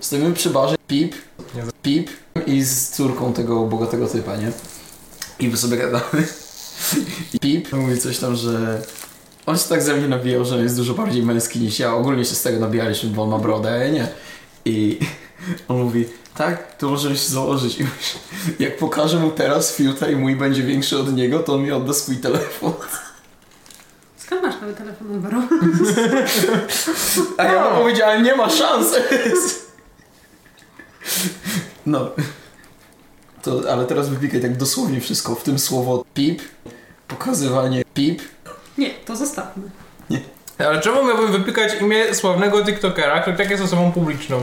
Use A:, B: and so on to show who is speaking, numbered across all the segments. A: Stoimy przy barze, pip, pip i z córką tego bogatego typa, nie? I my sobie gadamy. I pip mówi coś tam, że on się tak ze mnie nabijał, że jest dużo bardziej męski niż ja. Ogólnie się z tego nabijaliśmy, bo on ma brodę, a ja nie. I on mówi, tak, to możemy się założyć. I myślę, jak pokażę mu teraz fiuta i mój będzie większy od niego, to on mi odda swój telefon.
B: Skąd masz nowy telefon numeru?
A: A ja mu
B: No.
A: powiedziałem, nie ma szans. No. To, ale teraz wypikaj tak dosłownie wszystko, w tym słowo pip, pokazywanie pip.
B: Nie, to zostawmy.
C: Ale czemu miałbym wypikać imię sławnego TikTokera, który tak jest osobą publiczną?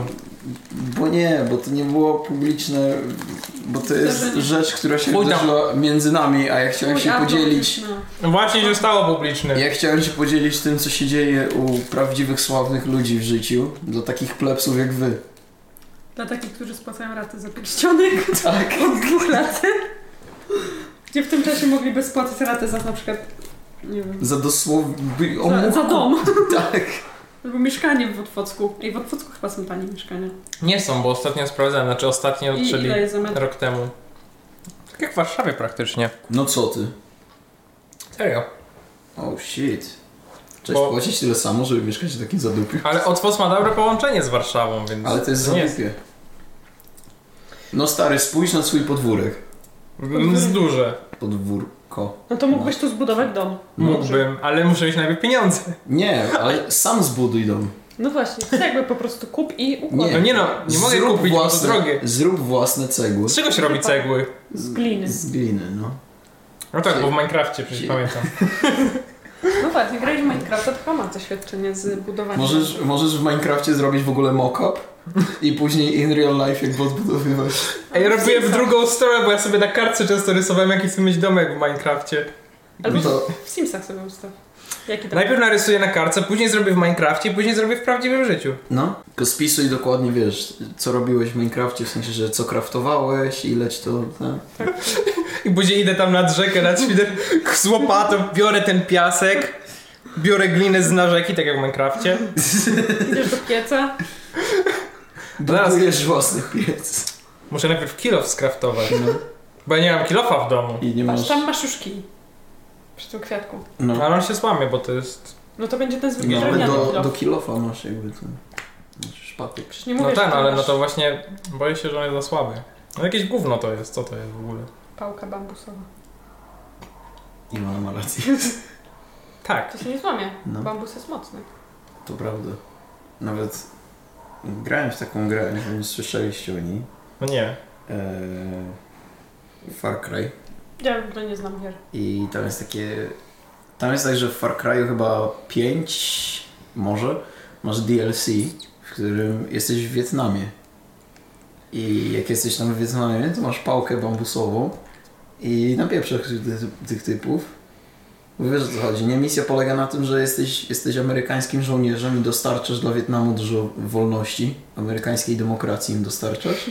A: Bo nie, bo to nie było publiczne, bo to jest
B: Żeby-
A: rzecz, która się
C: Chuj tam.
A: wydarzyła między nami, a ja chciałem się
B: Mój
A: podzielić.
B: algorytm,
C: Właśnie się stało publiczne.
A: Ja chciałem się podzielić tym, co się dzieje u prawdziwych, sławnych ludzi w życiu, dla takich plepsów jak wy.
B: no. Dla takich, którzy spłacają raty za pierścionek
A: Tak.
B: od dwóch lat. Gdzie w tym czasie mogliby spłacać ratę za na przykład, nie wiem,
A: Za dosłownie... o
B: za,
A: mój-
B: za dom.
A: Tak.
B: Albo mieszkanie w Otwocku. Ej, w Otwocku chyba są tanie mieszkania.
C: Nie są, bo ostatnio sprawdzałem, znaczy ostatnio,
B: I
C: czyli
B: ile jest za metr?
C: rok temu. Tak jak w Warszawie praktycznie.
A: No co ty?
C: Serio.
A: Oh shit. Cześć,
C: Bo-
A: płacić tyle samo, żeby mieszkać w takim zadupiu.
C: Ale Otwos ma dobre połączenie z Warszawą, więc...
A: Ale to jest
C: Nie.
A: zadupie. No stary, spójrz na swój podwórek.
C: m, Z duże.
A: Podwórko.
B: No to mógłbyś tu zbudować dom.
C: Mógłbym, ale muszę mieć najpierw pieniądze.
A: Nie, ale sam zbuduj dom.
B: No właśnie, to jakby po prostu kup i
A: Nie,
C: No nie no, nie mogę
A: Zrób
C: kupić, bo to
A: własne,
C: drogie.
A: Zrób własne cegły.
C: Z czego się robi cegły?
B: Z gliny.
A: Z gliny, no.
C: No tak, bo w Minecrafcie przecież
A: Cie-
C: pamiętam.
B: No właśnie, grałeś w Minecrafta, to chyba ma doświadczenie z budowaniem.
A: Możesz, możesz w Minecrafcie zrobić w ogóle mock-up i później in real life jakby odbudowywać.
C: Ej, robię w drugą stronę, bo ja sobie na kartce często rysowałem, jaki chcę mieć domek w Minecrafcie.
B: Albo
A: No to
B: w Simsach sobie ustaw. Jaki tam?
C: Najpierw narysuję na kartce, później zrobię w Minecrafcie, później zrobię w prawdziwym życiu.
A: No, tylko spisuj dokładnie, wiesz, co robiłeś w Minecrafcie, w sensie, że co kraftowałeś, ile ci to... No.
B: Tak,
C: I później idę tam nad rzekę, nad świder z łopatą, biorę ten piasek, biorę glinę z narzeki, tak jak w Minecrafcie.
B: Idziesz do pieca,
C: Zaraz.
A: Budujesz własny piec.
C: Muszę najpierw kilof skraftować,
A: No.
C: bo ja nie mam kilofa w domu.
A: I nie
B: masz
A: masz...
B: tam maszuszki. Przy tym kwiatku.
A: No,
C: Ale on się słamie, bo to jest...
B: No to będzie ten zwykły
A: no ale
B: drewniany
A: do,
B: kilof.
A: do kilofa masz jakby ten... Masz szpatyk.
B: Przecież nie mówię,
C: No
B: że
C: ten,
B: to
C: ale no
B: masz
C: to właśnie boję się, że on jest za słaby. No jakieś gówno to jest, co to jest w ogóle?
B: Pałka bambusowa.
A: I ona ma rację.
C: Tak.
B: To się nie złamie.
A: No.
B: Bambus jest mocny.
A: To prawda. Nawet grałem w taką grę, nie wiem, słyszeliście o niej.
C: No nie.
A: Eee, Far Cry.
B: Ja w ogóle nie znam gier.
A: I tam jest takie... Tam jest tak, że w Far Cry'u chyba 5, może, masz DLC, w którym jesteś w Wietnamie. I jak jesteś tam w Wietnamie, to masz pałkę bambusową i napieprzasz tych, tych typów. Bo Wiesz o co chodzi, nie? Misja polega na tym, że jesteś, jesteś amerykańskim żołnierzem i dostarczasz dla Wietnamu dużo wolności. Amerykańskiej demokracji im dostarczasz.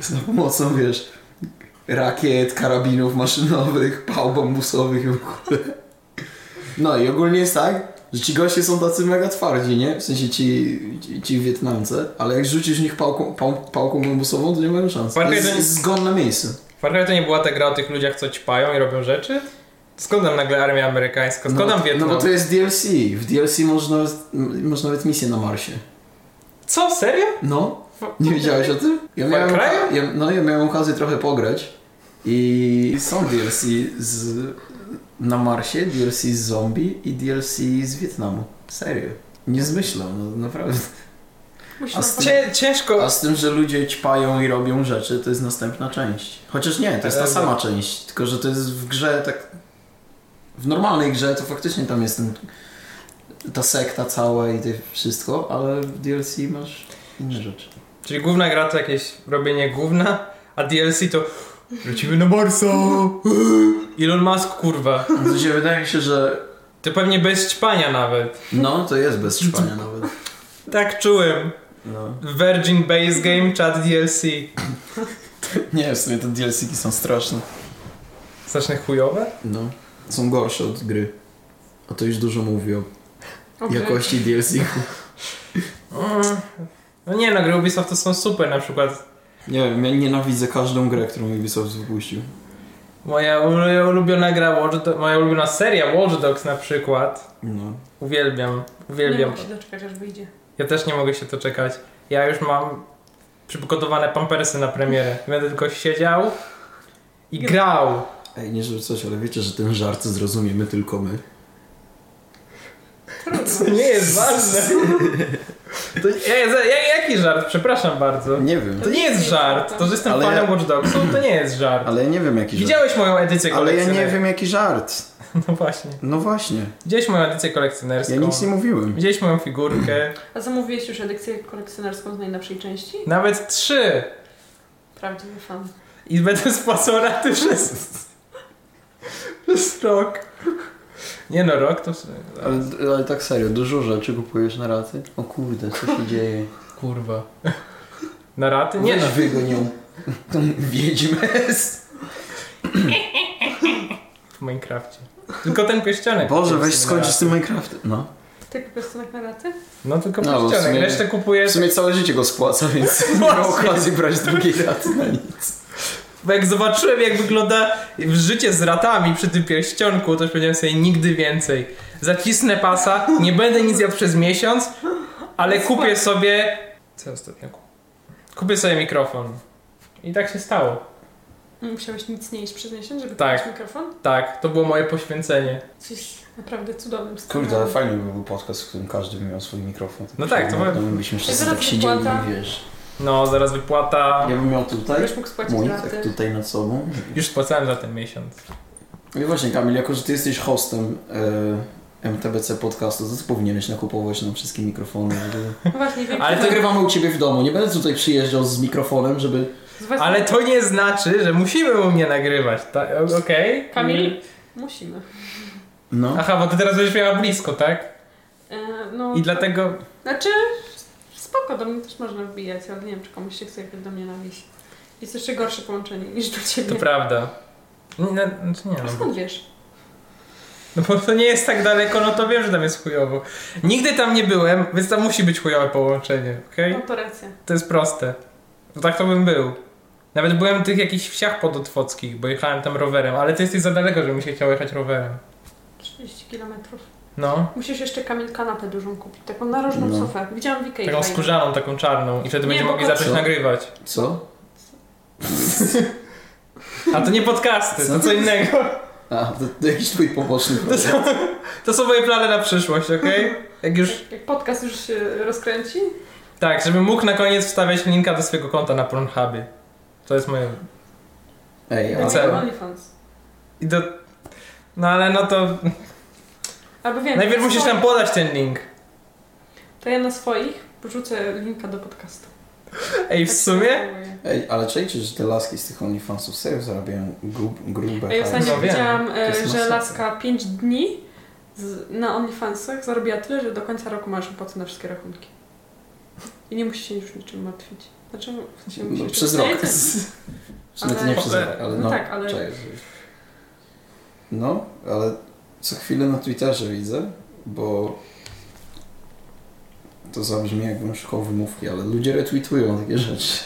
A: Za pomocą, wiesz, rakiet, karabinów maszynowych, pał bambusowych i w ogóle. No i ogólnie jest tak, że ci goście są tacy mega twardzi, nie? W sensie ci, ci, ci Wietnamce, ale jak rzucisz w nich pałką, pał, pałką bambusową, to nie mają szans. To
C: Parka
A: jest,
C: jeden-
A: jest zgon na miejscu.
C: Far Cry to nie była ta gra o tych ludziach, co ćpają i robią rzeczy? Skąd nam nagle armia amerykańska? Skąd nam
A: no,
C: Wietnam?
A: No bo to jest DLC. W DLC można, masz nawet misję na Marsie.
C: Co? Serio?
A: No, nie wiedziałeś o tym? Ja
C: Far
A: miałem,
C: Cry'u?
A: ja, no, ja miałem okazję trochę pograć i są DLC z, na Marsie, DLC z zombie i DLC z Wietnamu. Serio. Nie zmyślam, no naprawdę.
B: Musisz
A: A
B: nam
A: z
B: powiedzieć-
C: Cie, Znaczy, ciężko.
A: A z tym, że ludzie ćpają i robią rzeczy, to jest następna część. Chociaż nie, to jest ta
C: Ale-
A: sama część, tylko że to jest w grze tak... W normalnej grze to faktycznie tam jest ten, ta sekta cała i to wszystko, ale w DLC masz inne rzeczy.
C: Czyli główna gra to jakieś robienie gówna, a DLC to wrócimy na Marsa! Elon Musk, kurwa.
A: W sensie wydaje mi się, że
C: To pewnie bez ćpania nawet.
A: no, to jest bez ćpania nawet.
C: Tak czułem.
A: No.
C: Virgin Base Game, chat DLC.
A: Nie, w sumie te DLC-ki są straszne.
C: Straszne chujowe?
A: No. Są gorsze od gry. A to już dużo mówi o
B: Okej.
A: jakości DLC-ku.
C: Mm. No nie no, gry Ubisoft to są super na przykład.
A: Nie wiem, ja nienawidzę każdą grę, którą Ubisoft wypuścił.
C: Moja u- ulubiona gra, Watch Do- moja ulubiona seria Watch Dogs na przykład.
A: No.
C: Uwielbiam,
B: Nie
C: uwielbiam.
B: mogę się doczekać, aż wyjdzie.
C: Ja też nie mogę się doczekać. Ja już mam przygotowane pampersy na premierę. Będę tylko siedział i grał.
A: Ej, nie żeby coś, ale wiecie, że ten żart zrozumiemy tylko my.
C: Co nie jest ważne. To, ja, ja, jaki żart? Przepraszam bardzo.
A: Nie wiem.
C: To nie jest żart. To, że jestem
A: Ale
C: fanem
A: ja-
C: Watch Dogsów, to nie jest żart.
A: Ale ja nie wiem jaki żart.
C: Widziałeś moją edycję
A: Ale ja
C: kolekcjonerską.
A: nie wiem jaki żart.
C: No właśnie.
A: No właśnie.
C: Widziałeś moją edycję kolekcjonerską.
A: Ja nic nie mówiłem.
C: Widziałeś moją figurkę.
B: A zamówiłeś już edycję kolekcjonerską z najnowszej części?
C: Nawet trzy.
B: Prawdziwy fan.
C: I będę spłacał raty przez... przez rok. Nie no, rok to... w sumie-
A: Ale, ale tak serio, dużo rzeczy kupujesz na raty? O kurde, co się dzieje?
C: Kurwa. Na raty?
A: Nie
C: Nie no.
A: na wygonią tą wiedźmę.
C: W Minecrafcie. Tylko ten pierścionek.
A: Boże, weź
C: Na
A: skończ z
C: raty.
A: tym Minecraftem. No.
B: Tylko piosenek tak na raty?
C: No tylko
A: No, bo w
C: pierścionek.
A: sumie-
C: Resztę kupujesz...
A: W sumie całe życie go spłaca, więc nie ma okazji brać drugiej raty na nic.
C: Bo jak zobaczyłem, jak wygląda życie z ratami przy tym pierścionku, to już powiedziałem sobie nigdy więcej. Zacisnę pasa, nie będę nic jadł przez miesiąc, ale kupię sobie. Co ostatnio? kup- Kupię sobie mikrofon. I tak się stało.
B: Mm, Musiałeś nic nie jeść przez miesiąc, żeby
C: Tak.
B: tak. mikrofon?
C: Tak, to było moje poświęcenie.
B: Coś naprawdę cudownym
A: Kurde, ale fajny by był podcast, w którym każdy by miał swój mikrofon.
C: No tak, to
A: byśmy-
C: by-
A: no, byśmy wszyscy
B: Zaraz
A: tak siedzieli
B: wypłata.
A: i wiesz.
C: No, zaraz wypłata.
A: Ja bym miał tutaj
B: Byś mógł spłacić
A: monitor
B: raty.
A: Tak tutaj nad sobą.
C: Już spłacałem za ten miesiąc.
A: No i właśnie Kamil, jako że ty jesteś hostem e, MTBC podcastu, to ty powinieneś nakupować nam wszystkie mikrofony. Żeby...
B: No właśnie, wiem,
C: Ale
A: Ale
C: to-
A: nagrywamy u ciebie w domu, nie będę tutaj przyjeżdżał z mikrofonem, żeby...
B: z was-
C: Ale to nie znaczy, że musimy u mnie nagrywać. Ta- o- Okej. Mm.
B: Kamil? Musimy.
A: No.
C: Aha, bo ty teraz będziesz miała blisko, tak?
B: E, no,
C: I dlatego
B: Znaczy, spoko, do mnie też można wbijać, ale nie wiem, czy komuś się chce jakby do mnie nabić. Jest jeszcze gorsze połączenie niż do ciebie.
C: to prawda. Nie, no, znaczy nie,
B: A
C: no,
B: skąd wiesz?
C: No bo to nie jest tak daleko, no to wiem, że tam jest chujowo. Nigdy tam nie byłem, więc tam musi być chujowe połączenie, okej?
B: No to racja.
C: To jest proste. No tak to bym był. Nawet byłem w tych jakichś wsiach podotwockich, bo jechałem tam rowerem, ale ty jesteś za daleko, żebym się chciał jechać rowerem.
B: 30 kilometrów.
C: No.
B: Musisz jeszcze Kamil kanapę dużą kupić, taką narożną
A: No.
B: sofę. Widziałam w Ikei.
C: Taką
B: fajną.
C: skórzaną, taką czarną i wtedy
B: Nie,
C: będziemy
B: bo
C: mogli
B: to-
C: zacząć
A: Co?
C: nagrywać.
A: Co?
C: A to nie podcasty, to co innego.
A: A, to, to jakiś twój poboczny
C: To
A: projekt.
C: są, to są moje plany na przyszłość, okej? Jak już...
B: Jak podcast już się rozkręci,
C: Tak, żebym mógł na koniec wstawiać linka do swojego konta na Pornhubie. To jest moje...
A: Ej, a...
B: będzie
C: Cel.
B: OnlyFans.
C: I do... No ale no to
B: Albo wiem,
C: Najpierw
B: na
C: musisz
B: swoich-
C: nam podać ten link.
B: To ja na swoich wrzucę linka do podcastu.
C: Ej, w
B: Tak się
C: sumie?
B: zachowuję.
A: Ej, ale czajcie, że te laski z tych OnlyFansów serio zarabiają grub, grube
B: A ja
A: hajsy.
B: ostatnio
C: No wiem,
B: widziałam,
A: to
B: e,
A: jest
B: że
A: masakra.
B: laska 5 dni z, na OnlyFansach zarobiła tyle, że do końca roku masz opłaty na wszystkie rachunki. I nie musisz się już niczym martwić. Znaczy, w sensie musisz...
A: No, przez
B: No,
A: rok.
B: nie, nie.
A: No to nie
B: Ale-
A: przez rok, ale
B: No
A: no,
B: tak, ale-
A: czaj, że- No, ale co chwilę na Twitterze widzę, bo to zabrzmi jakbym szukał wymówki, ale ludzie retweetują takie rzeczy.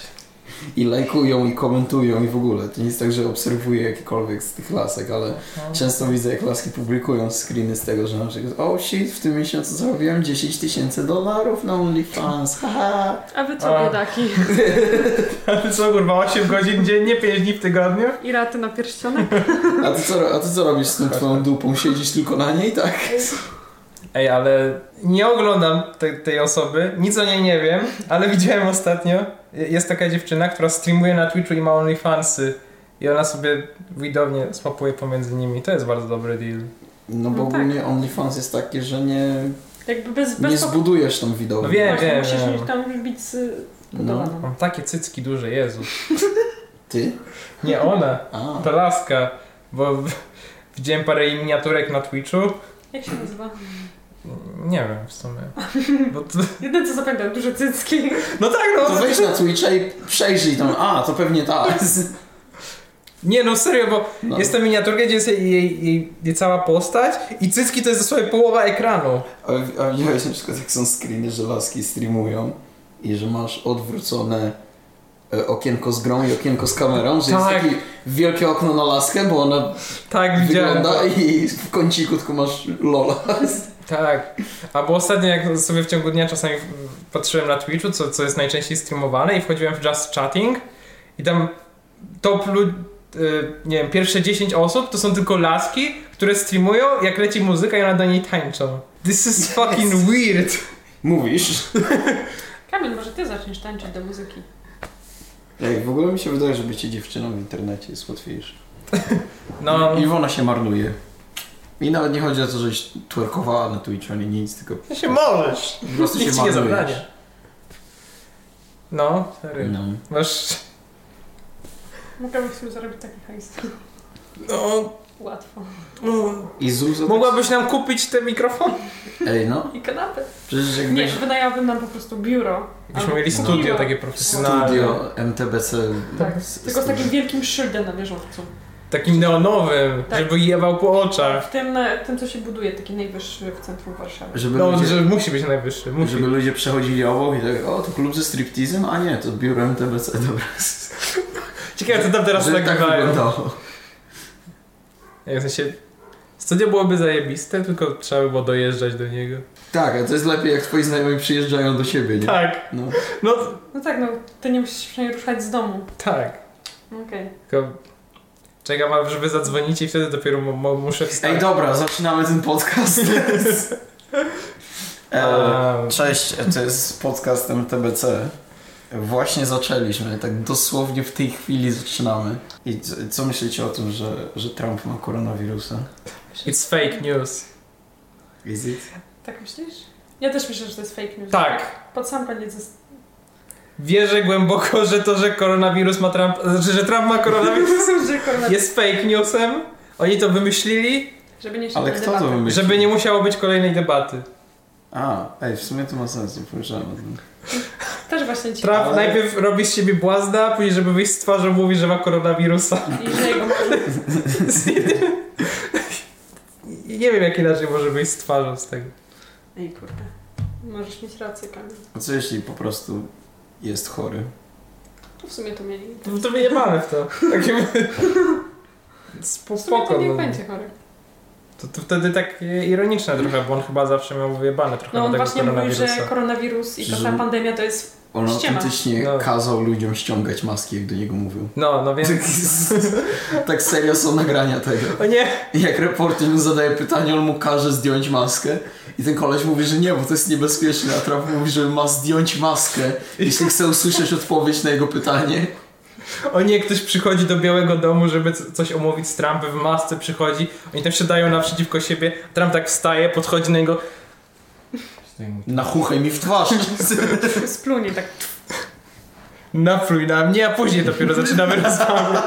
A: I lajkują, i komentują, i w ogóle. To nie jest tak, że obserwuję jakikolwiek z tych lasek, ale często widzę, jak laski publikują screeny z tego, że na przykład o shit, w tym miesiącu zarobiłem 10 tysięcy dolarów na OnlyFans, haha.
B: A wy co,
C: A.
B: biedaki?
C: Ale co kurwa, 8 godzin dziennie, 5 dni w tygodniu?
B: I raty na pierścionek?
A: A ty co, a ty co robisz z tą twoją dupą? Siedzisz tylko na niej, tak?
C: Ej, ale nie oglądam te, tej osoby, nic o niej nie wiem, ale widziałem ostatnio, je- jest taka dziewczyna, która streamuje na Twitchu i ma OnlyFansy. I ona sobie widownie swapuje pomiędzy nimi. To jest bardzo dobry deal.
A: No bo
B: No tak.
A: ogólnie OnlyFans jest takie, że nie,
B: Jakby bez...
A: nie
B: bez
A: zbudujesz tam widoku.
C: No wiem.
B: Właśnie musisz
C: wiem.
B: mieć tam już być z...
A: No,
B: budowaną.
C: Mam takie cycki duże, Jezu.
A: ty?
C: Nie ona,
A: A,
C: to laska, bo w- widziałem parę jej miniaturek na Twitchu.
B: Jak się nazywa?
C: Nie wiem w sumie. Bo to,
B: Jeden co zapamiętam, duże cycki.
C: no tak, no.
A: to wejdź na Twitcha i przejrzyj tam. A, to pewnie ta.
C: Nie no serio, bo
A: No.
C: Jest to miniaturka, gdzie jest jej, jej, jej, jej cała postać i cycki to jest dosłownie połowa ekranu.
A: A, a widziałeś na przykład, jak są screeny, że laski streamują i że masz odwrócone e, okienko z grą i okienko z kamerą, że
C: Tak.
A: jest takie wielkie okno na laskę, bo ona
C: Tak, widziałem.
A: wygląda i w kąciku tylko masz lola.
C: Tak. Albo ostatnio, jak sobie w ciągu dnia czasami patrzyłem na Twitchu, co, co jest najczęściej streamowane, i wchodziłem w Just Chatting, i tam top ludzi. Nie wiem, pierwsze 10 osób to są tylko laski, które streamują, jak leci muzyka i one do niej tańczą. This is fucking weird.
A: Mówisz?
B: Kamil, może ty zaczniesz tańczyć do muzyki.
A: Ej, w ogóle mi się wydaje, że bycie dziewczyną w internecie jest łatwiejsze.
C: No,
A: Iwona się marnuje. I nawet nie chodzi o to, żeś twerkowała na Twitchu ani nic, tylko
C: to się możesz.
A: po prostu
C: Nikt
A: się
C: ci nie
A: marnujesz.
C: zabrania. No, serio.
A: No.
C: Masz.
B: Mogłabym sobie zarobić taki hajs.
C: No,
B: Łatwo.
C: no.
A: I Zuza...
C: Mogłabyś nam kupić te mikrofony?
A: Ej, no.
B: I kanapę.
A: Przecież
B: Nie,
A: jakbyś...
B: wynajęłabym nam po prostu biuro.
C: Byśmy
B: Albo
C: mieli studio
B: piwo.
C: takie profesjonalne.
A: Studio MTBC.
B: Tak,
A: z-
B: tylko z takim wielkim szyldem na wieżowcu.
C: Takim neonowym,
B: Tak.
C: żeby jewał po oczach.
B: W tym, na- tym, co się buduje, taki najwyższy w centrum Warszawy.
A: Żeby,
C: No,
A: ludzie,
C: Tak. że musi być najwyższy, musi.
A: żeby ludzie przechodzili obok i tak, o, to klub ze striptizem? A nie, to biuro MTBC, dobra.
C: Ciekawe, co tam teraz
A: Żeby tak
C: nagrywają.
A: wyglądało.
C: Tak w sensie, studio byłoby zajebiste, tylko trzeba by było dojeżdżać do niego.
A: Tak, a to jest lepiej, jak twoi znajomi przyjeżdżają do siebie, nie?
C: Tak,
A: No.
C: no
B: No tak, no ty nie musisz się przynajmniej ruszać z domu. No
C: tak.
B: Okej.
C: Tylko czekam, aż wy zadzwonicie i wtedy dopiero mu- mu- muszę wstać.
A: Ej, dobra, zaczynamy ten podcast. e,
C: A,
A: cześć, to jest podcast MTBC. Właśnie zaczęliśmy, tak dosłownie w tej chwili zaczynamy. I co, co myślicie o tym, że, że Trump ma koronawirusa?
C: It's fake news.
A: Is it?
B: Tak myślisz? Ja też myślę, że to jest fake news.
C: Tak.
B: Pod sam koniec jest...
C: Wierzę głęboko, że to, że koronawirus ma Trump... Znaczy, że Trump ma koronawirus
B: że koronawirus-
C: jest fake newsem. Oni to wymyślili,
B: Żeby nie się
A: Ale
B: na
A: kto to
B: debatę.
A: wymyślił?
C: żeby nie musiało być kolejnej debaty.
A: A, ej, w sumie to ma sens, nie pomyślałem o tym.
B: Też właśnie ci...
C: Trump
A: Ale-
C: najpierw robi z siebie błazda, później żeby wyjść z twarzą mówi, że ma koronawirusa.
B: I że jego może...
C: Nie wiem jak inaczej może wyjść z twarzą z tego.
B: Ej, kurde. Możesz mieć rację, Kamil.
A: A co jeśli po prostu jest chory?
B: To w sumie to mieli.
C: To, to wyjebane w to. Takie...
B: W sumie to
C: Spoko.
B: nie
C: No.
B: będzie chory.
C: To, to wtedy tak e, ironiczne trochę, bo on chyba zawsze miał wyjebane trochę
B: No
C: na
B: on
C: tego
B: właśnie mówił,
C: koronawirusa.
B: że koronawirus i ta
A: Że-
B: cała pandemia to jest...
A: On
B: Ściema.
A: autentycznie
C: No.
A: kazał ludziom ściągać maski, jak do niego mówił.
C: No, no
A: Tak,
C: więc...
A: tak serio są nagrania tego.
C: O nie!
A: I Jak reporter mu zadaje pytanie, on mu każe zdjąć maskę i ten koleś mówi, że nie, bo to jest niebezpieczne, a Trump mówi, że ma zdjąć maskę, jeśli chce usłyszeć odpowiedź na jego pytanie.
C: O nie, ktoś przychodzi do Białego Domu, żeby c- coś omówić z Trumpem, w masce przychodzi, oni tam siadają naprzeciwko siebie, Trump tak wstaje, podchodzi na niego...
A: Nachuchaj mi w twarz.
B: Splunie tak.
C: Napluj na mnie, a później dopiero zaczynamy rozmawiać.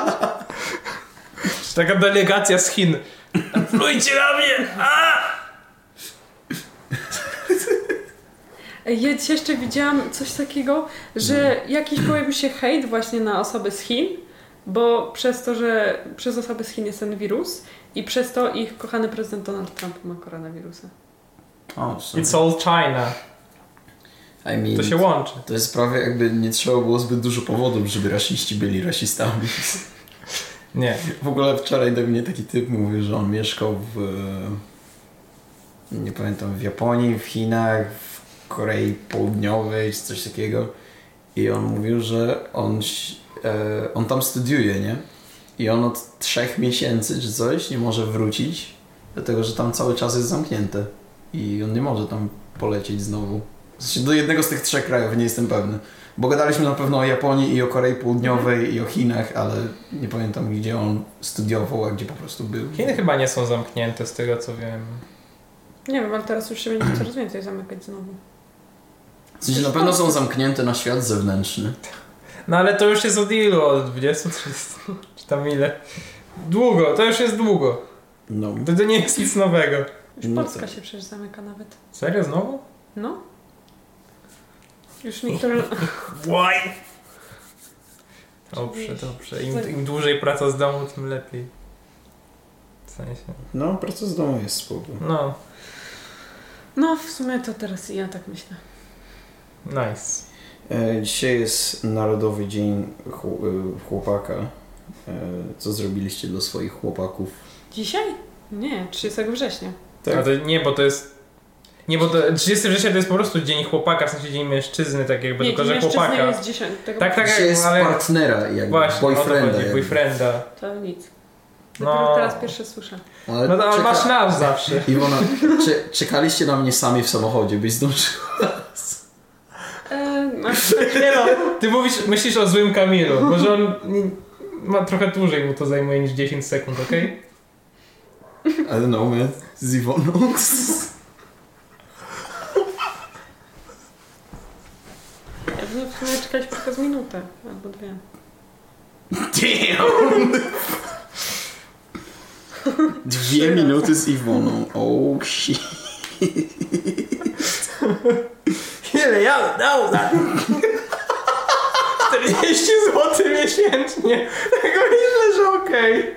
C: Taka delegacja z Chin. Naplujcie na mnie! A!
B: Ej, Ja dzisiaj jeszcze widziałam coś takiego, że
C: No.
B: jakiś pojawił się hejt właśnie na osoby z Chin, bo przez to, że przez osoby z Chin jest ten wirus i przez to ich kochany prezydent Donald Trump ma koronawirusa.
A: O,
C: It's all China.
A: I mean,
C: To się łączy.
A: to jest prawie jakby nie trzeba było zbyt dużo powodów, żeby rasiści byli rasistami.
C: Nie.
A: W ogóle wczoraj do mnie taki typ mówił, że on mieszkał w. e, Nie pamiętam, w Japonii, w Chinach, w Korei Południowej, czy coś takiego. I on mówił, że on, ś- e, on tam studiuje, nie? I on od trzech miesięcy czy coś nie może wrócić, dlatego że tam cały czas jest zamknięte. I on nie może tam polecieć znowu. W sensie do jednego z tych trzech krajów, nie jestem pewny. Bo gadaliśmy na pewno o Japonii i o Korei Południowej i o Chinach, ale nie pamiętam gdzie on studiował, a gdzie po prostu był.
C: Chiny chyba nie są zamknięte z tego co wiem.
B: Nie wiem, ale teraz już się będzie coraz więcej zamykać znowu.
A: W sensie na pewno są zamknięte na świat zewnętrzny.
C: No ale to już jest od ilu? Od 20, 30? Czy tam ile? Długo, to już jest długo.
A: No.
C: To, to nie jest nic nowego.
B: Już
A: No
B: Polska
A: tak.
B: się przecież zamyka nawet.
C: Serio znowu?
B: No? Już niektóre...
C: Why? Dobrze, dobrze. Im, im dłużej praca z domu, tym lepiej. W sensie.
A: No, praca z domu jest spoko.
C: No,
B: No w sumie to teraz ja tak myślę.
C: nice.
A: E, Dzisiaj jest Narodowy Dzień Chł- e, Chłopaka. E, Co zrobiliście dla swoich chłopaków?
B: Dzisiaj? Nie, 30 września.
A: Tak.
C: A to, nie, bo to jest... Nie, bo to 30 września to jest po prostu dzień chłopaka, w sensie dzień mężczyzny, tak jakby,
B: Nie,
C: tylko
B: dzień
C: że
B: mężczyzny
C: chłopaka.
B: jest 10. Tego
C: Tak, tak,
A: Dzisiaj jest
C: ale-
A: partnera, jakby
C: Właśnie, boyfrienda, o to
A: Tak, boyfrienda.
C: chodzi,
A: Jakby.
C: boyfrienda.
B: To nic.
C: No.
B: Dopiero teraz pierwsze słyszę.
A: Ale
C: No to ale
A: czeka-
C: masz nas zawsze.
A: Iwona, czy, czekaliście na mnie sami w samochodzie, byś zdążył.
B: E, no,
C: Nie no, ty mówisz, myślisz o złym Kamilu, może on nie- ma trochę dłużej mu to zajmuje niż 10 sekund, okej?
A: I don't know, man. Z Iwoną.
B: ja bym w sumie czekać tylko z minutę albo dwie.
A: Damn! Dwie minuty z Iwoną. Oh shit.
C: Ile ja
A: no,
C: dał za 40 zł miesięcznie. Tego myślę, że okej.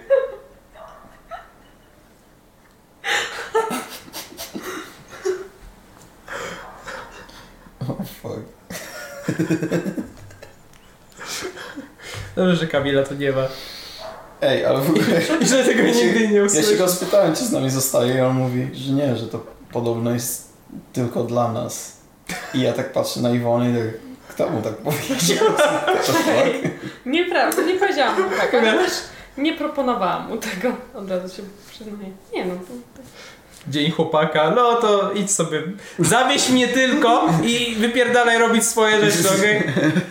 A: Fuck.
C: Dobrze, że Kamila to nie ma.
A: Ej, ale w ogóle...
C: I że tego
A: Ja się-
C: nigdy nie
A: Ja się
C: usłyszę.
A: go spytałem, czy z nami zostaje i on mówi, że nie, że to podobno jest tylko dla nas. I ja tak patrzę na Iwonę i tak, kto mu tak powiedział? What the fuck?
B: Nieprawda, nie powiedziałam mu tak, ale też nie proponowałam mu tego. Od razu się przyznaję. Nie no, to,
C: Dzień chłopaka, no to idź sobie. Zawieź mnie tylko i wypierdalaj robić swoje rzeczy, okej?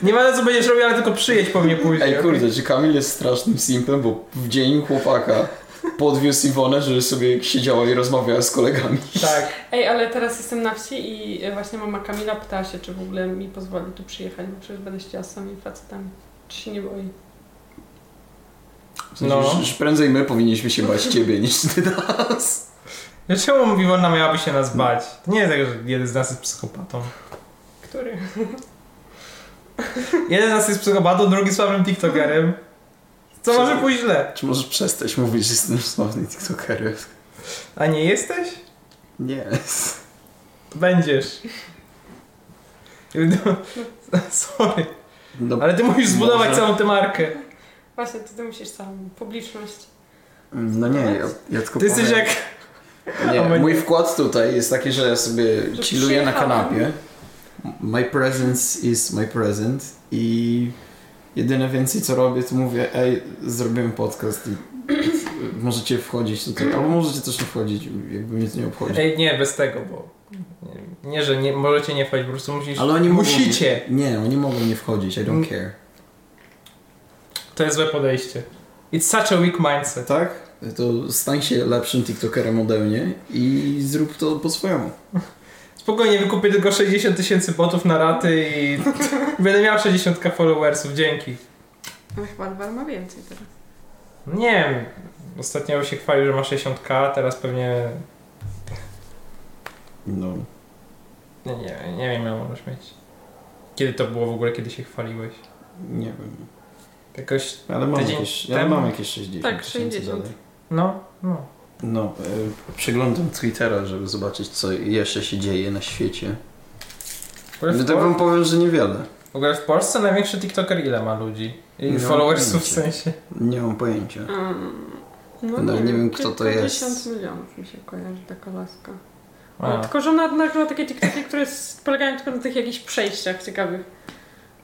C: Nie ma co będziesz robił, ale tylko przyjedź po mnie później.
A: Ej kurde, czy Kamil jest strasznym simpem, bo w dzień chłopaka podwiózł Iwonę, żeby sobie siedziała i rozmawiała z kolegami.
C: Tak.
B: Ej, ale teraz jestem na wsi i e, właśnie mama Kamila pytała się, czy w ogóle mi pozwoli tu przyjechać, bo przecież będę chciała z samymi facetami. Czy się nie boi?
A: W sensie,
C: No.
A: no. że prędzej my powinniśmy się bać ciebie niż ty nas.
C: No Dlaczego Wiwona miałaby się nas bać? To nie jest tak, że jeden z nas jest psychopatą.
B: Który?
C: Jeden z nas jest psychopatą, drugi słabym tiktokerem. Co może pójść źle?
A: Czy możesz przestać mówić, że jestem sławny tiktokerem?
C: A nie jesteś?
A: Nie.
C: Będziesz. No, Sorry.
A: No,
C: Ale ty musisz zbudować
A: Może.
C: całą tę markę.
B: Właśnie, to ty musisz całą publiczność.
A: no nie, ja, ja tylko
C: Ty jesteś
A: powiem-
C: jak...
A: Nie,
C: A my-
A: mój wkład tutaj jest taki, że ja sobie
B: Że
A: chilluję na
B: przyjechałem.
A: kanapie. My presence is my present i jedyne więcej co robię to mówię ej, zrobimy podcast i możecie wchodzić tutaj, albo możecie też nie wchodzić, jakby mnie to nie obchodzi.
C: Ej, nie, bez tego, bo... Nie, nie że nie, możecie nie wchodzić, po prostu musisz...
A: Ale oni
C: Musicie!
A: Mogą, nie, oni mogą nie wchodzić, I
C: Mm.
A: don't care.
C: To jest złe podejście. It's such a weak mindset.
A: Tak? To stań się lepszym tiktokerem ode mnie i zrób to po swojemu.
C: Spokojnie, wykupię tylko 60 tysięcy botów na raty i... Będę miał 60 followersów, dzięki.
B: No chyba Alvar ma więcej teraz.
C: Nie wiem. Ostatnio się chwalił, że ma 60k, teraz pewnie...
A: No.
C: Nie, nie, nie wiem, ile możesz mieć. Kiedy to było w ogóle, kiedy się chwaliłeś?
A: Nie wiem.
C: Jakoś...
A: Ale mam
C: Tydzień
A: jakieś, ja
C: temu?
A: mam jakieś 60.
B: Tak,
A: tysięcy
B: 60.
A: dalej.
C: No, no.
A: No, y, przeglądam Twittera, żeby zobaczyć, co jeszcze się dzieje na świecie.
C: W ogóle
A: No
C: w,
A: to wam
C: Pol-
A: powiem, że niewiele.
C: w ogóle w Polsce największy TikToker ile ma ludzi? I
A: Nie mam
C: followersów w
A: pojęcia.
C: sensie.
A: Nie mam pojęcia.
B: Mm, No
A: Nawet nie wiem, kto to jest.
B: 50 milionów mi się kojarzy taka laska.
A: No
C: A.
B: Tylko, że ona nagrała takie TikToki, które s- polegają tylko na tych jakichś przejściach ciekawych.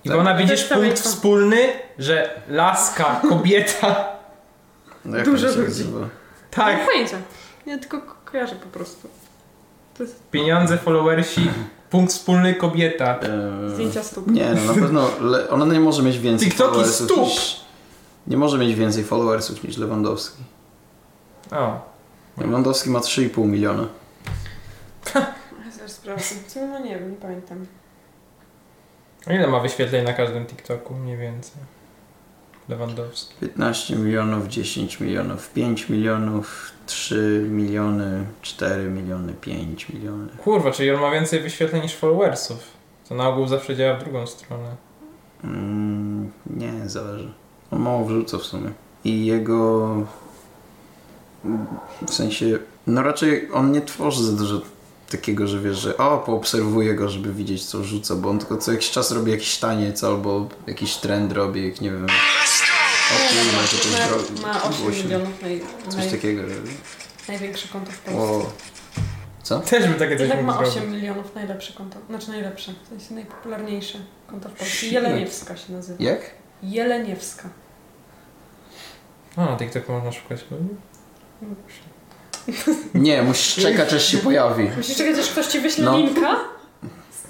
C: I bo ona
B: To
C: widzisz
B: jest ta
C: punkt
B: wielka.
C: wspólny, że laska, kobieta,
A: No, jak
B: Dużo
A: on się
B: ludzi.
A: nazywa?
B: Nie
C: tak,
B: mam pojęcia. Ja tylko ko- kojarzę po prostu.
C: pieniądze, followersi, punkt wspólny, kobieta.
A: Eee,
B: Zdjęcia stóp.
A: Nie, no na pewno le- ona nie może mieć więcej
C: TikToki
A: followersów
C: stóp!
A: niż... Nie może mieć więcej followersów niż Lewandowski.
C: O.
A: Lewandowski ma 3,5 miliona.
B: Ja Zaraz sprawdzę. W sumie, No nie wiem, nie pamiętam.
C: Ile ma wyświetleń na każdym TikToku? Mniej więcej. Lewandowski.
A: 15 milionów, 10 milionów, 5 milionów, 3 miliony, 4 miliony, 5 miliony.
C: Kurwa, czyli on ma więcej wyświetleń niż followersów. To na ogół zawsze działa w drugą stronę.
A: Mm, nie, zależy. On mało wrzuca w sumie. I jego... W sensie... No raczej on nie tworzy za dużo takiego, że wiesz, że o, poobserwuję go, żeby widzieć co rzuca, bo on tylko co jakiś czas robi jakiś taniec albo jakiś trend robi, jak nie wiem. O, kurwa, no to coś dro-
B: no, Ma, ma 8
A: osiem.
B: milionów Tak. naj,
A: Coś
B: naj,
A: takiego, że
B: największe konto w Polsce.
A: o. Co?
C: Też bym takie coś
B: Jednak
C: mógł
B: tak ma
C: zrobić.
B: 8 milionów najlepsze konto, znaczy najlepsze, w sensie najpopularniejsze konto w Polsce.
A: Shit.
B: Jeleniewska się nazywa.
A: Jak?
B: Jeleniewska.
C: A, na TikToku można szukać. pewnie.
A: Nie, musisz czekać aż się pojawi.
B: Musisz czekać, aż ktoś ci wyśle
A: No.
B: linka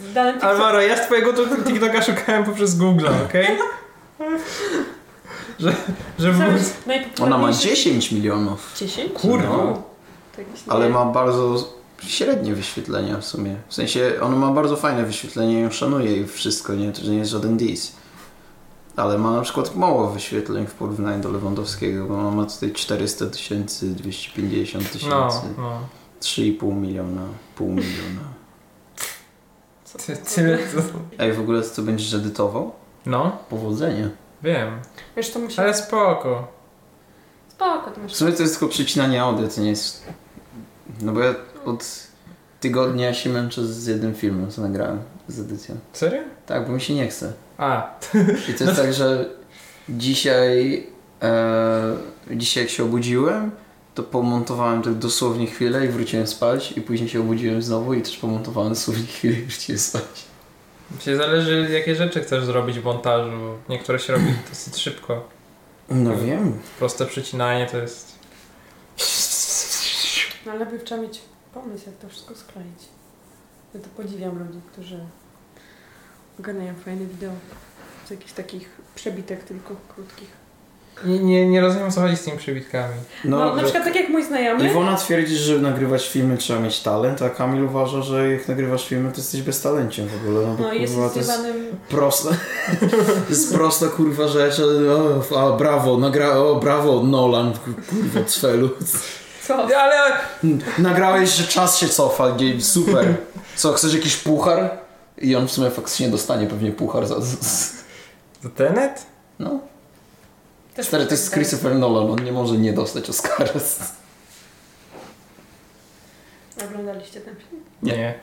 B: z danym pixelem.
C: Alvaro, ja z twojego tu- TikToka szukałem poprzez Google, okej? Że, że był...
A: Ona ma
B: Najpopularniejszy-
A: 10 milionów,
B: 10?
C: Kurwa.
B: No. To jakiś
A: ale
B: nie-
A: ma bardzo średnie wyświetlenia w sumie. W sensie, on ma bardzo fajne wyświetlenie, ją szanuję i wszystko, nie? To nie jest żaden diss. Ale ma na przykład mało wyświetleń w porównaniu do Lewandowskiego, bo ma tutaj 400 tysięcy, 250 tysięcy,
C: No, no.
A: 3,5 miliona, pół miliona.
B: co-
C: Ty,
B: co-
C: tyle to...
A: Ej, w ogóle co będziesz edytował?
C: No,
A: Powodzenia.
C: wiem.
B: Wiesz, to musi...
C: Ale spoko.
B: Spoko, to masz...
A: W sumie to jest tylko przecinanie audio, to nie jest... No bo ja od tygodnia się męczę z jednym filmem, co nagrałem z edycją.
C: Serio?
A: Tak, bo mi się nie chce.
C: A,
A: I to jest tak, że dzisiaj, e, dzisiaj jak się obudziłem, to pomontowałem tak dosłownie chwilę i wróciłem spać i później się obudziłem znowu i też pomontowałem dosłownie chwilę i wróciłem spać.
C: się zależy jakie rzeczy chcesz zrobić w montażu. Niektóre się robi dosyć szybko.
A: No wiem.
C: Proste przecinanie to jest...
B: No, ale by trzeba mieć pomysł, jak to wszystko skleić. Ja to podziwiam ludzi, którzy ogarniają fajne wideo z jakichś takich przebitek tylko krótkich.
C: Nie, nie, nie rozumiem o co chodzi z tymi przybitkami.
B: No,
A: No,
B: na
A: że
B: przykład tak jak mój znajomy.
A: Iwona twierdzi, że nagrywać filmy trzeba mieć talent, a Kamil uważa, że jak nagrywasz filmy, to jesteś beztalenciem w ogóle. No, bo
B: No i jest
A: kurwa, to jest
B: zjebanym...
A: prosta, to jest prosta kurwa rzecz, a, a brawo, nagra, o brawo Nolan, kurwa cfelu.
B: Co?
C: Ale
A: Nagrałeś, że czas się cofa, gdzie- super. Co, chcesz jakiś puchar? I on w sumie faktycznie dostanie pewnie puchar za... za- za-
C: To Tenet?
A: No,
B: Też
A: stary, to jest Christopher Nolan, on nie może nie dostać Oscara.
B: Oglądaliście ten film?
A: Nie.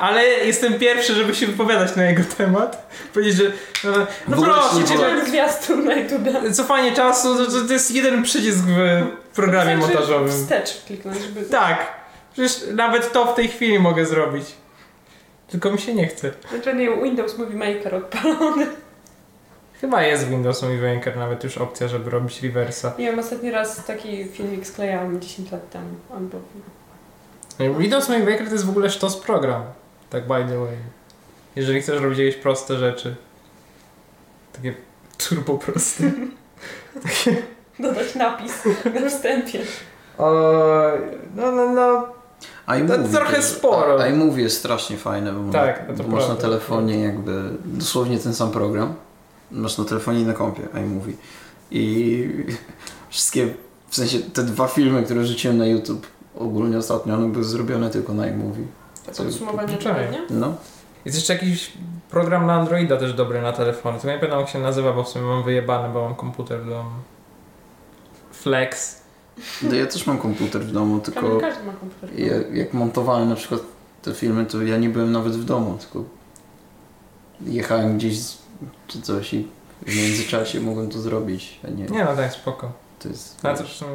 C: Ale jestem pierwszy, żeby się wypowiadać na jego temat. Powiedzieć, że. No, no
A: W ogóle
C: proszę
A: się nie
C: cię,
B: Widziałem gwiazdun na YouTube.
C: że cofanie czasu to, to, to jest jeden przycisk w
A: Tak,
C: programie
B: Wystarczy
C: montażowym.
B: Wstecz kliknąć, żeby...
C: Tak. Przecież nawet to w tej chwili mogę zrobić. Tylko mi się nie chce.
B: Znaczy nie, Windows Movie Maker odpalony.
C: Chyba jest w Windows Movie Maker nawet już opcja, żeby robić reversa.
B: Nie wiem, ostatni raz taki filmik sklejałam 10 lat temu. Albo...
C: Windows Movie Maker to jest w ogóle sztos program. Tak by the way. Jeżeli chcesz robić jakieś proste rzeczy. Takie turbo proste.
B: Dodać napis na wstępie.
C: no, no, no.
A: iMovie
C: To trochę
A: też-
C: sporo.
A: a- iMovie jest strasznie fajne, bo,
C: Tak,
A: ma, bo
C: to prawda. tak.
A: masz na telefonie jakby dosłownie ten sam program. Masz na telefonie i na kompie iMovie. I wszystkie, w sensie te dwa filmy, które rzuciłem na YouTube ogólnie ostatnio, one były zrobione tylko na iMovie.
B: To
A: Co-
B: Tak podsumowanie
C: Czekaj.
B: tygodnia?
A: No,
C: Jest jeszcze jakiś program na Androida też dobry na telefony. Tylko nie pamiętam jak się nazywa, bo w sumie mam wyjebany, bo mam komputer w domu. Flex.
A: no ja też mam komputer w domu, tylko...
B: Prawie każdy ma komputer.
A: Ja, jak montowałem na przykład te filmy, to ja nie byłem nawet w domu, tylko jechałem gdzieś z, czy coś i w międzyczasie mogłem to zrobić, a nie.
C: Nie no, tak, spoko.
A: To jest.
C: Na to w sumie...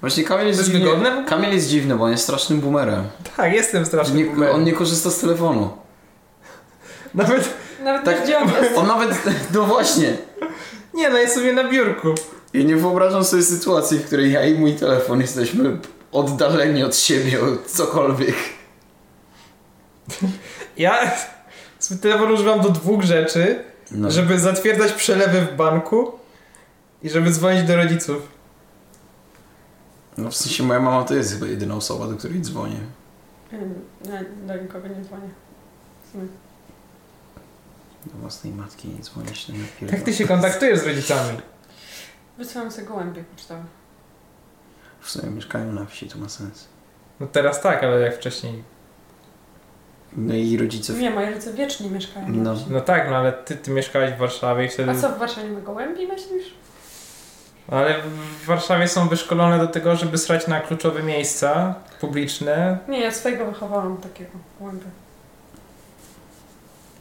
A: Właśnie Kamil jest,
C: To jest
A: dziwny,
C: wygodne w ogóle?
A: Kamil jest dziwny, bo on jest strasznym boomerem.
C: Tak, jestem straszny
A: nie,
C: boomerem.
A: On nie korzysta z telefonu.
C: Nawet...
B: Nawet
A: Tak.
B: tak. nie działa.
A: On nawet. No właśnie.
C: Nie no, jest sobie na biurku.
A: Ja nie wyobrażam sobie sytuacji, w której ja i mój telefon jesteśmy oddaleni od siebie, od cokolwiek.
C: Ja swój telefon używam do dwóch rzeczy.
A: No.
C: Żeby zatwierdzać przelewy w banku i żeby dzwonić do rodziców.
A: no w sensie moja mama to jest chyba jedyna osoba, do której dzwonię.
B: Ym, nie, Do nikogo nie dzwonię. W sumie.
A: Do własnej matki nie dzwonię się na
C: Tak ty się kontaktujesz z rodzicami.
B: Wysyłam sobie gołębie pocztowe.
A: W sumie mieszkają na wsi, to ma sens.
C: No teraz tak, ale jak wcześniej.
A: No i rodzice. W...
B: Nie, moi rodzice wiecznie mieszkają.
A: No.
C: No tak, no ale ty, ty mieszkałeś w Warszawie i wtedy. No
B: A co, w Warszawie nie ma gołębi, myślisz?
C: Ale w Warszawie są wyszkolone do tego, żeby srać na kluczowe miejsca publiczne.
B: Nie, ja swojego wychowałam takiego łęby.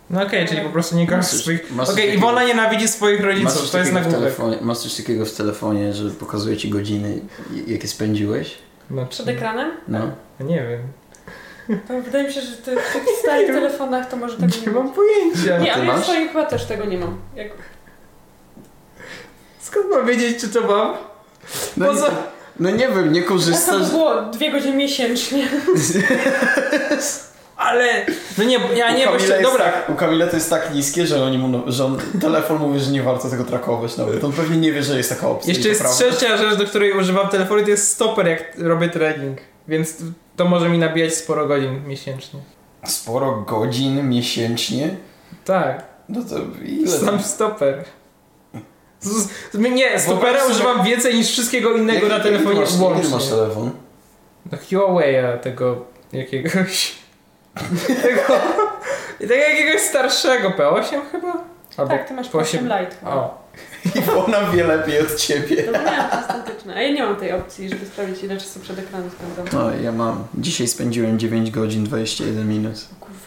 C: No okej, czyli po prostu nie kochasz
A: Masz coś-
C: swoich...
A: masz
C: Okej,
A: coś takiego-
C: Iwona nienawidzi swoich
A: Masz coś
C: rodziców, to jest
A: takiego w
C: nagłówek.
A: telefonie- Masz coś takiego w telefonie, że pokazuje ci godziny, i- jakie spędziłeś?
C: Znaczy,
B: Przed ekranem?
A: No.
C: nie wiem.
B: To wydaje mi się, że ty w tych starych telefonach to może tego nie
C: Nie
B: mam.
C: mam pojęcia.
B: Nie,
A: Ty
B: ale ja w
A: masz?
B: swoim chyba też tego nie mam. Jak...
C: Skąd mam wiedzieć, czy to mam?
A: No,
C: Poza-
A: nie, no nie wiem, nie
B: To
A: korzystasz.
B: by było dwie godziny miesięcznie.
C: Ale... No nie, ja nie,
A: u,
C: bo
A: Kamila
C: jeszcze...
A: jest
C: Dobra,
A: Tak, u Kamila to jest tak niskie, że, oni mu, że on, telefon mówi, że nie warto tego trakować nawet. On pewnie nie wie, że jest taka opcja. i
C: Jeszcze
A: to
C: jest
A: prawda.
C: trzecia rzecz, do której używam telefonu, to jest stoper, jak robię trening. Więc to może mi nabijać sporo godzin miesięcznie.
A: Sporo godzin miesięcznie.
C: Tak,
A: No to ile?
C: sam stoper. Z- z- Nie, stopera
A: sobie-
C: używam więcej niż wszystkiego innego
A: Jaki-
C: na
A: jaki
C: telefonie
A: masz, jaki masz
C: włącznie.
A: telefon?
C: No Huawei'a tego jakiegoś... tego... Tego jakiegoś starszego, P8 chyba? Albo
B: Tak, ty masz 8 light.
C: O,
A: I ona wie lepiej od ciebie.
B: To miałam to statyczne. A ja nie mam tej opcji, żeby sprawdzić ile czasu przed ekranem spędzam.
A: No, ja mam. Dzisiaj spędziłem 9 godzin 21 minut.
B: O Kurwa.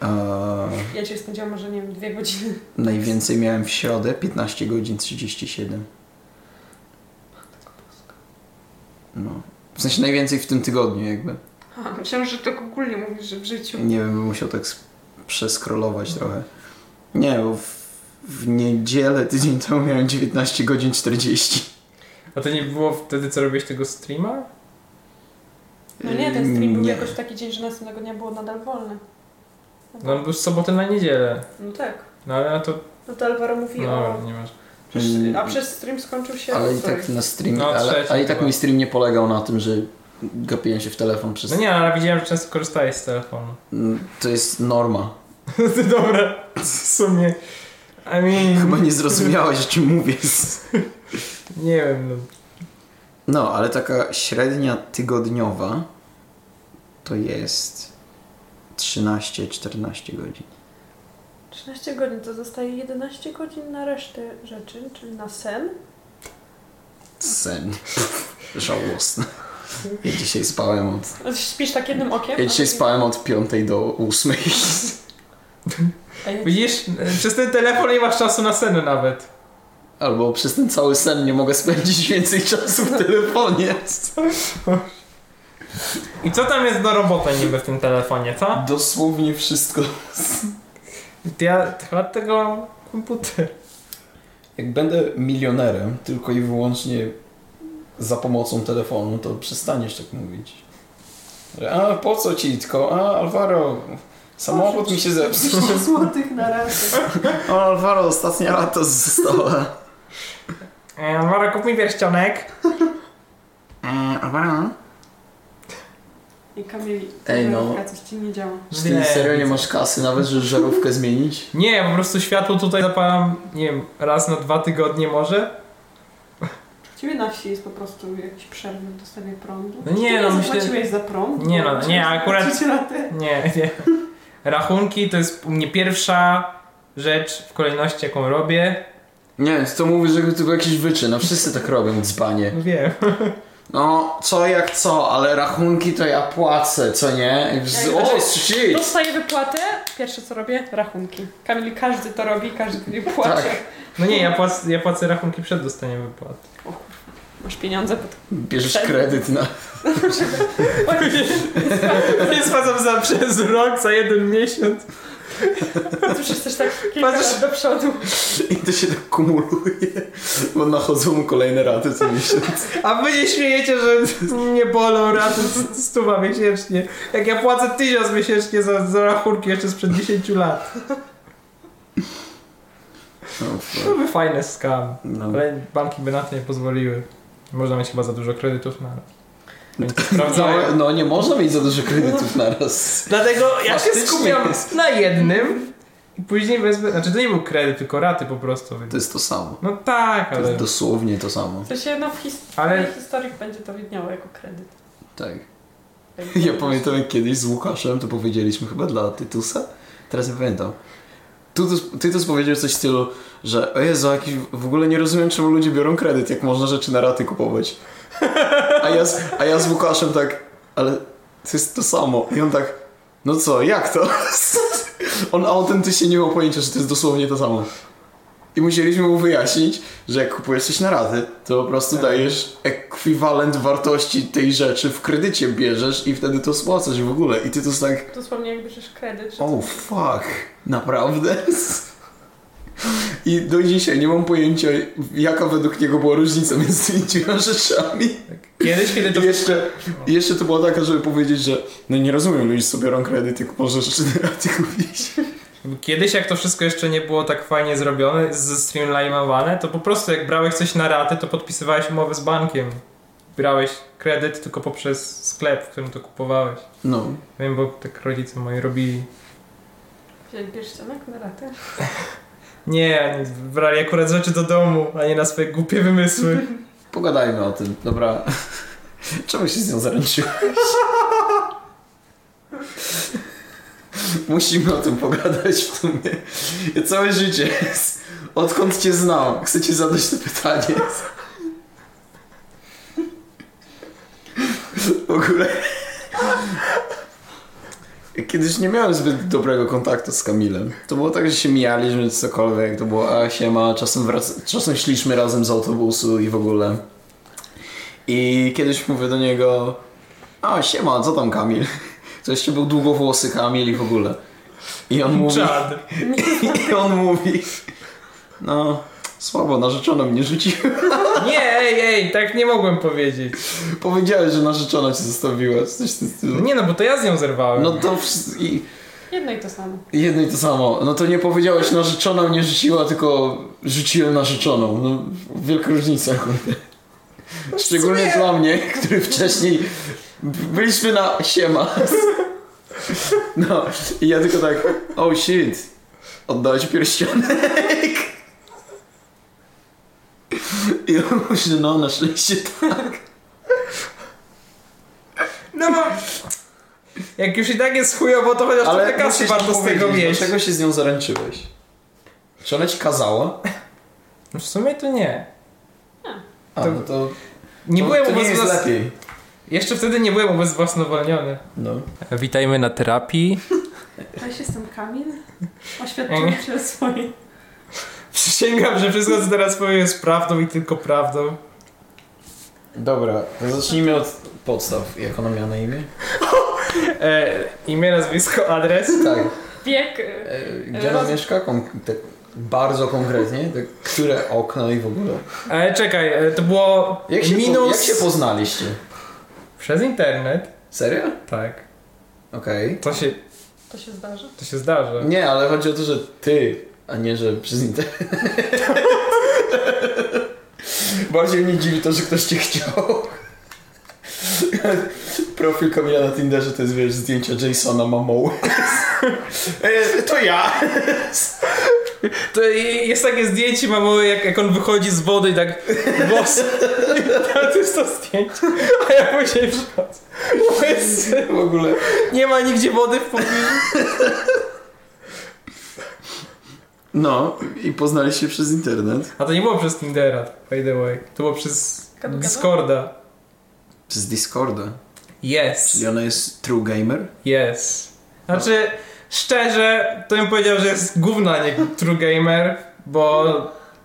A: A
B: Ja cię spędziłam może, nie wiem, dwie godziny.
A: najwięcej miałem w środę 15 godzin 37. No. W sensie najwięcej w tym tygodniu jakby.
B: A, myślałam, że tak ogólnie mówisz, że w życiu.
A: Nie wiem, bym musiał tak s- przeskrolować trochę. Nie, bo w, w niedzielę tydzień temu miałem 19 godzin 40.
C: a to nie było wtedy, co robiłeś tego streama?
B: No nie, ten stream był
A: Nie.
B: jakoś taki dzień, że następnego dnia było nadal wolne.
C: No on był z soboty na niedzielę.
B: No tak.
C: No ale to...
B: No to Alvaro mówi
C: No,
B: o...
C: nie masz.
B: Przecież, a przez stream skończył się...
A: Ale i
B: sorry.
A: tak na stream,
C: No,
A: ale,
C: trzeci
A: ale i tak
C: chyba.
A: mój stream nie polegał na tym, że gapiłem się w telefon przez...
C: No nie, ale widziałem, że często korzystałeś z telefonu.
A: Mm, To jest norma.
C: Ty dobra, w sumie. I mean,
A: Chyba nie zrozumiałeś, o czym mówię.
C: Nie wiem, no.
A: No, ale taka średnia tygodniowa to jest 13-14 godzin.
B: 13 godzin to zostaje 11 godzin na resztę rzeczy, czyli na sen.
A: Sen. Żałosny. Ja dzisiaj spałem od...
B: A ty Śpisz tak jednym okiem?
A: Ja
B: a
A: dzisiaj
B: drugim-
A: spałem od 5 do 8.
B: A ja-
C: Widzisz, przez ten telefon nie masz czasu na sen nawet.
A: Albo przez ten cały sen nie mogę spędzić więcej czasu w telefonie.
C: I co tam jest do roboty niby w tym telefonie, co?
A: Dosłownie wszystko.
C: Ja chyba tego komputer.
A: Jak będę milionerem tylko i wyłącznie za pomocą telefonu, to przestaniesz tak mówić. Że, A po co ci tylko? A Alvaro, samochód mi się zepsuł.
B: 30 złotych na raz.
A: O Alvaro, ostatnia lata została.
C: E, Mara, kup mi pierścionek.
A: Eee, Alvaro?
B: I Kamil,
A: Ej, no.
B: żarówka, coś ci nie działa.
A: Czy ty serio nie masz kasy nawet, żeby żarówkę zmienić?
C: Nie, po prostu światło tutaj zapalam, nie wiem, raz na dwa tygodnie może.
B: U Ciebie na wsi jest po prostu jakiś przerwy w dostawie prądu.
C: No nie,
B: Ty
C: no myślę-
B: zapłaciłeś za prąd?
C: Nie no, nie, akurat-
B: Zapłacić raty?
C: Nie, nie. Rachunki to jest u mnie pierwsza rzecz w kolejności, jaką robię.
A: Nie wiem, to mówisz, że tylko jakiś wyczyn, a wszyscy tak robią, dzbanie.
C: Wiem.
A: No, co jak co, ale rachunki to ja płacę, co nie? Z-
B: Ej,
A: O,
B: znaczy,
A: shit!
B: Dostaję wypłatę, pierwsze co robię, rachunki. Kamil, każdy to robi, każdy nie płaci.
A: Tak.
C: No nie, ja płacę, ja płacę rachunki przed dostaniem wypłaty.
B: Masz pieniądze, pod...
A: Bierzesz kredyt no. na...
C: Nie spłacam za przez rok, za jeden miesiąc.
B: to już jesteś tak kilka
C: Patrz-
B: lat do przodu.
A: I to się tak kumuluje, bo nachodzą mu kolejne raty co miesiąc.
C: A wy się śmiejecie, że mnie bolą raty st- stuwa miesięcznie. Jak ja płacę tysiąc miesięcznie za, za rachunki jeszcze sprzed 10 lat.
A: No,
C: To by fajny skam.
A: no.
C: Ale banki by na to nie pozwoliły. Można mieć chyba za dużo kredytów na raz. Więc Sprawdzałem.
A: No, no nie można mieć za dużo kredytów naraz.
C: Dlatego ja się
A: Faktycznie
C: skupiam
A: jest.
C: na jednym i później wezmę... Znaczy to nie był kredyt, tylko raty po prostu.
A: To jest to samo.
C: No tak,
A: To
C: ale...
A: jest dosłownie to samo.
B: To się no, w his-
C: Ale-
B: ale... historii będzie to widniało jako kredyt.
A: Tak. Ja pamiętam jak kiedyś z Łukaszem to powiedzieliśmy chyba dla Tytusa. Teraz nie pamiętam. Tu, Titus powiedział coś w stylu, że o Jezu, jakiś, w ogóle nie rozumiem, czemu ludzie biorą kredyt, jak można rzeczy na raty kupować. A ja z, a ja z Łukaszem tak, ale to jest to samo. I on tak, no co, jak to? On autentycznie nie miał pojęcia, że to jest dosłownie to samo. I musieliśmy mu wyjaśnić, że jak kupujesz coś na raty, to po prostu dajesz ekwiwalent wartości tej rzeczy w kredycie bierzesz i wtedy to spłacasz w ogóle. I Titus tak,
B: Dosłownie jak bierzesz kredyt, że...
A: o oh, fuck, naprawdę? I do dzisiaj nie mam pojęcia, jaka według niego była różnica między tymi dwiema rzeczami.
C: Kiedyś, kiedy to...
A: I jeszcze, i jeszcze to była taka, żeby powiedzieć, że no nie rozumiem, ludzie sobie biorą kredyt, jak może rzeczy na raty kupić.
C: Kiedyś, jak to wszystko jeszcze nie było tak fajnie zrobione, zestreamlinowane, to po prostu jak brałeś coś na raty, to podpisywałeś umowę z bankiem. Brałeś kredyt tylko poprzez sklep, w którym to kupowałeś.
A: No,
C: Wiem, bo tak rodzice moi robili.
B: Wziąć pierścionek na ratę.
C: Nie, oni brali akurat rzeczy do domu, a nie na swoje głupie wymysły.
A: pogadajmy o tym, dobra. Czemu się z nią zaręczyłeś? Musimy o tym pogadać w sumie. Ja całe życie, odkąd cię znam, chcę ci zadać to pytanie. W ogóle... Kiedyś nie miałem zbyt dobrego kontaktu z Kamilem. To było tak, że się mijaliśmy czy cokolwiek, to było a siema, czasem, wrac- czasem szliśmy razem z autobusu i w ogóle. I kiedyś mówię do niego, a siema, co tam Kamil? To jeszcze był długowłosy Kamil i w ogóle. I on mówi,
C: Czad.
A: i on mówi, no słabo, narzeczona mnie rzuciła.
C: Nie, ej, ej, tak nie mogłem powiedzieć.
A: Powiedziałeś, że narzeczona cię zostawiła, coś w tym stylu.
C: Nie no, bo to ja z nią zerwałem.
A: No to wsz- i
B: Jedno i to samo.
A: Jedno i to samo. No to nie powiedziałeś narzeczona mnie rzuciła, tylko rzuciłem narzeczoną. No, wielka różnica, kurde.
C: No
A: Szczególnie dla mnie, który wcześniej byliśmy na siema. No i ja tylko tak, oh shit, oddałeś pierścionek. I on mówi, że no na szczęście tak.
C: No bo... Jak już i tak jest chujowo, to chociaż trochę kasy
A: musisz
C: warto z
A: powiedzieć,
C: tego mieć.
A: Dlaczego się z nią zaręczyłeś? Czy ona ci kazała?
C: No w sumie to nie.
A: A,
C: To-
A: no to
C: Nie
A: to,
C: byłem
A: to nie jest
C: ubezwłas-
A: lepiej.
C: Jeszcze wtedy nie byłem ubezwłasnowolniony.
A: No.
C: Witajmy na terapii.
B: Cześć, jestem Kamil. Oświadczyłem się o swojej...
C: Przysięgam, że wszystko co teraz powiem jest prawdą i tylko prawdą.
A: Dobra, to zacznijmy od podstaw. Jak ona miała na imię?
C: E, imię, nazwisko, adres.
A: Tak.
B: Wiek... y,
A: E, Gdzie ona
B: Roz-
A: mieszka? Kon- tak bardzo konkretnie. Tak, które okno i w ogóle.
C: Ale czekaj, e, to było
A: Jak się, po,
C: minus...
A: jak się poznaliście?
C: Przez internet.
A: Serio?
C: Tak.
A: Okej.
C: To się,
B: To się zdarzy.
C: to się zdarza.
A: Nie, ale chodzi o to, że ty, a nie, że przez internet. Bardziej mnie dziwi to, że ktoś cię chciał. Profil Kamila na Tinderze to jest, wiesz, zdjęcia Jasona Mamoły. E, to ja!
C: To i- jest takie zdjęcie mamoły, jak, jak on wychodzi z wody i tak włosy. to jest to zdjęcie. A ja później przychodzę. Bo jest-
A: W ogóle...
C: Nie ma nigdzie wody w pobliżu.
A: No, i poznaliście się przez internet.
C: A to nie było przez Tindera, by the way. To było przez
B: Kadu, kadu?
C: Discorda.
A: Przez Discorda.
C: Yes.
A: Czyli ona jest true gamer?
C: Yes. Znaczy, szczerze, to bym powiedział, że jest gówna, nie true gamer, bo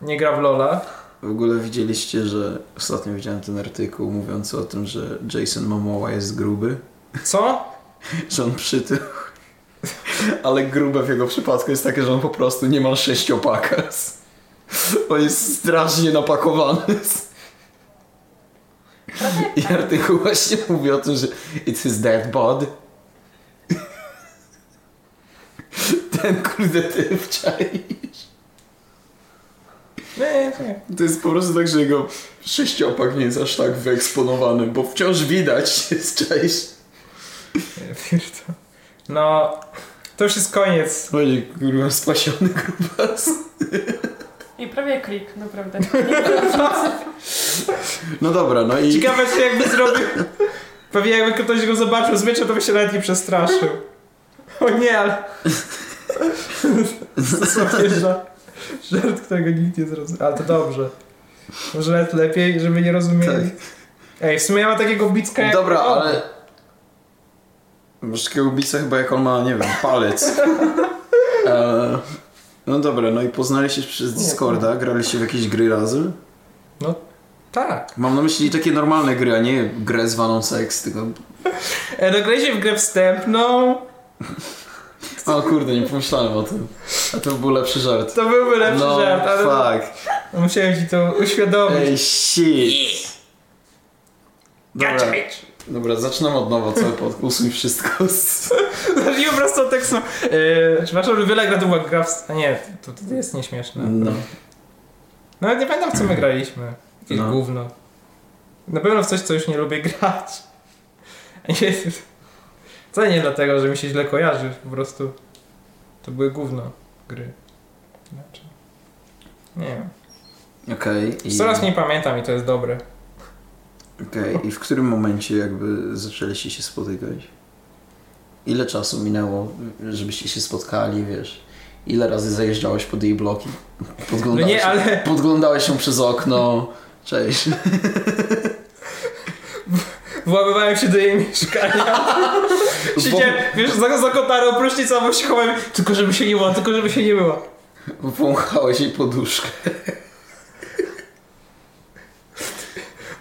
C: nie gra w Lola.
A: W ogóle widzieliście, że ostatnio widziałem ten artykuł mówiący o tym, że Jason Momoa jest gruby,
C: Co?
A: że on przytył. Ale grube w jego przypadku jest takie, że on po prostu nie ma sześciopaka. On jest strasznie napakowany. I
B: tak.
A: artykuł właśnie mówi o tym, że it's his dead body. Ten kurde ty wczaj.
C: Nie, nie.
A: To jest po prostu tak, że jego sześciopak nie jest aż tak wyeksponowany, bo wciąż widać jest część.
C: Ja pierdolę. No, to już jest koniec.
A: Chodzi, kurwa, spasiony grubas.
B: I prawie klik, naprawdę.
A: No dobra, no i...
C: Ciekawe, czy jakby zrobił... Pewnie jakby ktoś go zobaczył z miecza, to by się nawet nie przestraszył. O nie, ale... Stosownie ża- Żart, którego nikt nie zrozumiał. Ale to dobrze. Żart lepiej, żeby nie rozumieli. Ej, w sumie ja mam takiego bicka jak...
A: Tak. Dobra,
C: o,
A: ale... Masz takiego bica chyba jak on ma, nie wiem, palec. E, no dobra, no i poznaliście się przez Discorda, graliście w jakieś gry razem.
C: No tak.
A: Mam na myśli takie normalne gry, a nie grę zwaną seks, tylko...
C: E, no graliście w grę wstępną,
A: O kurde, nie pomyślałem o tym. A to był lepszy żart.
C: to byłby lepszy
A: no,
C: żart, ale
A: fuck.
C: musiałem ci to uświadomić.
A: Ej, shit. Dobra,
C: Gotcha, bitch.
A: dobra, zaczynam od nowa cały podcast, usuń wszystko.
C: Zacznijmy prosto od tekstu. Yy, czy wasza ulubiona gra to była gra w... A nie, to, to jest nieśmieszne.
A: No.
C: Nawet No, nie pamiętam w co my graliśmy. Jakieś
A: Hmm. No.
C: gówno. Na pewno w coś, co już nie lubię grać. Nie, co nie dlatego, że mi się źle kojarzy, po prostu. To były gówno gry. Znaczy, nie wiem.
A: Okej. i-
C: Coraz mniej pamiętam i to jest dobre.
A: Okej, i w którym momencie jakby zaczęliście się spotykać? Ile czasu minęło, żebyście się spotkali, wiesz? Ile razy zajeżdżałeś pod jej bloki?
C: No
A: Podglądałeś,
C: nie, ale
A: podglądałeś się przez okno. Cześć.
C: włamywałem się do jej mieszkania. Siedziałem, wiesz, za, za kotarą prysznicową się chowałem, tylko żeby się nie było, tylko żeby się nie było.
A: Wąchałeś jej poduszkę.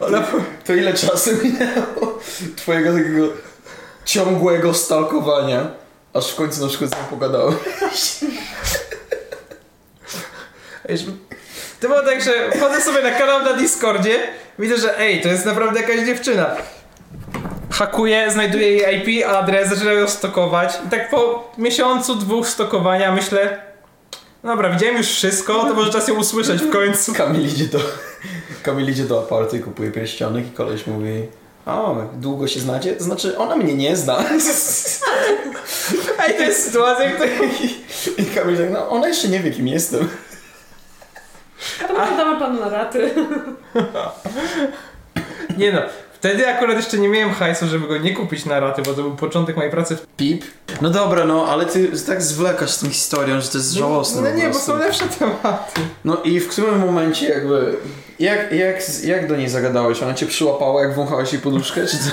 C: Ona
A: To ile czasu minęło twojego takiego ciągłego stalkowania, aż w końcu na przykład z nią pogadałem.
C: Wiesz, To było tak, że wchodzę sobie na kanał na Discordzie, widzę, że ej, to jest naprawdę jakaś dziewczyna. Hakuję, znajduję jej IP, adres, zaczynam ją stokować. I tak po miesiącu, dwóch stokowania myślę, dobra, widziałem już wszystko, to może czas ją usłyszeć w końcu.
A: Kamil idzie do, Kamil idzie do aparty, kupuje pierścionek i koleś mówi o, długo się znacie? To znaczy, ona mnie nie zna.
C: Ej, to jest sytuacja, jak to...
A: I Kamil tak, no ona jeszcze nie wie, kim jestem.
B: To może damy panu na raty.
C: Nie no, wtedy akurat jeszcze nie miałem hajsu, żeby go nie kupić na raty, bo to był początek mojej pracy. w-
A: Pip. No dobra, no, ale ty tak zwlekasz z tą historią, że to jest żałosne.
C: No
A: po
C: nie, bo
A: prostu.
C: są lepsze tematy.
A: No i w którym momencie jakby... Jak, jak, jak do niej zagadałeś? Ona cię przyłapała, jak wąchałeś jej poduszkę, czy co?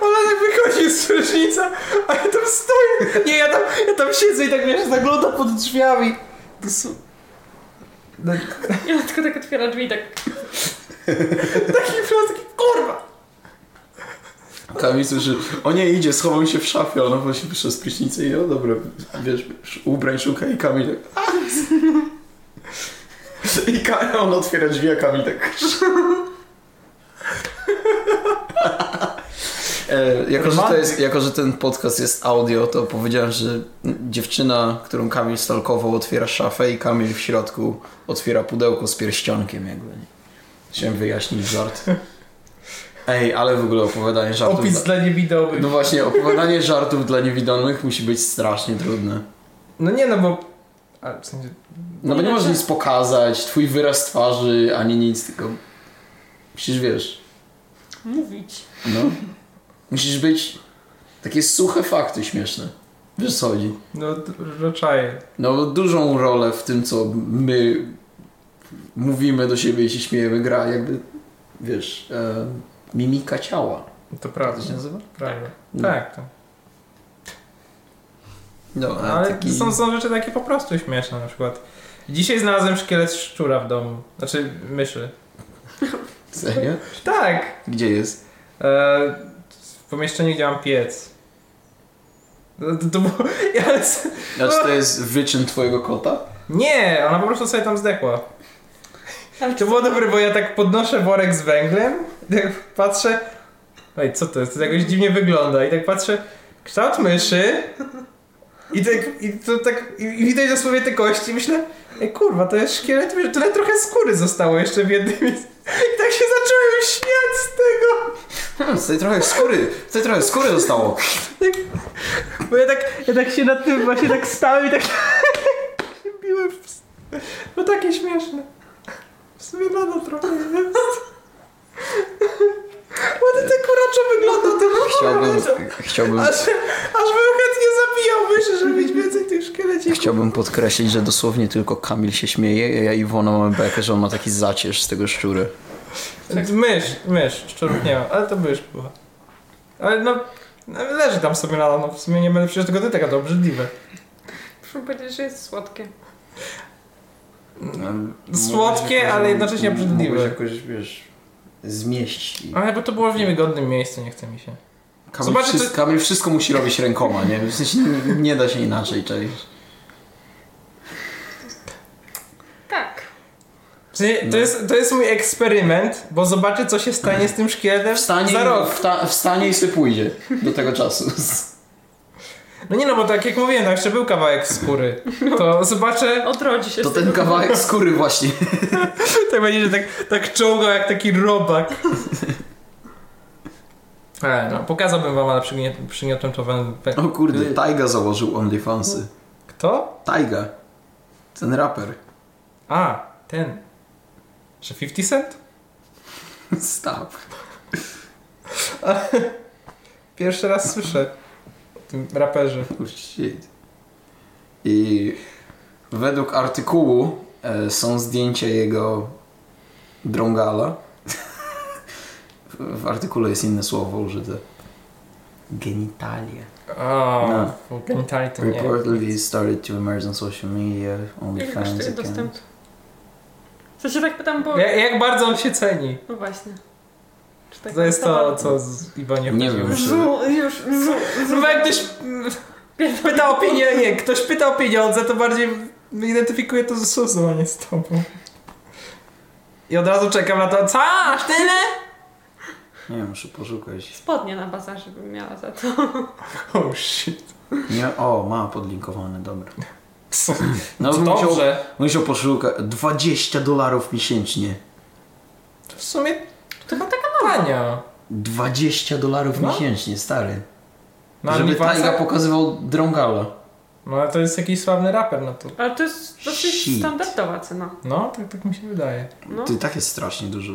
C: Ona tak wychodzi z prysznica, a ja tam stoję. Nie, ja tam, ja tam siedzę i tak wiesz, zaglądam pod drzwiami. To są... No,
B: I ona tylko tak otwiera drzwi i tak...
C: taki przypadek, taki, kurwa!
A: Kamil słyszy, o nie, idzie, schowam się w szafie, ona właśnie wyszła z prysznicy i o dobra, wiesz, ubrań szuka i Kamil tak... "A!" I Kamil, on otwiera drzwi, a Kamil tak... E, jako, że to jest, jako, że ten podcast jest audio, to powiedziałem, że dziewczyna, którą Kamil stalkował, otwiera szafę i Kamil w środku otwiera pudełko z pierścionkiem jakby. Chciałem wyjaśnić żart. Ej, ale w ogóle opowiadanie żartów...
C: Opis dla niewidomych.
A: No właśnie, opowiadanie żartów dla niewidomych musi być strasznie trudne.
C: No nie, no bo... A, w sensie...
A: No bo nie
B: Nie,
A: możesz
B: tak.
A: nic pokazać, twój wyraz twarzy, ani nic, tylko musisz, wiesz,
B: Mówić.
A: no. Musisz być takie suche fakty śmieszne. Wiesz o co chodzi?
C: No, d- że czaję.
A: No bo dużą rolę w tym, co my mówimy do siebie i się śmiejemy, gra jakby, wiesz, e, mimika ciała.
C: To
A: Jak
C: prawda,
A: to się nazywa?
C: prawda.
A: No.
C: Tak, to.
A: No, a
C: Ale
A: taki...
C: są, są rzeczy takie po prostu śmieszne, na przykład. Dzisiaj znalazłem szkielet szczura w domu. Znaczy, myszy.
A: Serio?
C: Tak!
A: Gdzie jest?
C: E, w pomieszczeniu, gdzie mam piec. No, To, to, to było... Ja,
A: Znaczy to jest wyczyn twojego kota?
C: nie, ona po prostu sobie tam zdechła. To było dobre, bo ja tak podnoszę worek z węglem, i tak patrzę... Ej, co to jest? To jakoś dziwnie wygląda. I tak patrzę, kształt myszy... I tak, i to tak, i i widać dosłownie te kości, myślę, ej kurwa, to jest szkielet, myszy. tyle trochę skóry zostało jeszcze w jednym miejscu. I tak się zacząłem śmiać z tego.
A: Hmm, tutaj trochę skóry, tutaj trochę skóry zostało.
C: Bo ja tak, ja tak się nad tym właśnie tak stałem i tak się biłem. w ps- No takie śmieszne. W sumie nadal trochę jest. Ładnie tak kuraczo wygląda to.
A: Chciałbym, chciałbym,
C: Aż, aż bym chętnie zabijał myszy, żeby mieć więcej tych szkielecików.
A: chciałbym podkreślić, że dosłownie tylko Kamil się śmieje, a ja i Iwona mamy bekę, że on ma taki zacierz z tego szczura.
C: Tak, Mysz, mysz, szczurów nie ma, ale to mysz była. Ale no, no, leży tam sobie na no w sumie nie będę przecież tego dotykał, to tak obrzydliwe.
B: Muszę powiedzieć, że jest słodkie.
C: Słodkie, ale jednocześnie obrzydliwe.
A: Mógłbyś jakoś, wiesz, zmieść. i-
C: Ale bo to było w niewygodnym miejscu, nie chce mi się.
A: Kamil,
C: Zobaczy,
A: wszystko, Kamil wszystko musi robić rękoma, nie? W sensie nie, nie da się inaczej, czaisz.
B: Tak.
C: W sensie, to, jest, to jest mój eksperyment, bo zobaczę co się stanie z tym szkieletem
A: Wstanie,
C: za rok.
A: wta, wstanie i sobie pójdzie do tego czasu.
C: No nie no, bo tak jak mówiłem, tam jeszcze był kawałek skóry. To zobaczę,
B: Odrodzi się
A: To
B: z
A: ten
B: tego.
A: kawałek skóry właśnie.
C: tak będzie, że tak, tak czołgał jak taki robak. Ale no, pokazałbym wam, ale przygniot- przygniotłem to wam.
A: O kurde, Taiga założył OnlyFansy.
C: Kto?
A: Taiga. Ten raper.
C: A, ten. Że 50 Cent?
A: Stop.
C: Pierwszy raz słyszę o tym raperze.
A: Oh shit. I według artykułu e, są zdjęcia jego drągala. w, w artykule jest inne słowo użyte. Genitalia.
C: O,
A: No.
C: no. genitali to nie.
A: Reportedly started to emerge on social media, only
B: Ile
A: fans
B: kosztuje
A: account.
B: dostęp? Co się tak pytam, bo...
C: Ja, jak bardzo on się ceni?
B: No właśnie. Czy tak
C: To jest
B: zostało?
C: to, co z Iwonie
A: Nie
C: chodziło.
A: wiem.
B: Zu, już, zu, zu.
C: Chyba jak ktoś mm, pyta o pieniądze, nie, ktoś pyta o pieniądze, to bardziej identyfikuje to z Suzą, a nie z tobą. I od razu czekam na to, co? Aż tyle?
A: Nie wiem, muszę poszukać.
B: Spodnie na bazarze bym miała za to.
C: Oh shit.
A: Nie, o, ma podlinkowane, dobra.
C: Co?
A: No,
C: To
A: bym musiał,
C: Dobrze.
A: musiał poszukać. 20 dolarów miesięcznie.
C: To w sumie
B: To była taka
C: tania.
A: 20 dolarów
C: No.
A: miesięcznie, stary.
C: Na
A: Żeby
C: OnlyFansa?
A: Taiga pokazywał drągala.
C: No ale to jest jakiś sławny raper, no to...
B: Ale to jest dosyć
A: Shit.
B: standardowa cena.
C: No, tak, tak mi się wydaje.
B: No.
A: Ty tak jest strasznie dużo.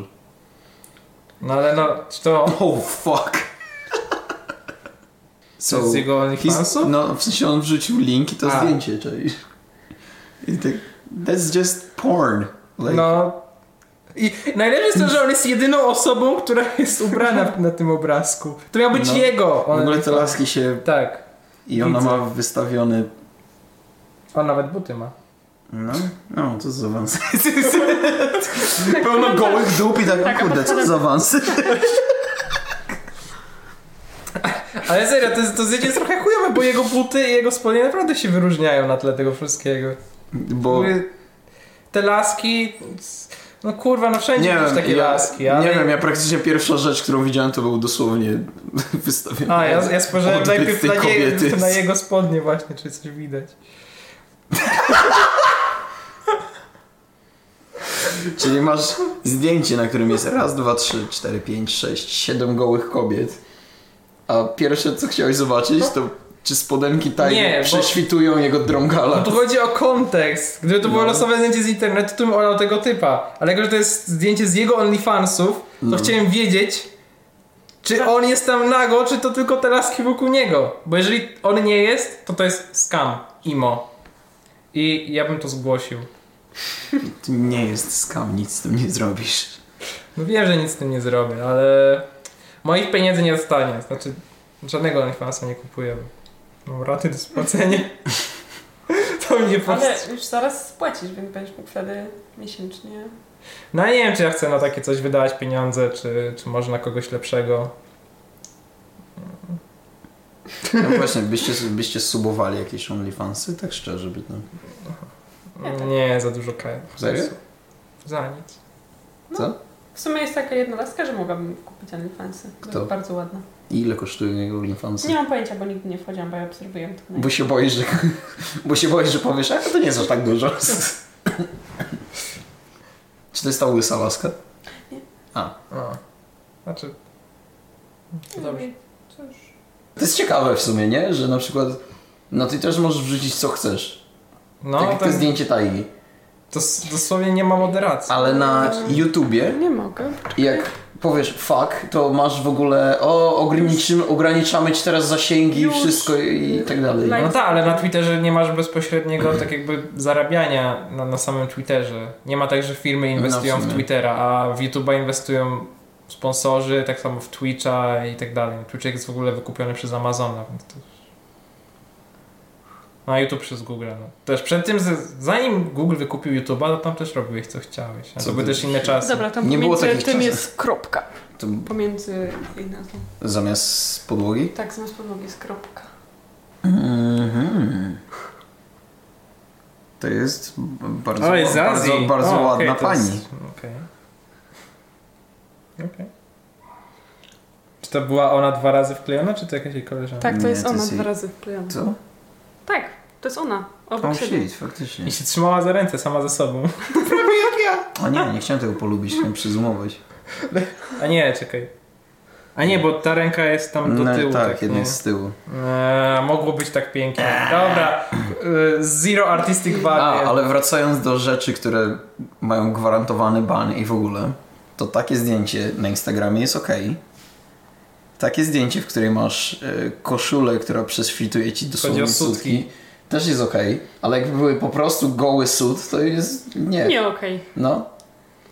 C: No ale no, czy to...
A: Oh fuck.
C: Co z jego OnlyFansu?
A: No, w sensie on wrzucił link i to
C: A.
A: zdjęcie, czyli. I tak, that's just porn. Like,
C: No. I najlepsze jest to, że on jest jedyną osobą, która jest ubrana w- na tym obrazku. To miał być
A: No.
C: jego.
A: w ogóle te
C: OnlyFans.
A: laski się.
C: Tak.
A: I ona
C: Widzę.
A: ma wystawiony.
C: On nawet buty ma.
A: No, no, co za awans.
B: Tak,
A: Pełno gołych dup i tak,
B: Tak, a
A: kurde, co
B: podchodem-
A: za awans.
C: Ale serio, to, jest- to zdjęcie jest trochę chujowe, bo jego buty i jego spodnie naprawdę się wyróżniają na tle tego wszystkiego.
A: Bo.
C: Mówię, Te laski... No kurwa, no wszędzie
A: Nie
C: widzisz
A: wiem,
C: takie
A: ja,
C: laski, ale...
A: nie wiem, ja praktycznie pierwsza rzecz, którą widziałem, to był dosłownie wystawiony.
C: A, ja, ja spojrzałem
A: odbyt
C: najpierw
A: tej
C: na, nie,
A: kobiety.
C: na jego spodnie właśnie, czy coś widać.
A: Czyli masz zdjęcie, na którym jest raz, dwa, trzy, cztery, pięć, sześć, siedem gołych kobiet. A pierwsze, co chciałeś zobaczyć, to czy spodenki
C: Nie,
A: tajne
C: bo-
A: prześwitują jego drągala.
C: No tu chodzi o kontekst. Gdyby to było
A: No.
C: losowe zdjęcie z internetu, to bym olał tego typa. Ale jako, że to jest zdjęcie z jego OnlyFansów, to
A: No.
C: chciałem wiedzieć, czy on jest tam nago, czy to tylko te laski wokół niego. Bo jeżeli on nie jest, to to jest scam. Imo. I ja bym to zgłosił.
A: To nie jest skam, nic z tym nie zrobisz.
C: No wiem, że nic z tym nie zrobię, ale moich pieniędzy nie dostanie. Znaczy, żadnego OnlyFansa nie kupuję. Mam raty do spłacenia. to mnie po prostu...
B: Ale już zaraz spłacisz, więc będziesz mógł wtedy miesięcznie.
C: No ja nie wiem, czy ja chcę na takie coś wydawać pieniądze, czy, czy może na kogoś lepszego.
A: No właśnie, byście, byście subowali jakieś OnlyFansy? Tak szczerze, by no.
B: Ja tak.
C: Nie, za dużo krajem.
A: Serio?
C: Za nic.
A: Co?
B: W sumie jest taka jedna laska, że mogłabym kupić OnlyFansy.
A: Kto?
B: To jest bardzo ładna.
A: I ile kosztują jego OnlyFansy?
B: Nie mam pojęcia, bo nigdy nie wchodziłam, bo ja obserwuję to. na-
A: Bo się boisz, że... Bo się boisz, że powiesz, a to nie jest aż tak dużo. Czy to jest ta łysa laska?
C: O. Znaczy...
B: No,
C: Dobrze.
B: Cóż.
A: To jest ciekawe w sumie, nie? Że na przykład no ty też możesz wrzucić co chcesz.
C: No,
A: tak jak
C: tak,
A: to zdjęcie Tajgi.
C: to s- dosłownie nie ma moderacji.
A: Ale na YouTubie,
B: Nie mogę.
A: jak powiesz fuck, to masz w ogóle o, ograniczymy, ograniczamy ci teraz zasięgi,
B: Już.
A: wszystko i, i tak dalej.
B: Like-
C: No tak, ale na Twitterze nie masz bezpośredniego tak jakby zarabiania na, na samym Twitterze. Nie ma tak, że firmy inwestują
A: No w
C: w
A: sumie.
C: Twittera, a w YouTube'a inwestują sponsorzy, tak samo w Twitcha i tak dalej. Twitch jest w ogóle wykupiony przez Amazona, więc to... No, A YouTube przez Google. No. Też przed tym, z- zanim Google wykupił YouTube'a, to tam też robiłeś co chciałeś. A
A: Co
C: to były
A: ty-
C: też inne czasy.
B: Dobra, tam
A: Nie było
B: pomiędzy tym
A: takich czasów.
B: jest kropka.
A: To
B: Pomiędzy jej nazwą.
A: zamiast podłogi?
B: Tak, zamiast podłogi jest kropka.
A: Mhm. To jest b- bardzo,
C: O, jest z Azji.
A: bardzo, bardzo
C: O, okej,
A: ładna
C: to jest-
A: pani.
C: Okej. Okej. Czy to była ona dwa razy wklejona, czy to jakaś jej koleżanka?
B: Tak, to
A: Nie,
B: jest
A: to
B: ona
A: jest
B: dwa
A: jej-
B: razy wklejona.
A: Co?
B: Tak, to jest ona. Obok
A: Oh
B: siebie.
A: shit, faktycznie.
C: I się trzymała za ręce sama ze sobą.
A: A nie, nie chciałem tego polubić, chciałem przyzumować.
C: A nie, czekaj. A nie, bo ta ręka jest tam do tyłu.
A: tak,
C: no.
A: jeden z tyłu.
C: Eee, mogło być tak pięknie. Dobra. y, Zero artistic
A: A,
C: value.
A: ale wracając do rzeczy, które mają gwarantowany ban i w ogóle, to takie zdjęcie na Instagramie jest ok. Takie zdjęcie, w której masz e, koszulę, która prześwituje ci dosłownie
C: o sutki.
A: sutki, też jest ok, ale jakby były po prostu goły sut, to jest nie.
B: Nie okej.
A: No.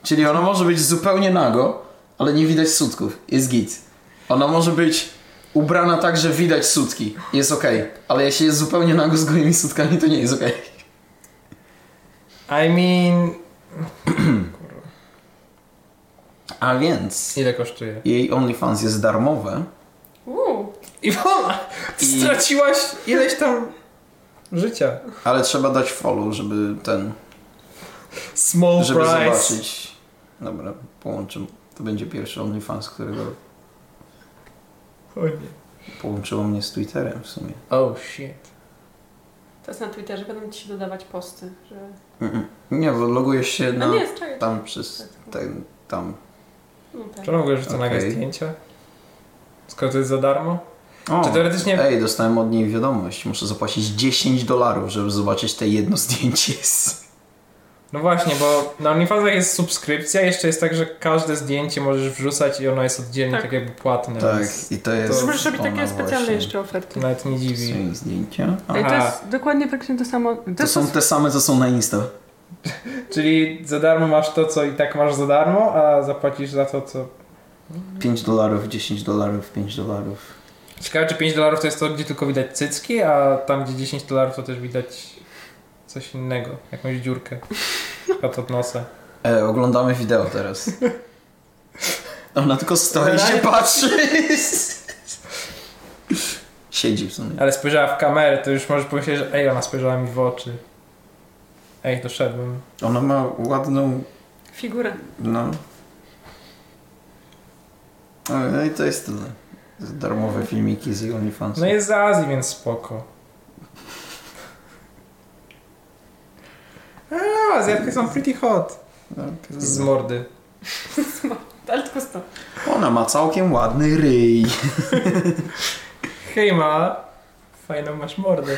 A: Czyli ono może być zupełnie nago, ale nie widać sutków. Jest git. Ona może być ubrana tak, że widać sutki. Jest okej. Ale jeśli jest zupełnie nago z gołymi sutkami, to nie jest okej.
C: I mean...
A: A więc...
C: Ile kosztuje?
A: Jej OnlyFans jest darmowe.
B: Uuu.
C: Iwona! Ty
A: I-
C: straciłaś ileś tam życia.
A: Ale trzeba dać follow, żeby ten...
C: Small
A: żeby
C: price.
A: zobaczyć. Dobra, połączę. To będzie pierwszy OnlyFans, którego
C: O nie.
A: połączyło mnie z Twitterem w sumie.
C: Oh shit.
B: Teraz na Twitterze będą ci się dodawać posty, że...
A: Mm-mm. Nie, bo logujesz się
B: No,
A: na...
B: nie, czekaj.
A: Tam przez... Ten, tam.
B: No tak.
C: Czy mogę rzucać okay. nagle
A: Okej.
C: zdjęcia? Skoro to jest za darmo?
A: O,
C: Czy teoretycznie...
A: Ej, dostałem od niej wiadomość. Muszę zapłacić 10 dolarów, żeby zobaczyć te jedno zdjęcie. z-
C: No właśnie, bo na OnlyFansach jest subskrypcja, jeszcze jest tak, że każde zdjęcie możesz wrzucać i ono jest oddzielnie
B: Tak.
C: tak, jakby płatne.
A: Tak,
C: Więc
A: i to jest.
B: Że możesz robić
A: ona
B: takie specjalne
A: właśnie.
B: jeszcze oferty.
C: to nawet nie dziwi.
A: Są zdjęcia. A,
B: Ej, to
C: Aha.
B: jest dokładnie praktycznie to samo. To,
A: to
B: jest
A: są te same, co są na Insta.
C: Czyli za darmo masz to, co i tak masz za darmo, a zapłacisz za to, co...
A: 5 dolarów, 10 dolarów, 5 dolarów.
C: Ciekawe, czy 5 dolarów to jest to, gdzie tylko widać cycki, a tam, gdzie 10 dolarów to też widać coś innego. Jakąś dziurkę. Od od nosa.
A: E, oglądamy wideo teraz. Ona tylko stoi i się
C: Live.
A: patrzy. Siedzi w sumie.
C: Ale spojrzała w kamerę, to już możesz pomyśleć, że ej, ona spojrzała mi w oczy. Ej, doszedłem.
A: Ona ma ładną.
B: figura.
A: No. E, No i to jest tyle. Darmowe filmiki z OnlyFans.
C: No jest z Azji, więc spoko. A, Azjatki są pretty hot. Z mordy.
B: Ale tylko sto.
A: Ona ma całkiem ładny ryj.
C: Hej ma, fajną masz mordę.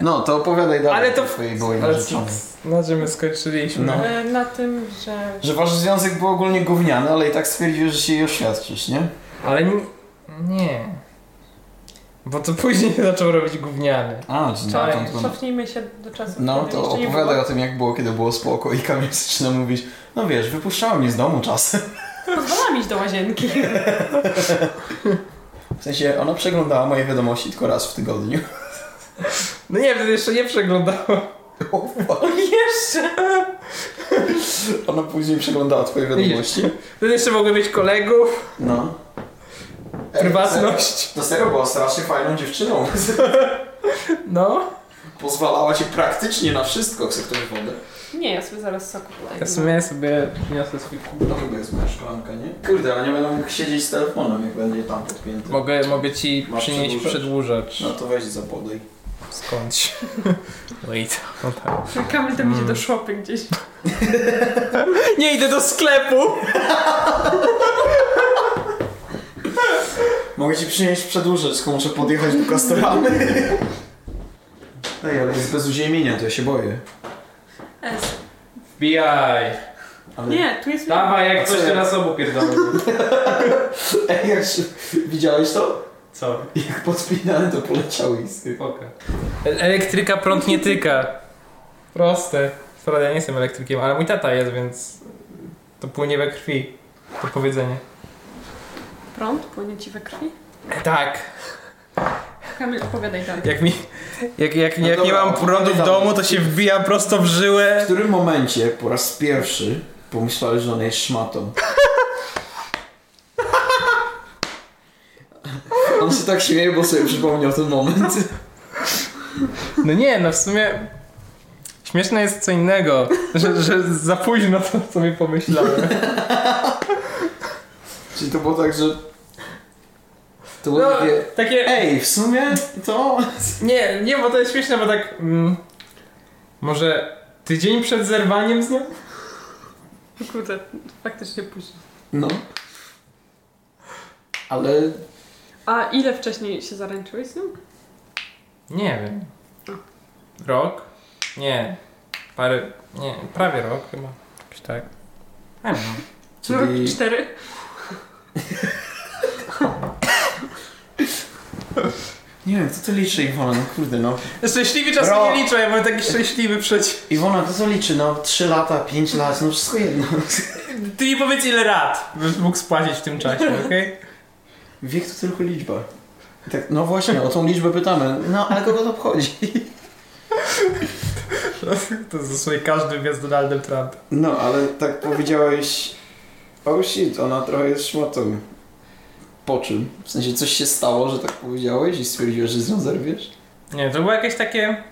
A: No, to opowiadaj dalej.
C: Ale to-
A: o twojej byłej
C: Ale
A: narzeczonej.
C: na czym my skończyliśmy?
A: No.
B: E, Na tym, że...
A: Że wasz związek był ogólnie gówniany, ale i tak stwierdziłeś, że się jej oświadczysz, nie?
C: Ale nie, nie. Bo to później zaczął robić gówniany.
A: A, czy
C: Wczoraj.
A: dotąd to-
B: Cofnijmy się do czasu,
A: No,
B: kiedy
A: to
B: jeszcze nie
A: opowiadaj
B: było.
A: o tym, jak było, kiedy było spoko i Kamil zaczyna mówić, no wiesz, wypuszczała mnie z domu czasem.
B: Pozwalam iść do łazienki.
A: W sensie, ona przeglądała moje wiadomości tylko raz w tygodniu.
C: No nie, wtedy jeszcze nie przeglądałem.
A: O, fuck.
B: Jeszcze!
A: ona później przeglądała twoje wiadomości.
C: Wtedy jeszcze mogłem mieć kolegów,
A: No. Ej,
C: prywatność.
A: To serio była strasznie fajną dziewczyną.
C: No.
A: Pozwalała ci praktycznie na wszystko, co ktoś wodę.
B: Nie, ja sobie zaraz soku wleję.
C: Ja w sumie sobie wniosę swój kubek.
A: To chyba jest moja szklanka, nie? Kurde, ale nie będę mógł siedzieć z telefonem, jak będzie tam podpięty.
C: Mogę, mogę ci
A: Masz
C: przynieść przedłużacz.
A: No to weź zapodaj.
C: Skądś. Wait. No tak.
B: Kamil tam idzie
A: Mm.
B: do szopy gdzieś.
C: Nie idę do sklepu!
A: Mogę ci przynieść przedłużacz, tylko muszę podjechać do Kastoramy. Ej, ale jest bez uziemienia, to ja się boję.
B: S.
C: BI.
A: Ale...
B: Nie, tu jest...
C: Dawaj, jak
A: Co
C: coś
A: ja?
C: teraz obu pierdolę.
A: Ej, jak się... Widziałeś to?
C: Co?
A: Jak podpinane to poleciały iskry.
C: Poka. E, Elektryka prąd nie tyka. Proste. Wprawdzie ja nie jestem elektrykiem, ale mój tata jest, więc to płynie we krwi. To powiedzenie.
B: Prąd płynie ci we krwi?
C: Tak.
B: Kamil, opowiadaj dalej.
C: Jak, mi, jak, jak,
A: No
C: jak nie
A: dobra,
C: mam prądu w
A: opowiadamy.
C: domu, to się wbija prosto w
A: W
C: żyłę.
A: którym momencie po raz pierwszy pomyślałeś, że ona jest szmatą? On się tak śmieje, bo sobie przypomniał ten moment.
C: No nie, no w sumie... Śmieszne jest co innego, że, że za późno to sobie pomyślałem.
A: Czyli to było tak, że... To było
C: No,
A: takie...
C: takie...
A: Ej, w sumie to...
C: Nie, nie, bo to jest śmieszne, bo tak. Mm, może tydzień przed zerwaniem z nią?
B: Kurde, faktycznie późno.
A: No. Ale
B: A ile wcześniej się zaręczyłeś z nią?
C: Nie wiem. Rok? Nie. Parę. Nie, prawie rok chyba. Jakoś tak. Nie wiem.
A: Czyli-
B: Czyli... Cztery?
A: nie wiem, co ty liczy Iwona, no kurde no.
C: Szczęśliwi czasem
A: Rok.
C: nie liczą, ja byłem taki szczęśliwy przecież.
A: Iwona, to co liczy, no 3 lata, 5 lat, no wszystko jedno.
C: Ty mi powiedz ile rat byś mógł spłacić w tym czasie, okej?
A: Wiek to tylko liczba. I Tak, no właśnie, o tą liczbę pytamy. No, ale kogo to obchodzi?
C: To zresztą każdy wie z Donaldem Trumpem.
A: No, ale tak powiedziałeś... Oh shit, ona trochę jest szmatą. Po czym? W sensie coś się stało, że tak powiedziałeś i stwierdziłeś, że z nią zerwiesz?
C: Nie, to było jakieś takie,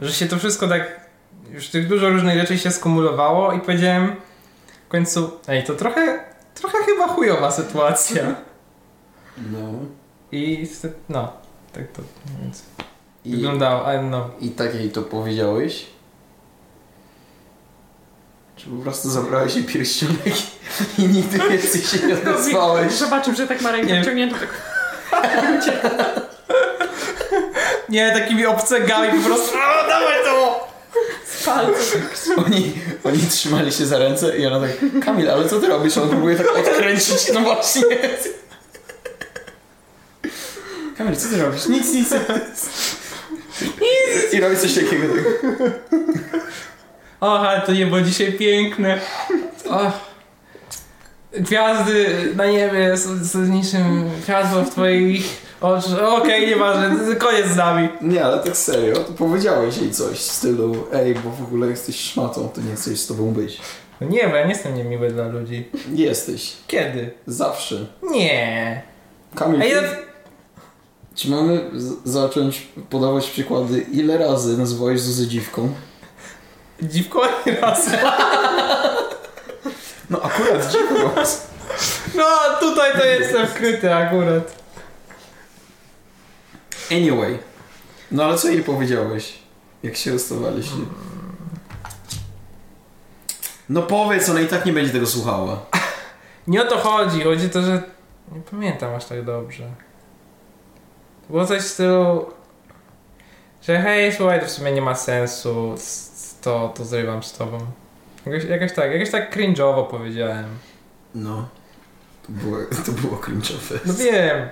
C: że się to wszystko tak, już tych dużo różnych rzeczy się skumulowało i powiedziałem w końcu, ej, to trochę, trochę chyba chujowa sytuacja.
A: No.
C: I se- no, tak to mniej więcej
A: I,
C: wyglądało, ale no.
A: I tak jej to powiedziałeś? Czy po prostu zabrałeś jej pierścionek i nigdy więcej się
C: No,
A: nie odezwałeś?
B: Zobaczył, że tak ma
C: Nie.
B: rękę wciągniętą. Tak...
C: Nie, takimi obcegami po prostu, a dawaj to!
B: Z palcem.
A: Oni, oni trzymali się za ręce i ona tak, Kamil, ale co ty robisz? On próbuje tak odkręcić, no właśnie. Kamil, co ty robisz? Nic, nic. I robi coś takiego. Tak.
C: Och, ale to niebo dzisiaj piękne. Och. Gwiazdy na niebie są, są niczym światło w twoich oczach. Okej, nieważne, koniec z nami.
A: Nie, ale tak serio, to powiedziałeś jej coś w stylu, ej, bo w ogóle jesteś szmatą, to nie chcesz z tobą być.
C: No nie, bo ja nie jestem niemiły dla ludzi.
A: Jesteś.
C: Kiedy?
A: Zawsze.
C: Nie.
A: Kamil,
C: A
A: ty-
C: ja...
A: czy mamy z- zacząć podawać przykłady, ile razy nazwałeś Zuzę dziwką?
C: Dziwko raz.
A: No akurat dziwką.
C: No, tutaj to jestem wkryty akurat.
A: Anyway. No ale co jej powiedziałeś, jak się rozstawaliście? No powiedz, ona i tak nie będzie tego słuchała.
C: Nie o to chodzi, chodzi o to, że... Nie pamiętam aż tak dobrze. To było coś w stylu... Że hej, słuchaj, to w sumie nie ma sensu, s- s- to, to zrywam z tobą. Jakoś, jakoś tak, jakoś tak cringe'owo powiedziałem.
A: No. To było, to było cringe'owe.
C: No wiem,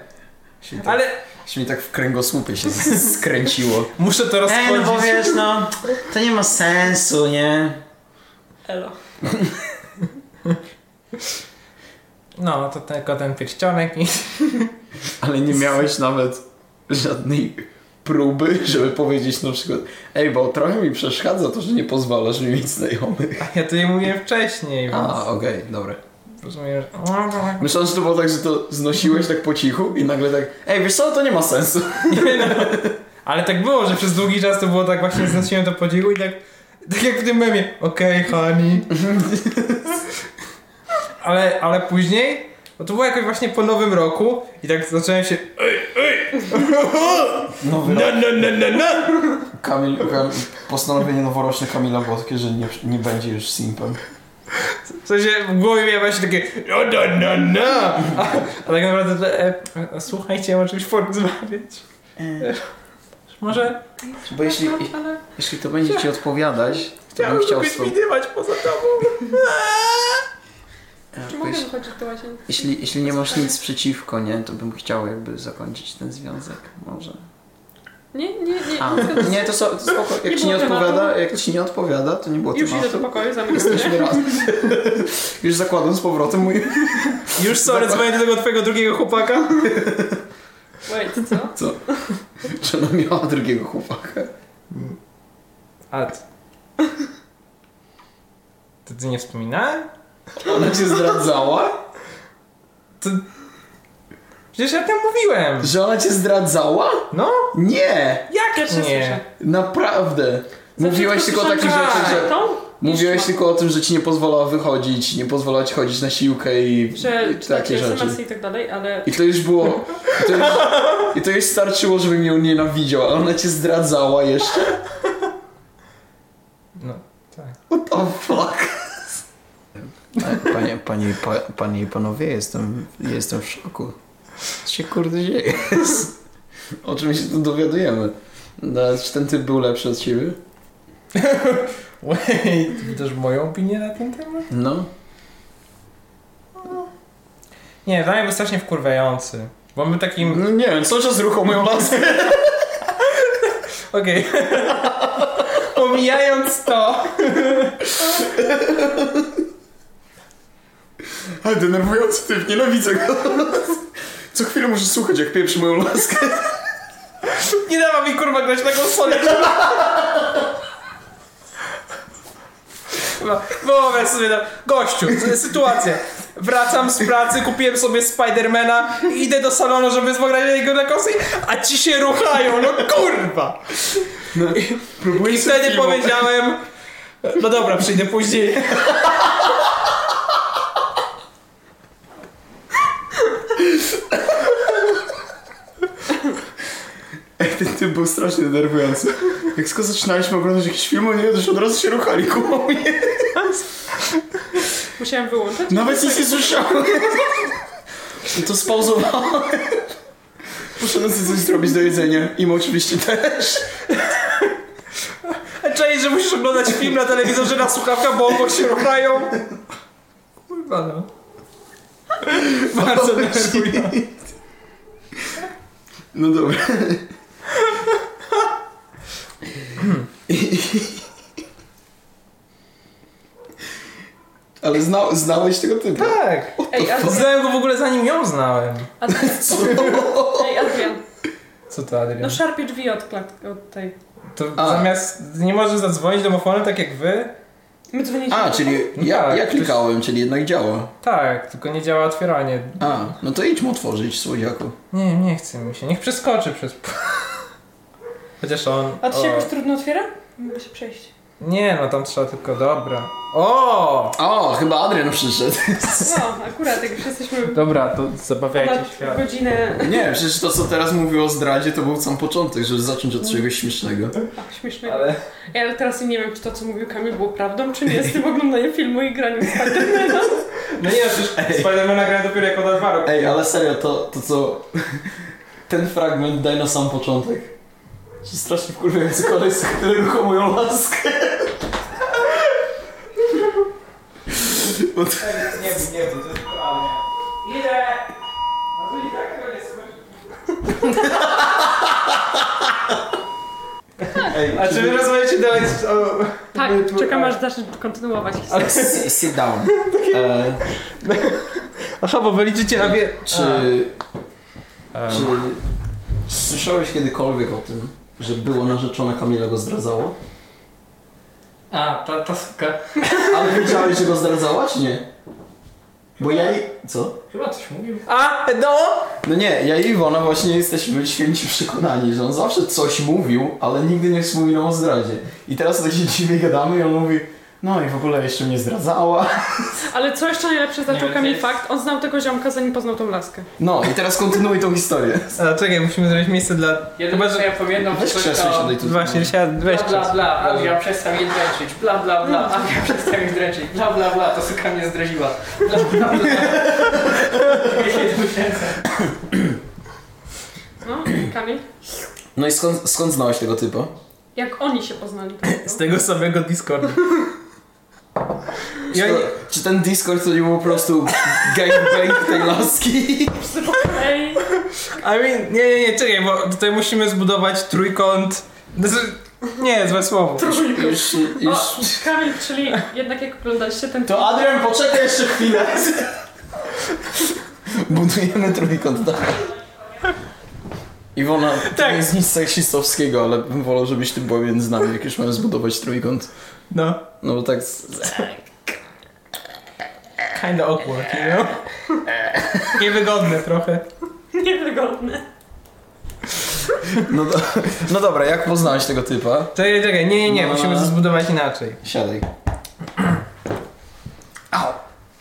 A: Się mi tak-
C: ale
A: się mi tak w kręgosłupie się z- skręciło.
C: muszę to rozchodzić.
A: no, to nie ma sensu, nie?
B: Elo.
C: No, to tylko ten pierścionek i...
A: Ale nie miałeś nawet żadnej próby, żeby powiedzieć na przykład Ej, bo trochę mi przeszkadza to, że nie pozwalasz mi mieć znajomych.
C: Ja to jej mówiłem wcześniej, więc...
A: A, okej, dobra.
C: Rozumiem, że...
A: Myślałem, że to było tak, że to znosiłeś tak po cichu i nagle tak, ej, wiesz co, to nie ma sensu.
C: Nie no. Ale tak było, że przez długi czas to było tak właśnie znosiłem to podziwu i tak, tak jak w tym memie, okej, honey. Ale, ale później, bo to było jakoś właśnie po nowym roku i tak zacząłem się, ej, ej,
A: Nowy
C: na, na, na, na, na.
A: Kamil, Kam- postanowienie noworoczne Kamila Włodkie, że nie, nie będzie już simpem.
C: W sensie w głowie miałem właśnie takie, no, na, na, na. A, a tak naprawdę, to, e, a, a, słuchajcie, ja mam o czymś porozmawiać. Może
A: Bo jeśli,
B: ale...
A: jeśli to będzie ci odpowiadać, to bym chciał z tobą...
C: widywać poza tobą.
B: Czy
A: bo
B: mogę
A: jeśli-
B: wychodzić do łazienki?
A: Jeśli, jeśli nie masz nic przeciwko, nie, to bym chciał jakby zakończyć ten związek, może.
B: Nie, nie, nie.
A: A,
B: zgadzam
A: nie,
B: się.
A: to, so, to spoko. Jak
B: Nie
A: ci nie
B: było tematu.
A: odpowiada, jak ci nie odpowiada, to nie było
B: Już idę
A: tematu.
B: do pokoju, zamykam się.
A: Jesteśmy razem. Już zakładam z powrotem mój...
C: Już sorry, dzwonię do tego twojego drugiego chłopaka.
B: Wait, co?
A: Co? Czy ona miała drugiego chłopaka?
C: Ad. To ty nie wspominałem?
A: Ona cię zdradzała?
C: To... Przecież ja tam mówiłem.
A: Że ona cię zdradzała?
C: No?
A: Nie!
C: Jak
B: Pierwszy słyszę.
A: Naprawdę!
B: Zawsze
A: Mówiłeś tylko o takich
B: słyszałam,
A: rzeczach, że...
B: Tą?
A: Mówiłeś
B: Jeszcze
A: tylko o tym, że ci nie pozwalała wychodzić, nie pozwalała ci chodzić na siłkę i,
B: mam. Że
A: i takie
B: czytacie
A: rzeczy.
B: SMS i tak dalej, ale...
A: I to już było... I to już, I to już starczyło, żebym ją nienawidział, a ona cię zdradzała jeszcze?
C: No, tak.
A: What the fuck? Panie, panie, pa, panie i panowie, jestem, jestem w szoku. Co się kurde dzieje? O czym się tu dowiadujemy? No, czy ten typ był lepszy od ciebie?
C: Wait, też moją opinię na ten temat?
A: No.
C: Nie, dla mnie był strasznie wkurwiający. Bo on był takim...
A: No nie wiem, co czas ruchał moją laskę.
C: Okej. Pomijając to...
A: Ale denerwujący typ, nienawidzę go. Co chwilę muszę słuchać, jak pieprzy moją laskę.
C: Nie dawa mi kurwa grać na konsolę. Chyba, Wyobraź sobie, no, gościu, s- sytuacja. Wracam z pracy, kupiłem sobie Spidermana, idę do salonu, żeby zagrać jego na konsoli, a ci się ruchają, no kurwa!
A: No, próbuję
C: I wtedy
A: piwo.
C: powiedziałem, no dobra, przyjdę później.
A: Ej, ten typ był strasznie denerwujący. Jak tylko zaczynaliśmy oglądać jakiś film, oni już od razu się ruchali koło mnie.
B: Musiałem wyłączyć.
A: Nawet nic nie słyszałem. No To spauzowałem. Poszedłem sobie coś zrobić do jedzenia. Im oczywiście też.
C: Cześć, że musisz oglądać film na telewizorze na słuchawkach, bo obok się ruchają. Kurwa no. Bardzo denerwujące.
A: No dobra. Ale zna, znałeś tego typu.
C: Tak.
B: Ej, Adrian.
C: Znałem go w ogóle zanim ją znałem.
B: Adrian. Ej, Adrian.
C: Co to, Adrian?
B: No szarpie drzwi od klatki, od tej.
C: To
A: A.
C: zamiast nie możesz zadzwonić domofonem tak jak wy?
B: My dzwoniliśmy.
A: A, czyli ja, ja klikałem, czyli jednak działa.
C: Tak, tylko nie działa otwieranie.
A: A, no to idź mu otworzyć, słodziaku.
C: Nie, nie chce mi się. Niech przeskoczy przez... Chociaż on...
B: A to się
C: o.
B: jakoś trudno otwiera? Mogę się przejść.
C: Nie, no tam trzeba tylko... Dobra. O!
A: O, chyba Adrian przyszedł.
B: No, akurat jak już jesteśmy
C: Dobra, to zabawiajcie
B: ponad
C: świat.
B: godzinę...
A: Nie, przecież to, co teraz mówił o zdradzie, to był sam początek, żeby zacząć od czegoś śmiesznego.
B: Ach, śmieszne.
C: Ale...
B: Ja ale teraz nie wiem, czy to, co mówił Kamil, było prawdą, czy nie, z tym oglądaniem filmu i graniem w Spidermana.
C: No nie, no przecież Spidermana grałem dopiero jako na dwa roki.
A: Ej, ale serio, to, to co... Ten fragment daj na sam początek. Że strasznie wkurwiający koleś, który ruchał moją laskę. Bo to-
C: Nie, nie, nie, to jest prawda. Idę! No to i tak tego nie słyszę.
A: Ej,
C: A czy wy rozmawiacie dalej z... o-
B: Tak,
C: były-
B: czekam aż zacznie kontynuować historię.
A: Ale s- sit down. E,
C: Aha, bo wyliczycie na wie...
A: czy,
C: A.
A: czy... Słyszałeś kiedykolwiek o tym, że było narzeczona Kamila go zdradzało?
C: A, ta, ta suka.
A: Ale wiedziałeś, że go zdradzała, czy nie? Bo ja i... co?
C: Chyba coś mówił. A, no!
A: No nie, ja i Iwona właśnie jesteśmy święci przekonani, że on zawsze coś mówił, ale nigdy nie wspominał o zdradzie. I teraz tak się dziwnie gadamy i on mówi, no i w ogóle jeszcze mnie zdradzała.
B: Ale co jeszcze najlepsze zaczął
C: Nie,
B: Kamil
C: to jest-
B: fakt, on znał tego ziomka, zanim poznał tą laskę.
A: No i teraz kontynuuj tą historię.
C: A, czekaj, musimy zrobić miejsce dla...
D: Jeden Chyba, że ja pamiętam,
A: Weź
D: coś
A: krzesło
D: tam-
A: siadaj tu.
C: Właśnie, chciałem
D: Bla
C: weź
D: bla bla, Adrian przestał mnie dręczyć, bla bla bla, Adrian przestał mnie dręczyć, bla bla bla, to suka mnie zdradziła, bla bla bla.
B: No, Kamil?
A: No i skąd, skąd znałeś tego typa?
B: Jak oni się poznali? to
C: Z
B: było.
C: tego samego Discorda.
A: Czy,
C: Ja
A: to, czy ten Discord to nie był po prostu gangbang tej laski?
B: Ej,
C: I mean, nie, nie, nie, czekaj, bo tutaj musimy zbudować trójkąt. Znaczy, nie, złe słowo.
A: Już, już...
B: o, Kamil, czyli jednak jak oglądaliście ten
A: To Adrian, poczekaj jeszcze chwilę. Budujemy trójkąt dalej. Iwona, to
C: Tak.
A: nie jest nic seksistowskiego, ale bym wolał, żebyś ty była między nami, jak już mamy zbudować trójkąt.
C: No,
A: No bo tak... z- z-
C: kinda awkward, you know? Niewygodne trochę.
B: niewygodny.
A: No, do, no dobra, jak poznałeś tego typa?
C: Czekaj, czekaj, nie, nie, nie, musimy to zbudować inaczej.
A: Siadaj.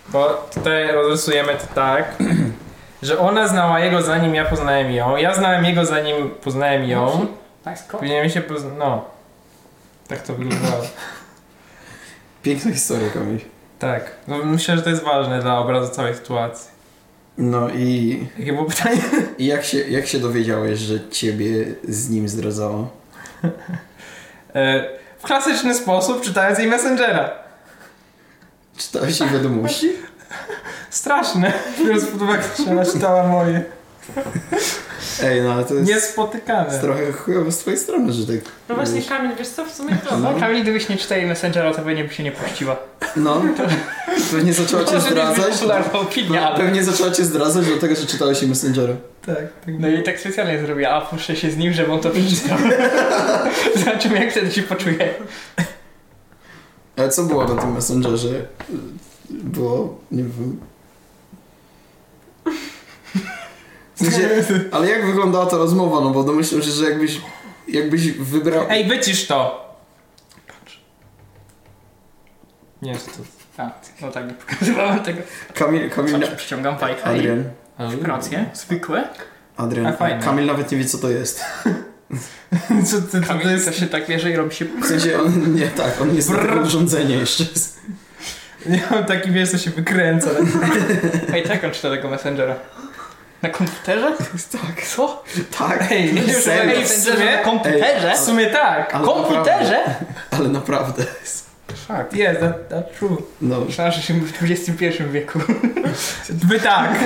C: Bo tutaj rozrysujemy to tak, że ona znała jego zanim ja poznałem ją, ja znałem jego zanim poznałem ją,
D: Tak, skąd?
C: później mi się pozna... no. Tak to wyglądało.
A: Piękna historia, Kamil.
C: Tak. No, myślę, że to jest ważne dla obrazu całej sytuacji.
A: No i...
C: Jakie było pytanie?
A: I Jak się, jak się dowiedziałeś, że ciebie z nim zdradzało?
C: E, w klasyczny sposób czytając jej Messengera.
A: Czytałeś jej wiadomości?
C: Straszne. Biorąc pod uwagę, że ona czytała moje.
A: Ej, no ale to jest,
C: Niespotykane.
A: jest trochę chujowe z twojej strony, że tak...
B: No właśnie,
A: wiesz.
B: Kamil, wiesz co, w sumie to...
A: No.
D: No, Kamil, gdybyś nie czytał jej Messengera, to pewnie by się nie puściła.
A: No, pewnie zaczęła cię
D: Może nie tak. jest zbyt
A: zdradzać.
D: popularna opinia, ale...
A: Pewnie zaczęła cię zdradzać do tego, że czytałeś jej Messengera.
C: Tak, tak.
D: No i tak specjalnie zrobiła, a puszczę się z nim, żeby on to przeczytał. Zobaczymy, jak wtedy się poczuje.
A: Ale co było na tym Messengerze? Było, nie wiem... W sensie, ale jak wyglądała ta rozmowa? No bo domyślam się, że jakbyś, jakbyś wybrał...
C: Ej, wycisz to! Nie, czy to...
D: A, no tak, nie pokazywałem tego.
A: Kamil, Kamil...
D: Patrz, przyciągam fajkę i...
A: Adrian.
D: Wibracje? Zwykłe?
A: Adrian.
C: A fajne.
A: Kamil nawet nie wie, co to jest.
C: Co ty, co to
D: Kamil
C: jest?
D: to się tak bierze i robi się...
A: W sensie on nie tak, on jest
C: Brrr.
A: takie urządzenie jeszcze.
C: Ja mam taki wiesz, co się wykręca.
D: Ej, tak on czyta tego Messengera. Na komputerze?
A: Tak.
D: Co?
A: Tak.
C: Ej,
D: no
C: nie wiem,
A: serio.
C: ej, w sumie-
D: na komputerze?
C: W sumie tak.
A: Ale Naprawdę,
D: komputerze?
A: ale naprawdę.
C: Fakt, jest, that, that's true.
A: No.
D: Myślałem, że się w XXI wieku.
C: Wy tak.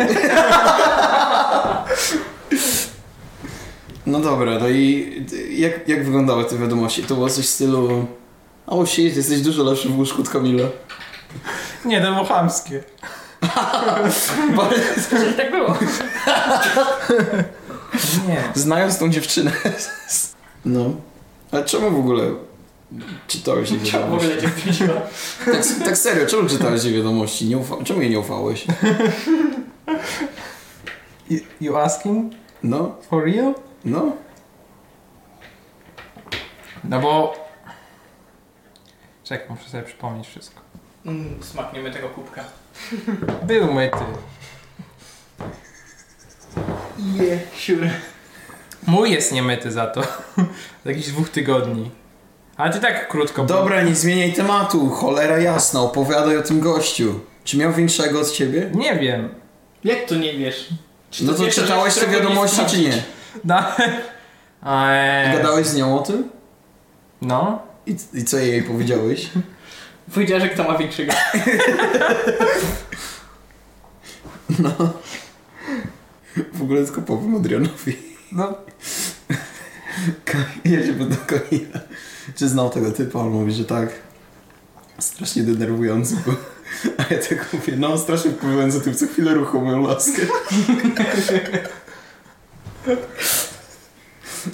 A: no dobra, no i jak, jak wyglądały te wiadomości? To było coś w stylu... O shit, jesteś dużo lepszy w łóżku od Kamila.
C: Nie, to było chamskie.
B: Czyli tak było.
C: Nie.
A: Znając tą dziewczynę. No. Ale czemu w ogóle czytałeś jej
D: Czemu w
A: wiadomości?
D: ogóle cię wpuściła?
A: Tak, tak serio, czemu czytałeś jej wiadomości? Nie ufa... Czemu jej nie ufałeś?
C: You, you asking?
A: No,
C: For real?
A: no.
C: No bo... Czekaj, muszę sobie przypomnieć wszystko.
D: Mm, smakniemy tego kubka.
C: Był myty.
D: Je, yeah, sure.
C: Mój jest niemyty za to. Z jakichś dwóch tygodni. Ale ty tak krótko.
A: Dobra, nie zmieniaj tematu, cholera jasna, opowiadaj o tym gościu. Czy miał większego od ciebie?
C: Nie wiem.
D: Jak to nie wiesz? Czy
A: No to
D: wiesz,
A: czytałeś
D: że
A: te
D: którego
A: wiadomości, czy nie?
C: No. Eee.
A: Gadałeś z nią o tym?
C: No.
A: I, i co jej powiedziałeś?
D: sprawdzić? Powiedziała, że kto ma większego.
A: W ogóle tylko powiem Adrianowi.
C: No.
A: Ja się będę kochina. Czy znał tego typa? On mówi, że tak. Strasznie denerwujący był. A ja tak mówię, no strasznie wpływający tym, co chwilę ruchą moją laskę.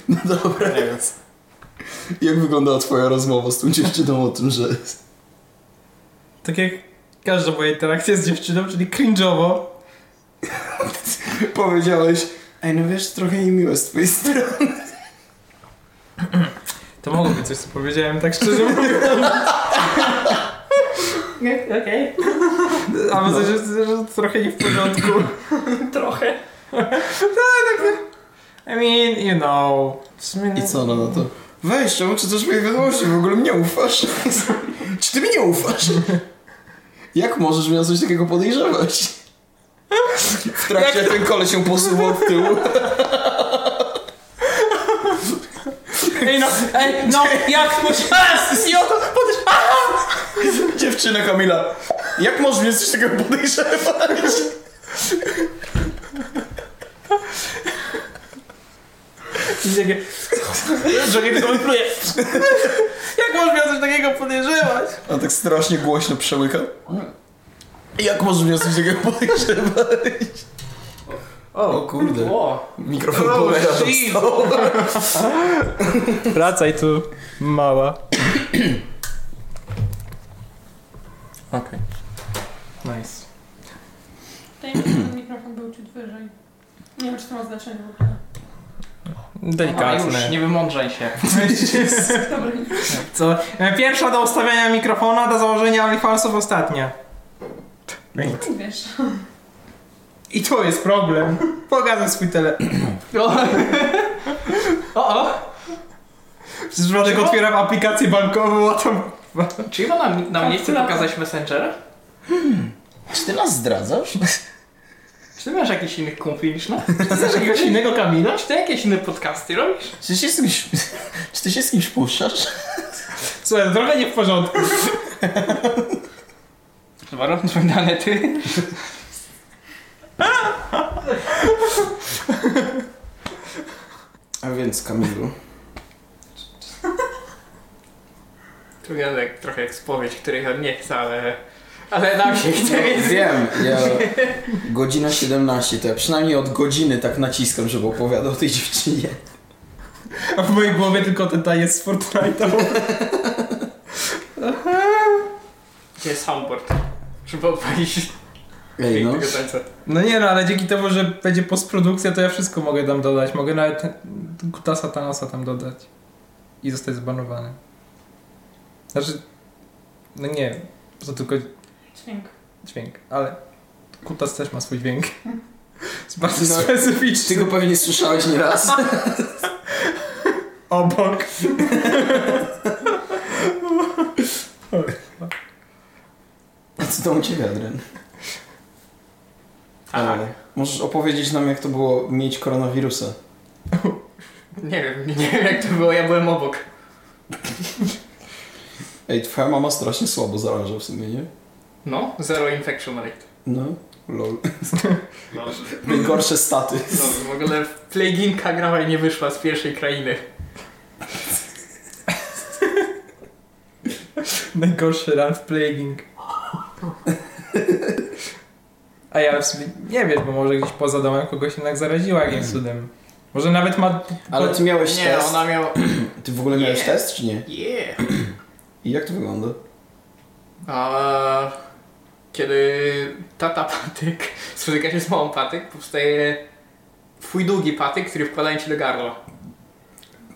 A: No dobra. Jak wyglądała twoja rozmowa z tą dziewczyną o tym, że...
C: Tak jak każda moja interakcja z dziewczyną, czyli cringe'owo.
A: Powiedziałeś, ej no wiesz, trochę niemiłe z twojej strony.
C: To mogło być coś, co powiedziałem, tak szczerze mówiąc.
D: Okej.
C: A może, że, że to trochę nie w porządku.
B: Trochę.
C: I mean, you know. W sumie
A: I co ona na to? Weź, czemu czytasz moje wiadomości? W ogóle mnie ufasz? Czy ty mi nie ufasz? Jak możesz mnie o coś takiego podejrzewać? W trakcie jak ten koleś się posuwał w tył.
C: Ej no, ej no, jak musiałem? I oto podesz...
A: Dziewczyna Kamila. Jak możesz coś takiego podejrzewać?
C: Johnny tylko mi pluje. Jak można coś takiego podejrzewać?
A: On tak strasznie głośno przełyka. Jak możesz mnie coś takiego podejrzewać? O kurde.
D: O,
A: Mikrofon
C: Oh,
A: Bowera
C: shit.
A: dostał.
C: Wracaj tu, mała. Okej. Nice.
B: Daj mi, że ten mikrofon był ciut wyżej. Nie wiem, czy to ma znaczenie w ogóle.
D: no już,
C: Delikatne.
D: nie wymądrzaj się.
B: Dobra.
C: Co? Pierwsza do ustawiania mikrofona, do założenia OnlyFansów ostatnia.
B: Wiesz.
C: I to jest problem. Pogadam swój telefon.
D: O, o,
C: Przez przypadek otwieram aplikację bankową, a tam...
D: czy Iwo nam, nam nie chce pokazać Messengera?
A: Czy ty nas zdradzasz?
D: Czy ty masz jakiś inny kumpli niż nas? Czy ty znasz jakiegoś innego Kamila? Czy ty jakieś inne podcasty robisz?
A: Czy ty się z kimś, czy ty się z kimś puszczasz?
C: Słuchaj, to trochę nie w porządku.
D: Chyba dane ty.
A: A więc Kamilu.
D: To wygląda jak, trochę jak spowiedź, której on nie chce, ale... Ale nam się chce, więc...
A: Wiem, ja godzina 17, to ja przynajmniej od godziny tak naciskam, żeby opowiadał o tej dziewczynie.
C: A w mojej głowie tylko ten taniec z Fortnite'a.
D: Gdzie jest soundboard? Trzeba obalić
A: Ej no,
D: tego tańca.
C: No nie no, ale dzięki temu, że będzie postprodukcja, to ja wszystko mogę tam dodać. Mogę nawet Kutasa Thanosa tam dodać. I zostać zbanowany. Znaczy... No nie, to tylko
B: Dźwięk.
C: dźwięk, ale Kutas też ma swój dźwięk. Jest bardzo
A: No,
C: specyficzny.
A: ty go pewnie słyszałeś nieraz.
C: Obok.
A: A co tam u ciebie, Adrian?
D: A,
A: Ale Możesz opowiedzieć nam, jak to było mieć koronawirusa.
D: nie wiem, nie wiem jak to było, ja byłem obok.
A: Ej, twoja mama strasznie słabo zaraża w sumie, nie?
D: No, zero infection rate.
A: No, lol.
D: No,
A: Najgorsze staty.
D: w ogóle pleginka grała i nie wyszła z pierwszej krainy.
C: Najgorszy run w playing. A ja w sumie nie wiem, bo może gdzieś poza domem kogoś jednak zaraziła
A: Hmm.
C: jakimś cudem. Może nawet ma...
A: Ale ty miałeś
D: Nie,
A: test.
D: ona miała...
A: Ty w ogóle miałeś
D: Nie.
A: test, czy nie?
D: Yeah.
A: I jak to wygląda?
D: A kiedy tata patyk spotyka się z małą patyk, powstaje twój długi patyk, który wkładają ci do gardła.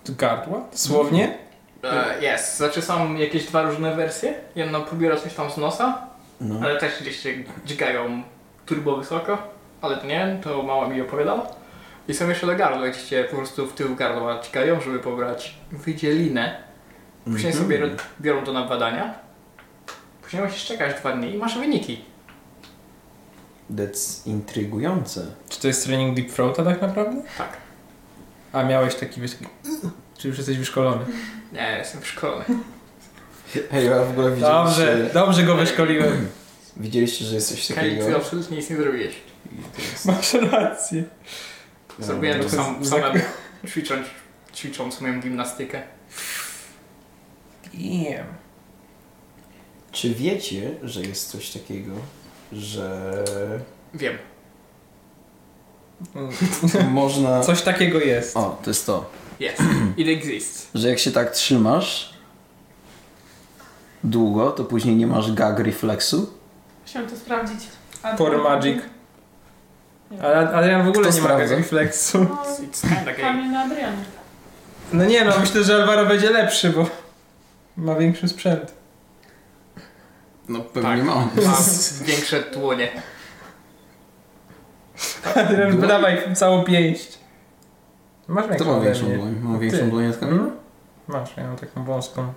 C: Gardła? Dosłownie?
A: Hmm.
D: E, Jest, znaczy są jakieś dwa różne wersje. Jedno próbuje coś tam z nosa,
A: No.
D: ale też gdzieś się dźgają turbo wysoko, ale to nie wiem, to mama mi opowiadała. I są jeszcze do gardła, gdzie cię po prostu w tył gardła dźgają, żeby pobrać wydzielinę. Później
A: Mhm.
D: sobie ro- biorą to na badania. Później musisz czekać dwa dni i masz wyniki.
A: That's intrygujące.
C: Czy to jest trening deep throata tak naprawdę?
D: Tak.
C: A miałeś taki wiesz... taki- Czy już jesteś wyszkolony?
D: Nie, jestem w szkole.
A: Hej, a w ogóle widzieliście,
C: Dobrze, dobrze go wyszkoliłem.
A: widzieliście że jest coś
D: Kali,
A: takiego?
D: ty absolutnie nic nie zrobiłeś.
C: Masz rację.
D: Zrobiłem to
C: to
D: sam,
C: jest
D: samemu, ćwicząc, ćwicząc moją gimnastykę.
C: Damn.
A: Czy wiecie, że jest coś takiego, że
D: Wiem.
A: można...
C: Coś takiego jest.
A: O, to jest to.
D: Yes. It exists.
A: Że jak się tak trzymasz długo, to później nie masz gag refleksu.
B: Chciałam to sprawdzić. A-
C: Por magic. Ale Adrian w ogóle
A: Kto
C: nie ma
A: sprawdza?
C: refleksu.
B: No,
D: It's kinda gay.
B: Kamil na Adrian.
C: No nie no, myślę, że Alvaro będzie lepszy, bo ma większy sprzęt.
A: No
D: Tak.
A: mam.
D: Mam większe dłonie.
C: Adrian, dawaj całą pięść. Masz
A: No. To
C: większą
A: ma
C: ode
A: większą
C: mnie.
A: dłoń. Mam
C: Ty.
A: większą dłoń od Kamila?
C: Mhm. Masz, ja mam taką wąską.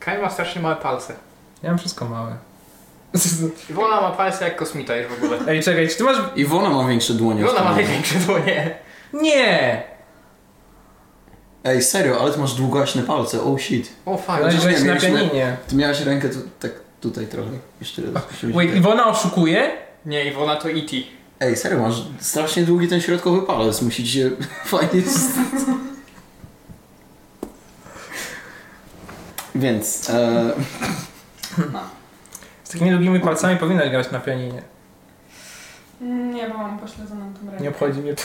D: Kaj ma strasznie małe palce.
C: Ja mam wszystko małe.
D: Iwona ma palce jak kosmita już w ogóle.
C: Ej, czekaj, czy ty masz...
A: Iwona ma większe dłonie od
D: Iwona ma
A: Kamila.
D: największe dłonie.
C: Nie!
A: Ej, serio, ale ty masz długaśne palce, oh shit.
D: O, fajnie.
C: Ale
A: nie,
C: No weź na
A: mieliśmy-
C: pianinie.
A: Ty miałaś rękę tu, tak tutaj trochę. Jeszcze raz. musimy
C: Wait,
A: się-
C: Iwona oszukuje?
D: Nie, Iwona to E E.T.
A: Ej, serio, masz strasznie długi ten środkowy palec, musi ci się fajnie... z- Więc, e,
C: Z takimi długimi palcami powinnaś grać na pianinie.
B: Nie, bo mam pośledzoną tą rękę.
C: Nie obchodzi mnie to.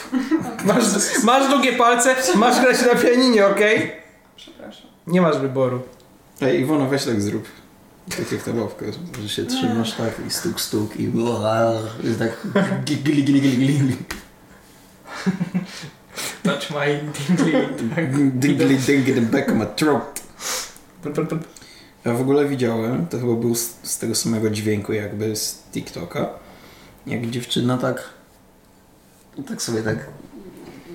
C: Masz, masz długie palce, masz grać na pianinie, okej?
B: Przepraszam.
C: Nie masz wyboru.
A: ej Iwona, weź tak zrób. Tak jak ta babka, że się trzymasz tak i stuk, stuk i... i tak gli, gli, gli, gli, gli.
D: Touch my dingly.
A: Dingly, dingly, the back of my throat.
C: Pl, pl, pl.
A: Ja w ogóle widziałem, to chyba był z, z tego samego dźwięku jakby z TikToka, jak dziewczyna tak... Tak sobie tak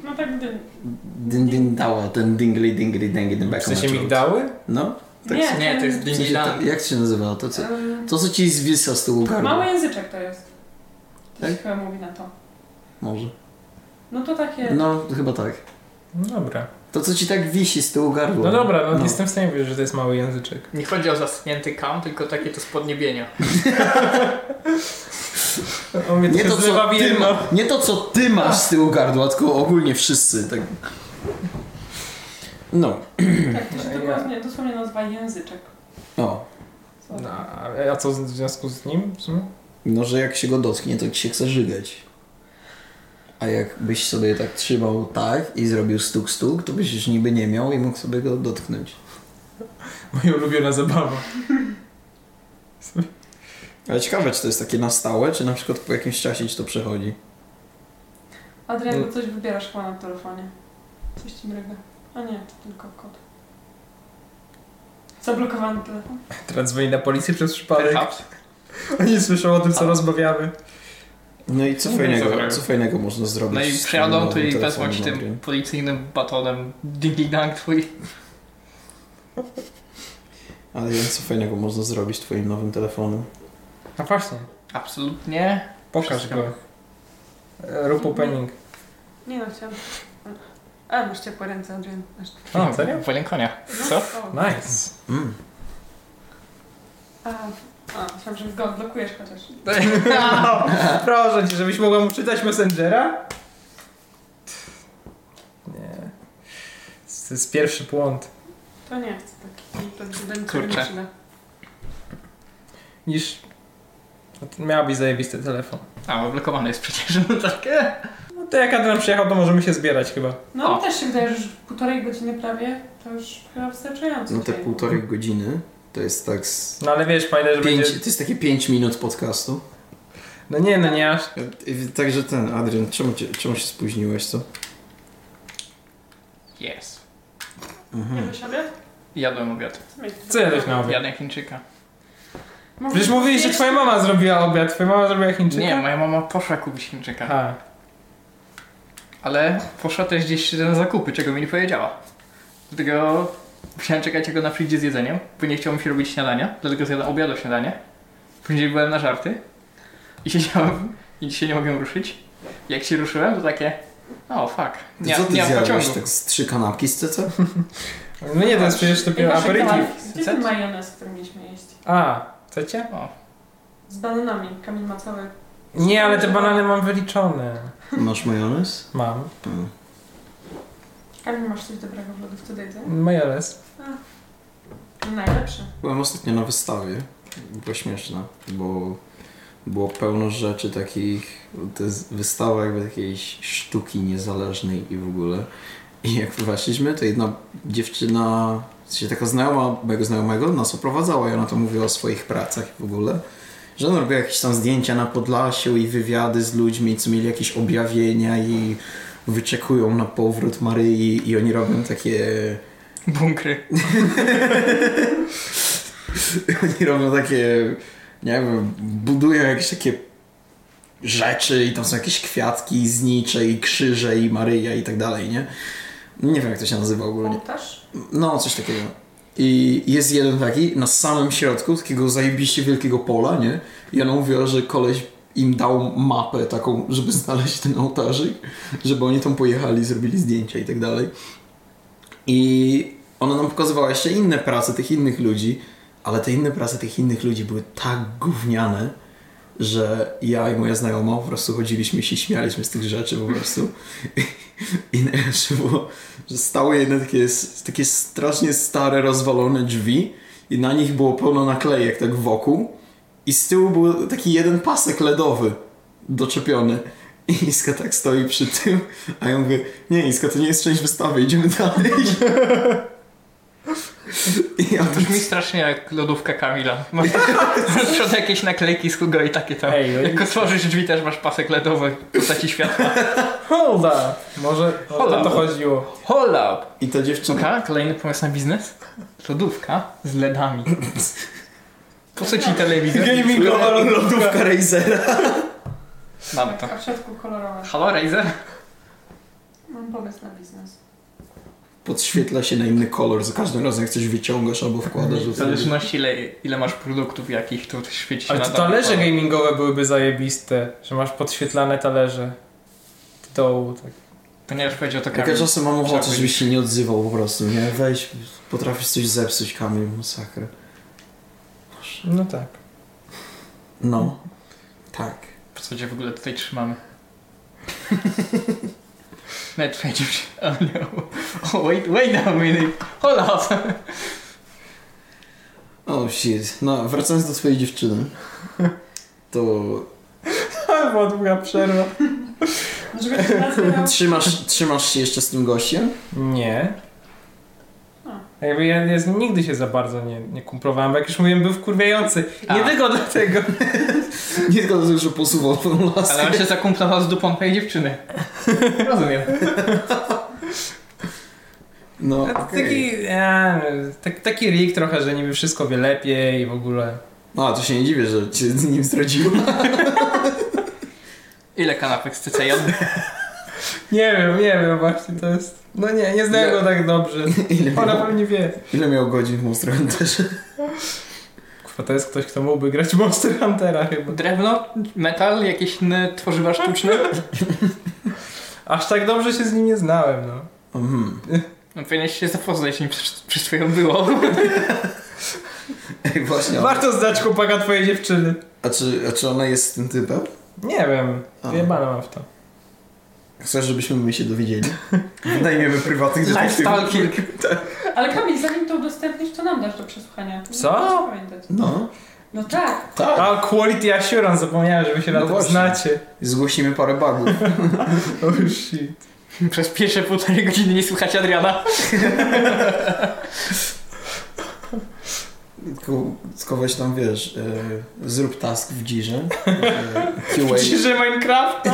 B: No tak dym.
A: Dyn, dyn, dała, ten dingly, dingly, dingly, ten
C: W
A: back
C: sensie
A: on my throat.
C: migdały?
A: No, tak
B: nie,
A: sobie-
D: Nie, to jest
A: w sensie,
D: dingly
A: ta, jak to się nazywało? To, co,
B: Em,
A: to, co ci zwisa z tyłu
B: Mały
A: gardła?
B: języczek to jest. To
A: Tak?
B: się chyba mówi na to.
A: Może.
B: No to takie...
A: No, chyba tak.
C: No dobra.
A: To, co ci tak wisi z tyłu gardła.
C: No dobra, no,
A: No.
C: jestem w stanie powiedzieć, że to jest mały języczek.
D: Nie chodzi o zaschnięty kam, tylko takie to spodniebienia.
C: On mnie
A: Nie
C: trochę
A: to,
C: zlewa
A: co
C: w
A: ty
C: jedno.
A: ma, nie to, co ty masz z tyłu gardła, tylko ogólnie wszyscy. Tak. No,
B: Tak, to się
C: No, ja-
B: dokładnie, dosłownie nazywa języczek.
A: o.
B: Co?
C: No, a- a co w związku z nim? w sumie?
A: No, że jak się go dotknie, to ci się chce żygać. A jakbyś sobie tak trzymał tak i zrobił stuk, stuk, to byś już niby nie miał i mógł sobie go dotknąć.
C: Moja ulubiona zabawa.
A: Ale ciekawe, czy to jest takie na stałe, czy na przykład po jakimś czasie ci to przechodzi.
B: Adrian,
C: No.
B: bo coś wybierasz chyba na telefonie. Coś ci mryga. A nie, to tylko kod. Zablokowany telefon.
C: Teraz dzwoni na policję przez przypadek.
D: Perhaps.
C: Oni słyszą o tym, co rozmawiamy.
A: No i co
D: Nie wiem, co
A: fajnego,
D: zrobię.
A: co fajnego można zrobić?
D: No i
A: z tym
D: przyjadą tu
A: nowym
D: i wezmą
A: telefonem
D: ci tym
A: Android?
D: policyjnym batonem dingly dang twój.
A: Ale wiem, co fajnego można zrobić twoim nowym telefonem.
C: No właśnie,
D: Absolutnie.
C: pokaż
D: Wszystko.
C: go. E, Rób opening.
B: Nie no, chciałam... A, masz ciepłe ręce, Adrian. Masz-
C: A, serio?
D: Wolę konia.
B: No,
D: Co?
B: o.
C: Nice.
A: Mm.
B: A, a, myślałam, że go odblokujesz chociaż.
C: No, proszę cię, żebyś mogła mu czytać Messengera? Nie. To jest pierwszy błąd.
B: To nie chcę taki prezydent, który
D: Kurczę.
B: nie przyda.
C: Niż... No to Miałabyś zajebisty telefon.
D: A, bo blokowane jest przecież. No takie.
C: No to jak Adrian przyjechał, to możemy się zbierać chyba.
B: No,
D: O.
B: też się wydaje, że już półtorej godziny prawie, to już chyba wystarczająco.
A: No te
B: dzisiaj.
A: półtorej godziny to jest tak z...
C: No ale wiesz, pamiętaj, że
A: Pięć,
C: będzie...
A: to jest takie 5 minut podcastu.
C: No nie, no nie aż.
A: I- Także ten, Adrian, czemu, cię, czemu się spóźniłeś, co?
D: Yes.
B: Nie
A: Mhm.
B: do siebie?
D: Jadłem obiad.
C: Mhm. Co jadłeś na obiad?
D: Jadłem Chińczyka.
B: Może
C: Przecież mówiłeś, że
B: zjeść-
C: twoja mama zrobiła obiad. Twoja mama zrobiła Chińczyka?
D: Nie, moja mama poszła kupić Chińczyka.
C: Aha.
D: Ale poszła też gdzieś na zakupy, czego mi nie powiedziała. Dlatego musiałem czekać, jak ona przyjdzie z jedzeniem, bo nie chciało mi się robić śniadania, dlatego zjadłem obiadu śniadanie. Później byłem na żarty i siedziałem i dzisiaj nie mogłem ruszyć. Jak się ruszyłem, to takie, o fuck, nie,
A: co ty
D: nie mam
A: zjadłeś
D: pociągu.
A: tak z trzy kanapki z CC?
C: No nie, to jest przecież
B: Ej,
C: dopiero
B: właśnie,
C: aperitif.
B: Kamil, Gdzie ten majonez, który mieliśmy jeść?
C: A,
A: tak?
C: chcecie?
D: O,
B: Z bananami. Kamil ma cały...
C: Nie, ale te banany mam wyliczone.
A: Masz majonez?
C: Mam.
A: Mm.
B: Kamil, masz coś dobrego w lodówce do jedzenia?
C: Majonez.
E: No
B: Najlepszy.
A: Byłem ostatnio na wystawie. Było śmieszne, bo było pełno rzeczy takich. To jest wystawa jakby takiej sztuki niezależnej i w ogóle. I jak weszliśmy, to jedna dziewczyna, w sensie taka znajoma mojego znajomego, nas oprowadzała i ona to mówiła o swoich pracach i w ogóle. Że ona robiła jakieś tam zdjęcia na Podlasiu i wywiady z ludźmi, co mieli jakieś objawienia i wyczekują na powrót Maryi i oni robią takie
D: bunkry.
A: Oni robią takie, nie wiem, budują jakieś takie rzeczy i tam są jakieś kwiatki znicze i krzyże i Maryja i tak dalej, nie? No Nie wiem jak to się nazywa ogólnie.
B: Ołtarz?
A: No, coś takiego. I jest jeden taki na samym środku, takiego zajebiście wielkiego pola, nie? I ona mówiła, że koleś im dał mapę taką, żeby znaleźć ten ołtarzyk, żeby oni tam pojechali, zrobili zdjęcia i tak dalej. I ona nam pokazywała jeszcze inne prace tych innych ludzi, ale te inne prace tych innych ludzi były tak gówniane, że ja i moja znajoma po prostu chodziliśmy i się śmialiśmy z tych rzeczy po prostu. I najlepsze było, że stały jedne takie, takie strasznie stare, rozwalone drzwi i na nich było pełno naklejek tak wokół i z tyłu był taki jeden pasek ledowy doczepiony. I Iska tak stoi przy tym, a ja mówię, nie Iska, to nie jest część wystawy, idziemy dalej. I ja tak
D: Brzmi strasznie jak lodówka Kamila. Masz Są jakieś naklejki z Hugo i takie tam.
C: Ej, oj.
D: Jak otworzysz drzwi też masz pasek ledowy w postaci światła.
C: Hold up. Może o
D: Hold
C: to, to
D: up.
C: chodziło.
D: Hold up!
A: I ta dziewczynka,
D: Ka, kolejny pomysł na biznes? Lodówka z LEDami. Po co ci telewizor?
A: gamingowa lodówka Razera.
D: Mamy to.
E: Tak, A w środku kolorowe.
D: Halo, Razer?
E: Mam pomysł na biznes.
A: Podświetla się na inny kolor, za każdym razem jak coś wyciągasz albo wkładasz.
D: W zależności ile, ile masz produktów jakich, to świeci się
C: Ale
D: na
C: to
D: dobry
C: talerze
D: kolor.
C: gamingowe byłyby zajebiste, że masz podświetlane talerze. W dołu, tak.
D: Ponieważ powiedział to
A: Jak ja
D: Kamil.
A: czasem mam
D: Trzeba
A: ochotę,
D: powiedzieć.
A: żebyś się nie odzywał po prostu, nie? Weź, potrafisz coś zepsuć, Kamil, masakra.
C: No tak.
A: No. Tak.
D: Po co cię w ogóle tutaj trzymamy? Nawet powiedział się, oh no, oh, wait, wait a minute, hold up.
A: Oh shit. No, wracając do swojej dziewczyny, to
C: Była długa przerwa.
E: Żeby to nazywam.
A: trzymasz, trzymasz się jeszcze z tym gościem?
C: Nie.
E: A.
C: Jakby ja, ja z nim nigdy się za bardzo nie, nie kumplowałem, bo jak już mówiłem, był wkurwiający. Nie
D: A.
C: tylko dlatego.
A: Nie tylko dlatego, że posuwał tą
D: Ale
A: laskę.
D: on się zakumplował z dupą twojej dziewczyny. Rozumiem.
A: No,
C: A to
A: okej.
C: Taki, e, tak, taki rik trochę, że niby wszystko wie lepiej i w ogóle.
A: A, to się nie dziwię, że cię z nim zdradziła.
D: Ile kanapek z CCJ?
C: Nie wiem, nie wiem właśnie, to jest... No nie, nie znam
A: Ja-
C: go tak dobrze.
A: Ile
C: Ona
A: miał,
C: pewnie wie.
A: ile miał godzin w Monster Hunterze?
C: Kurwa, to jest ktoś, kto mógłby grać w Monster Huntera chyba.
D: Drewno? Metal? Jakieś inne tworzywa sztuczne?
C: Aż tak dobrze się z nim nie znałem, no.
A: Mhm.
D: No powinieneś się zapoznać, nim przez, przez twoją było.
A: Ej, właśnie. A,
C: Warto znać chłopaka twojej dziewczyny.
A: a, czy, a czy ona jest tym typem?
C: Nie wiem,
A: A.
C: wyjebane mam w to.
A: Chcesz, żebyśmy my się dowiedzieli? Wynajmiemy prywatnych
D: Lifestyle kill.
E: Ale Kamil, zanim to udostępnisz, to nam dasz do przesłuchania. To
C: Co?
E: musisz pamiętać.
A: No,
E: No tak.
A: tak.
C: A Quality Assurance, zapomniałem, że wy się
A: No
C: na tym
A: właśnie.
C: znacie.
A: Zgłosimy parę bugów.
C: Oh shit.
D: Przez pierwsze półtorej godziny nie słuchać Adriana.
A: Tylko z kogoś tam, wiesz, e, zrób task w dzirze. E, QA.
C: Ciszy Minecraft?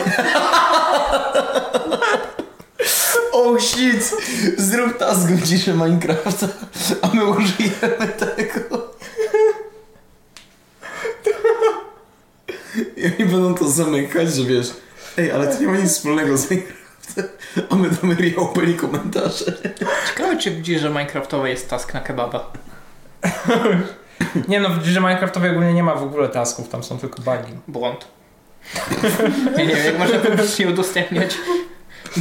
A: Oh shit! Zrób task w dzirze Minecrafta, a my użyjemy tego. I oni będą to zamykać, że wiesz, ej, ale to nie ma nic wspólnego z Minecraftem, a my damy reopen i komentarze.
D: Ciekawe czy widzisz, że Minecraftowe jest task na kebaba.
C: Nie no, w grze Minecraftowej ogólnie nie ma w ogóle tasków, tam są tylko bugi.
D: Błąd. Ja nie wiem, jak można publicznie udostępniać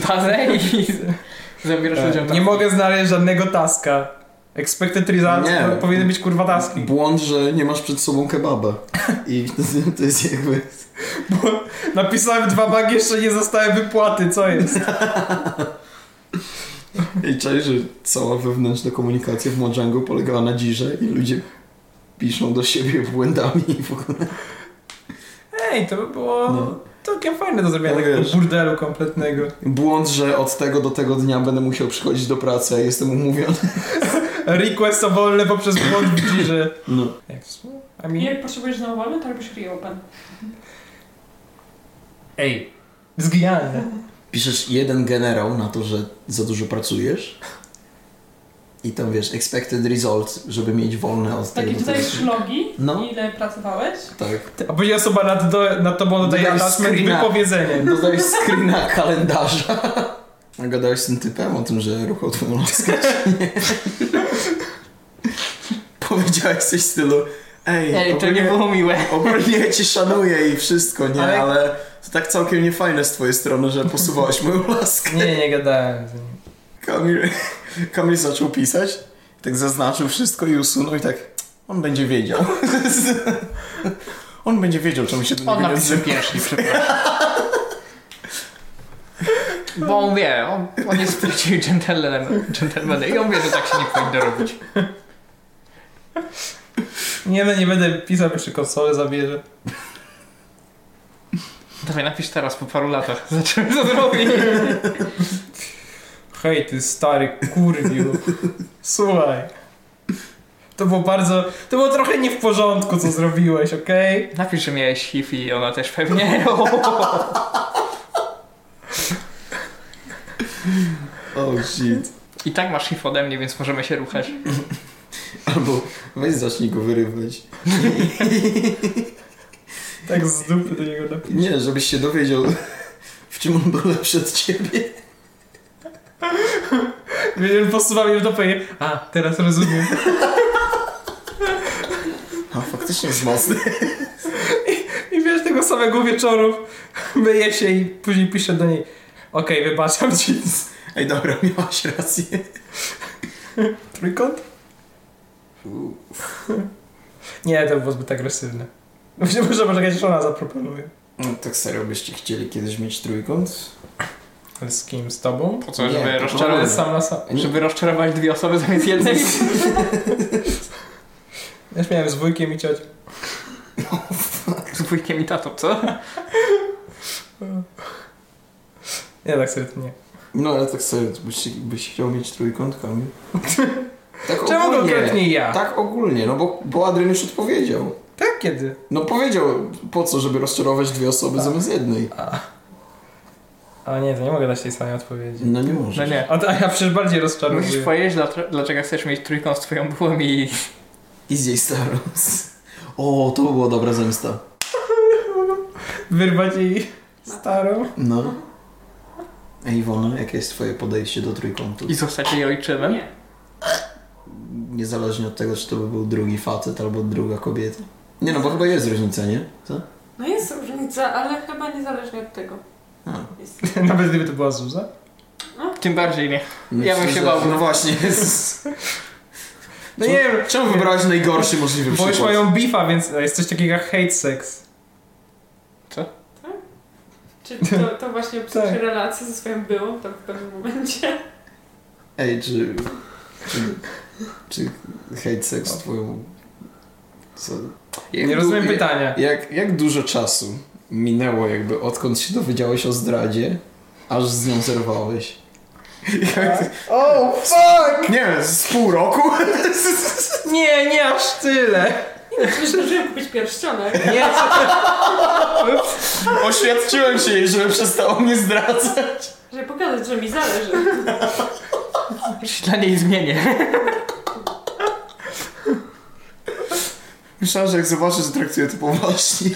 D: bazę i z- zabierasz ludziom
C: E, nie mogę znaleźć żadnego taska. Expected results
A: Nie.
C: po- powinny być kurwa taski.
A: Błąd, że nie masz przed sobą kebaba. I to, to jest jakby...
C: Bo napisałem dwa bugi, jeszcze nie zostały wypłaty, co jest?
A: I czaj, że cała wewnętrzna komunikacja w Mojangu polegała na dzirze i ludzie piszą do siebie błędami i w ogóle.
C: Ej, to by było
A: No.
C: całkiem fajne do zrobienia
A: No
C: takiego
A: wiesz.
C: burdelu kompletnego.
A: Błąd, że od tego do tego dnia będę musiał przychodzić do pracy, a jestem umówiony.
C: Request o wolne poprzez błąd w dzirze.
A: No.
C: Jak to się mówi? A
E: I
C: mi...
E: jak potrzebujesz znowu wolny, to robisz reopen.
C: Ej. Zgijane.
A: Piszesz jeden generał na to, że za dużo pracujesz. I tam wiesz, expected result, żeby mieć wolne od tego.
E: Takie
A: do
E: tutaj
A: tego.
E: szlogi,
A: No.
E: ile pracowałeś.
A: Tak.
C: A później osoba nad, do, nad tobą dodaje
A: Dodałeś
C: attachment
A: screena.
C: wypowiedzenie.
A: Dodajesz screena kalendarza. A gadałeś z tym typem o tym, że ruchał twoją laskę, czy nie? Powiedziałeś coś w stylu Ej,
D: Ej, to nie
A: ogólnie-
D: było miłe.
A: Ogólnie ja cię szanuję i wszystko, nie? Ale...
C: Ale-
A: to tak całkiem niefajne z twojej strony, że posuwałeś moją laskę.
C: Nie, nie gadałem z nim.
A: Kamil, Kamil zaczął pisać, tak zaznaczył wszystko i usunął i tak, on będzie wiedział. on będzie wiedział, czemu się do niego
D: On
A: nie
D: napisze
A: odzywa.
D: pierwszy, przepraszam. Bo on wie, on, on jest prawdziwy dżentelmenem dżentelmenem i on wie, że tak się nie powinno robić.
C: Nie no, nie będę pisał jeszcze konsolę zabierze.
D: Dawaj, napisz teraz, po paru latach. Zobaczymy, co zrobi.
C: Hej, ty stary kurwiu. Słuchaj. To było bardzo... To było trochę nie w porządku, co zrobiłeś, okej?
D: Napisz, że miałeś HIV i ona też pewnie.
A: Oh shit.
D: I tak masz HIV ode mnie, więc możemy się ruchać.
A: Albo weź zacznij go wyrywać.
C: Tak z dupy do niego napisałem.
A: Nie, żebyś się dowiedział, w czym on był lepszy od ciebie.
C: Wiedziałem, posuwam je w dupę i... A, teraz rozumiem.
A: A faktycznie jest mocny.
C: I wiesz, tego samego wieczoru myje się i później pisze do niej Okej, wybaczam ci.
A: Ej, dobra, miałaś rację.
C: Trójkąt? Nie, to było zbyt agresywne. Myślę, że może jakaś żona zaproponuje.
A: No, tak serio byście chcieli kiedyś mieć trójkąt?
C: Ale z kim? Z tobą?
D: Po co,
A: Nie,
D: żeby,
A: to
D: rozczarować,
C: Ale sam na sam.
D: żeby rozczarować dwie osoby zamiast jednej?
C: Ja śmiałem z wujkiem i ciocią.
D: Z wujkiem i tatą, co?
C: Nie, tak sobie to nie.
A: No, ale tak serio, byś, byś chciał mieć trójkąt, Kamil? Tak
C: Czemu
A: ogólnie.
C: konkretnie ja?
A: Tak ogólnie, no bo, bo Adrian już odpowiedział.
C: Tak kiedy?
A: No powiedział, po co, żeby rozczarować dwie osoby
D: Tak.
A: zamiast jednej.
C: A nie, to nie mogę dać tej samej odpowiedzi.
A: No nie
D: No
A: możesz.
D: nie.
C: A, to- a ja przecież bardziej rozczarowuję.
D: Musisz powiedzieć, dlatr- dlaczego chcesz mieć trójkąt z twoją bułą i...
A: I z jej staros. O, to była dobra zemsta.
C: Wyrwać jej starą.
A: No. Ej, Iwona, jakie jest twoje podejście do trójkątu?
D: i zostać jej ojczymem?
E: Nie.
A: Niezależnie od tego, czy to by był drugi facet albo druga kobieta. Nie no, bo chyba jest różnica, nie? Co?
E: No jest różnica, ale chyba niezależnie od tego.
A: A.
E: Jest.
C: Nawet gdyby to była Zuza.
D: Tym bardziej nie.
A: No
D: Ja bym
A: przecież-
D: się bał.
A: No właśnie.
C: No nie wiem.
A: Czemu wybrałeś najgorszy możliwy
C: Bo już
A: przykład?
C: mają beefa, więc jest coś takiego jak hate sex.
E: Czyli to, to właśnie psuć relacje ze swoją byłą tam w pewnym momencie.
A: Ej, czy... Czy, czy hate sex twoją... Co? Jak
C: Nie
A: du-
C: rozumiem
A: jak-
C: pytania.
A: Jak, jak dużo czasu minęło jakby odkąd się dowiedziałeś o zdradzie, aż z nią zerwałeś?
C: Oh fuck!
A: Nie wiem, z pół roku?
C: Nie, nie aż tyle.
E: Myślę, że kupić pierścionek.
C: Nie,
A: Oświadczyłem się jej, żeby przestała mnie zdradzać.
E: Żeby pokazać, że mi zależy.
D: Już się dla niej zmienię.
A: Myślałem, że jak zobaczę, że traktuję to poważnie,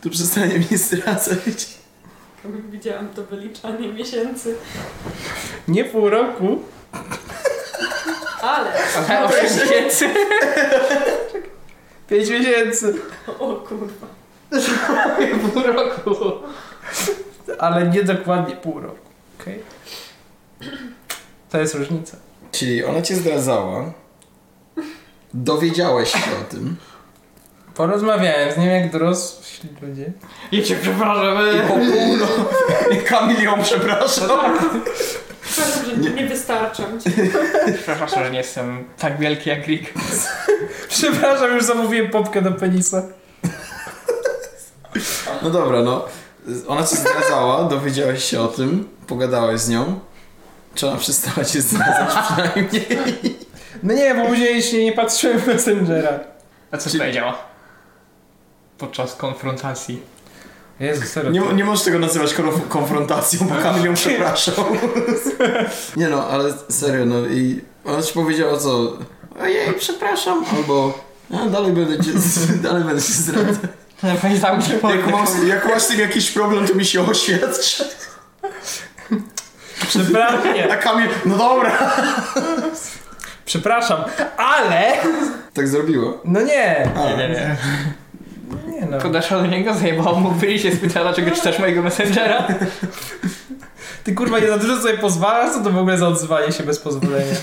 A: to przestanie mnie zdradzać.
E: Jak widziałam to wyliczanie miesięcy.
C: nie pół roku.
E: Ale,
D: Ale o miesięcy.
C: Pięć miesięcy.
E: o kurwa.
D: Pół roku.
C: Ale nie dokładnie pół roku. Okej? To jest różnica.
A: Czyli ona cię zdradzała, dowiedziałeś się o tym
C: Porozmawiałem z nim jak dorośli ludzie.
D: Ja cię przepraszam. e.
A: i po pół roku... Kamil ją przepraszam.
E: Przepraszam, że nie, wystarczam ci.
D: Przepraszam, że nie jestem tak wielki jak Rick.
C: Przepraszam, już zamówiłem popkę do penisa.
A: No dobra, no. Ona cię zdradzała, dowiedziałeś się o tym, pogadałeś z nią. Czy ona przestała cię zdradzać przynajmniej?
C: No nie, bo później się nie patrzyłem w Messengera.
D: A co
A: Czyli-
D: powiedziała? Podczas konfrontacji.
C: Jezu, serio.
A: Nie, nie możesz tego nazywać konf- konfrontacją, bo Kamil ją przepraszał. Nie no, ale serio, no i ona ci powiedziała co? Ojej, przepraszam, albo... A, dalej będę cię, dalej będę cię zdradzał.
D: Pani tam się
A: Jak, masz- jak masz z tym jakiś problem, to mi się oświadcz.
C: Przepraszam, nie.
A: A Kamil, no dobra.
C: Przepraszam, ale...
A: Tak zrobiło.
C: No nie.
A: A,
D: Nie, nie, nie.
C: Nie no.
D: Podeszła do niego, zajebała mu byli się spytała, dlaczego czytasz mojego Messengera.
C: Ty kurwa nie za dużo sobie pozwalasz, co to w ogóle za odzywanie się bez pozwolenia?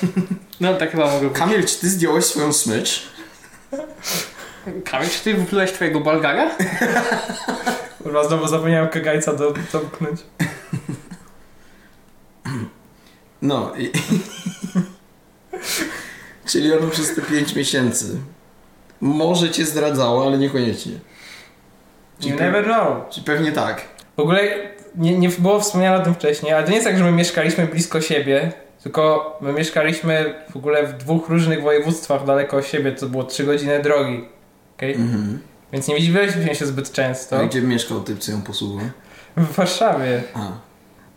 D: No tak chyba mogę być.
A: Kamil, czy ty zdjąłeś swoją smycz?
D: Kamil, czy ty wyplułeś twojego balgaga?
C: Kurwa, znowu zapomniałem kagajca do, domknąć.
A: No i... Czyli on przez te 5 miesięcy może cię zdradzała, ale niekoniecznie.
C: You
A: pe-
C: never know.
A: czyli pewnie tak.
C: W ogóle nie, nie było wspomniane o tym wcześniej, ale to nie jest tak, że my mieszkaliśmy blisko siebie, tylko my mieszkaliśmy w ogóle w dwóch różnych województwach daleko od siebie, to było 3 godziny drogi. Okay?
A: Mhm.
C: Więc nie widzieliśmy się zbyt często.
A: A gdzie mieszkał typ, co ją posuwa?
C: W Warszawie.
A: A.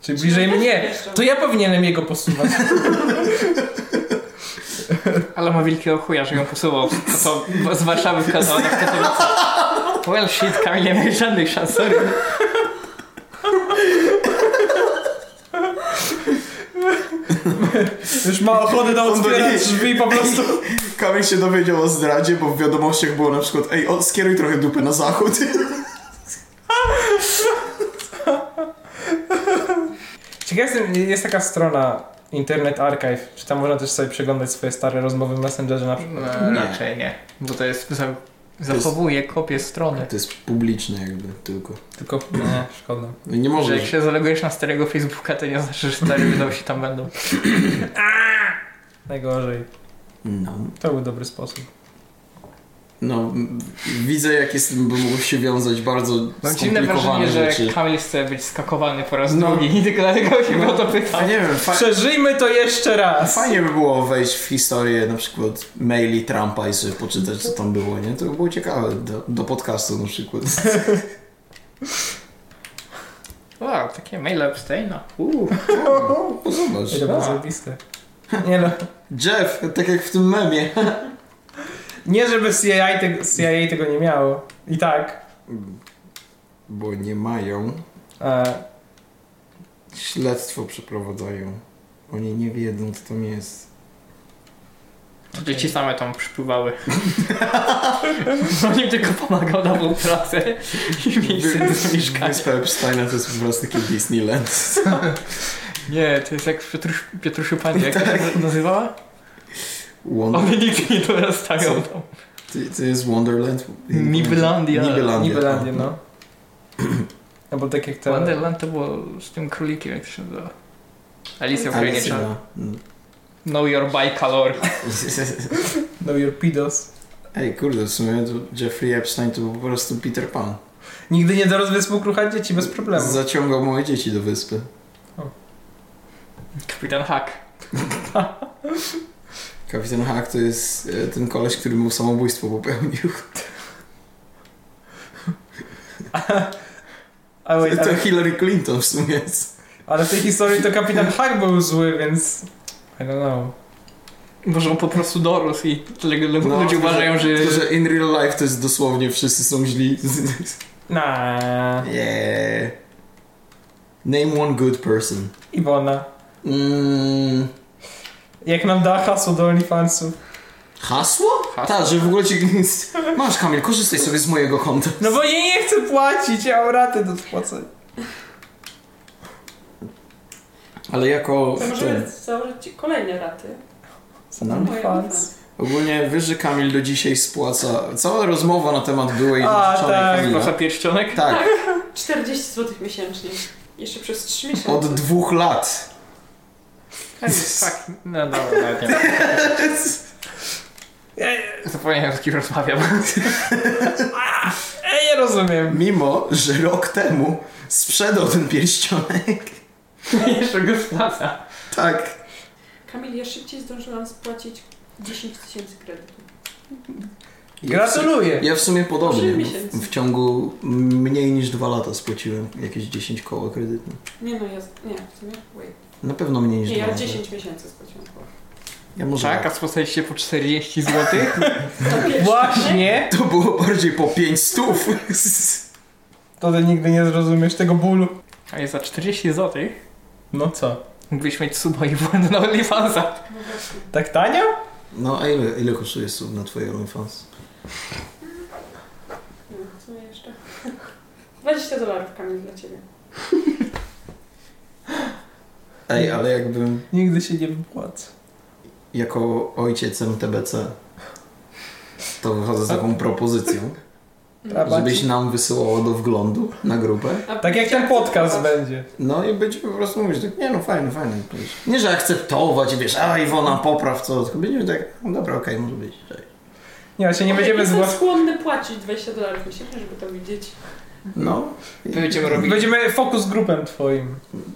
C: Czyli bliżej mnie.
B: Jeszcze.
C: To ja powinienem jego posuwać.
D: Ale ma wielkiego chuja, że ją posuwał. To, to z Warszawy w Katowice. w Katowice. Well shit, Kamil, nie miałeś żadnych szans, sorry.
C: Już ma ochotę na otwierać drzwi po prostu.
A: Kamil się dowiedział o zdradzie, bo w wiadomościach było na przykład Ej, o, skieruj trochę dupę na zachód.
C: Ciekawe jestem, jest taka strona Internet Archive, czy tam można też sobie przeglądać swoje stare rozmowy w Messengerze na przykład.
D: No,
A: Nie.
D: raczej nie. Bo to jest... Za, zachowuje kopię strony.
A: To jest publiczne jakby tylko.
C: Tylko nie, szkoda.
A: No i nie
D: Że
A: może.
D: jak się zalogujesz na starego Facebooka, to nie znaczy, że stare wiadomości tam będą.
C: Najgorzej.
A: No.
C: To był dobry sposób.
A: No, m- widzę jakie z tym by mogło się wiązać bardzo
D: Mam dziwne
A: skomplikowane
D: wrażenie, że
A: rzeczy.
D: Kamil chce być skakowany po raz
A: No.
D: drugi i tylko dlatego się mnie o to
A: A
D: pyta.
A: nie wiem, fa-
C: Przeżyjmy to jeszcze raz!
A: fajnie by było wejść w historię na przykład maili Trumpa i sobie poczytać co tam było, nie? To by było ciekawe do, do podcastu na przykład.
D: Wow, takie maile no. Epsteina. Uuu.
A: O, Zobacz.
C: To było zajebiste. Nie no.
A: Jeff, tak jak w tym memie.
C: Nie żeby CIA tego, CIA tego nie miało. I tak.
A: Bo nie mają.
C: E,
A: Śledztwo przeprowadzają. Oni nie wiedzą, co tam jest.
D: To dzieci same tam przypływały. On im tylko pomagał, dawał pracę i miejsce do mieszkania.
A: Wyspa Epsteina to jest po prostu taki Disneyland.
D: Nie, to jest jak w Piotrusz, Piotrusiu Panie, jak to się nazywała?
A: Wonder...
D: One nigdy nie dorastają tam.
A: To, to jest Wonderland?
D: Nibelandia.
A: Nibelandia. tak.
C: Nibelandię, no. No bo tak jak to...
D: Wonderland to było z tym królikiem, jak to się nazywa. Alicja w Krainie
A: Alicja. no.
D: Czarów. Know your bicolor.
C: No your pedos.
A: Ej, kurde, w sumie to Jeffrey Epstein to był po prostu Peter Pan.
C: Nigdy nie dorosł wyspu krucha dzieci bez problemu.
A: Zaciągał moje dzieci do wyspy.
D: Kapitan Hack.
A: Kapitan Hack to jest e, ten koleś, który mu samobójstwo popełnił.
C: Ale,
A: To, to
C: ale,
A: Hillary Clinton w sumie jest.
C: ale w tej historii to kapitan Hack był zły, więc... I don't know.
D: Może on po prostu dorósł i dlatego
A: No,
D: ludzie
A: tylko,
D: uważają, że...
A: Tylko, że in real life to jest dosłownie wszyscy są źli.
C: Na
A: Yeah. Name one good person.
C: Iwona.
A: Mm,
C: Jak nam da hasło do OnlyFansów?
A: hasło?
D: Hasło.
A: Tak, że w ogóle ci... Masz Kamil, korzystaj sobie z mojego konta.
C: No bo jej nie chcę płacić, ja mam raty do spłacenia.
A: Ale jako...
B: To
A: ten-
B: możemy założyć ci kolejne raty.
A: No.
B: Moje
C: OnlyFans.
A: Ogólnie wiesz, że Kamil do dzisiaj spłaca. Cała rozmowa na temat byłej
C: A,
A: dziewczyny
C: tak,
A: Kamila.
D: Kosa pierścionek?
A: Tak,
B: 40 zł miesięcznie. Jeszcze przez 3 miesiące.
A: od dwóch lat.
D: Tak. No dobra, nawet nie ma. Zapomniałem, z kim rozmawiam.
C: Ej, nie rozumiem.
A: Mimo, że rok temu sprzedał ten pierścionek.
D: Jeszcze go spłaca.
A: Tak.
B: Kamil, ja szybciej zdążyłam spłacić 10 tysięcy kredytu.
A: Ja w, sumie,
C: Gratuluję.
A: ja w sumie podobnie.
B: Trzy
A: bo
B: miesiące.
A: W, w ciągu mniej niż dwa lata spłaciłem jakieś 10 koła kredytu.
B: Nie no, ja... Nie, w sumie... Wait.
A: Na pewno mniej niż
B: Nie,
A: dwa
B: ja
A: lata.
B: 10 miesięcy spłaciłam.
A: Ja może
D: Tak, a spłacaliście po 40 zł?
B: To pierwsze, nie?
C: Właśnie!
A: To było bardziej po 5 stów.
C: To ty nigdy nie zrozumiesz tego bólu.
D: A jest za 40 zł?
C: No co?
D: Mógłbyś mieć suba i wolny na OnlyFansa.
B: No właśnie.
C: Tak tanio?
A: No a ile, ile kosztuje sub na twoje OnlyFans?
B: No, co jeszcze? 20 dolarów, Kamil, dla ciebie.
A: Ej, ale jakbym
C: Nigdy się nie wypłacę.
A: jako ojciec MTBC to wychodzę z taką propozycją, żebyś nam wysyłało do wglądu na grupę.
C: Tak jak ten podcast będzie.
A: No i być po prostu mówisz tak, nie no fajny, fajny. Powiesz. Nie, że akceptować, wiesz, a Iwona popraw, co, tylko będziemy tak, no dobra, okej, może być.
C: Nie, ale się nie będziemy
B: Jestem
C: zgłaszać.
B: skłonny płacić 20 dolarów miesięcznie, żeby to widzieć.
A: No. I,
D: Będziemy robić.
C: Będziemy fokus grupem twoim.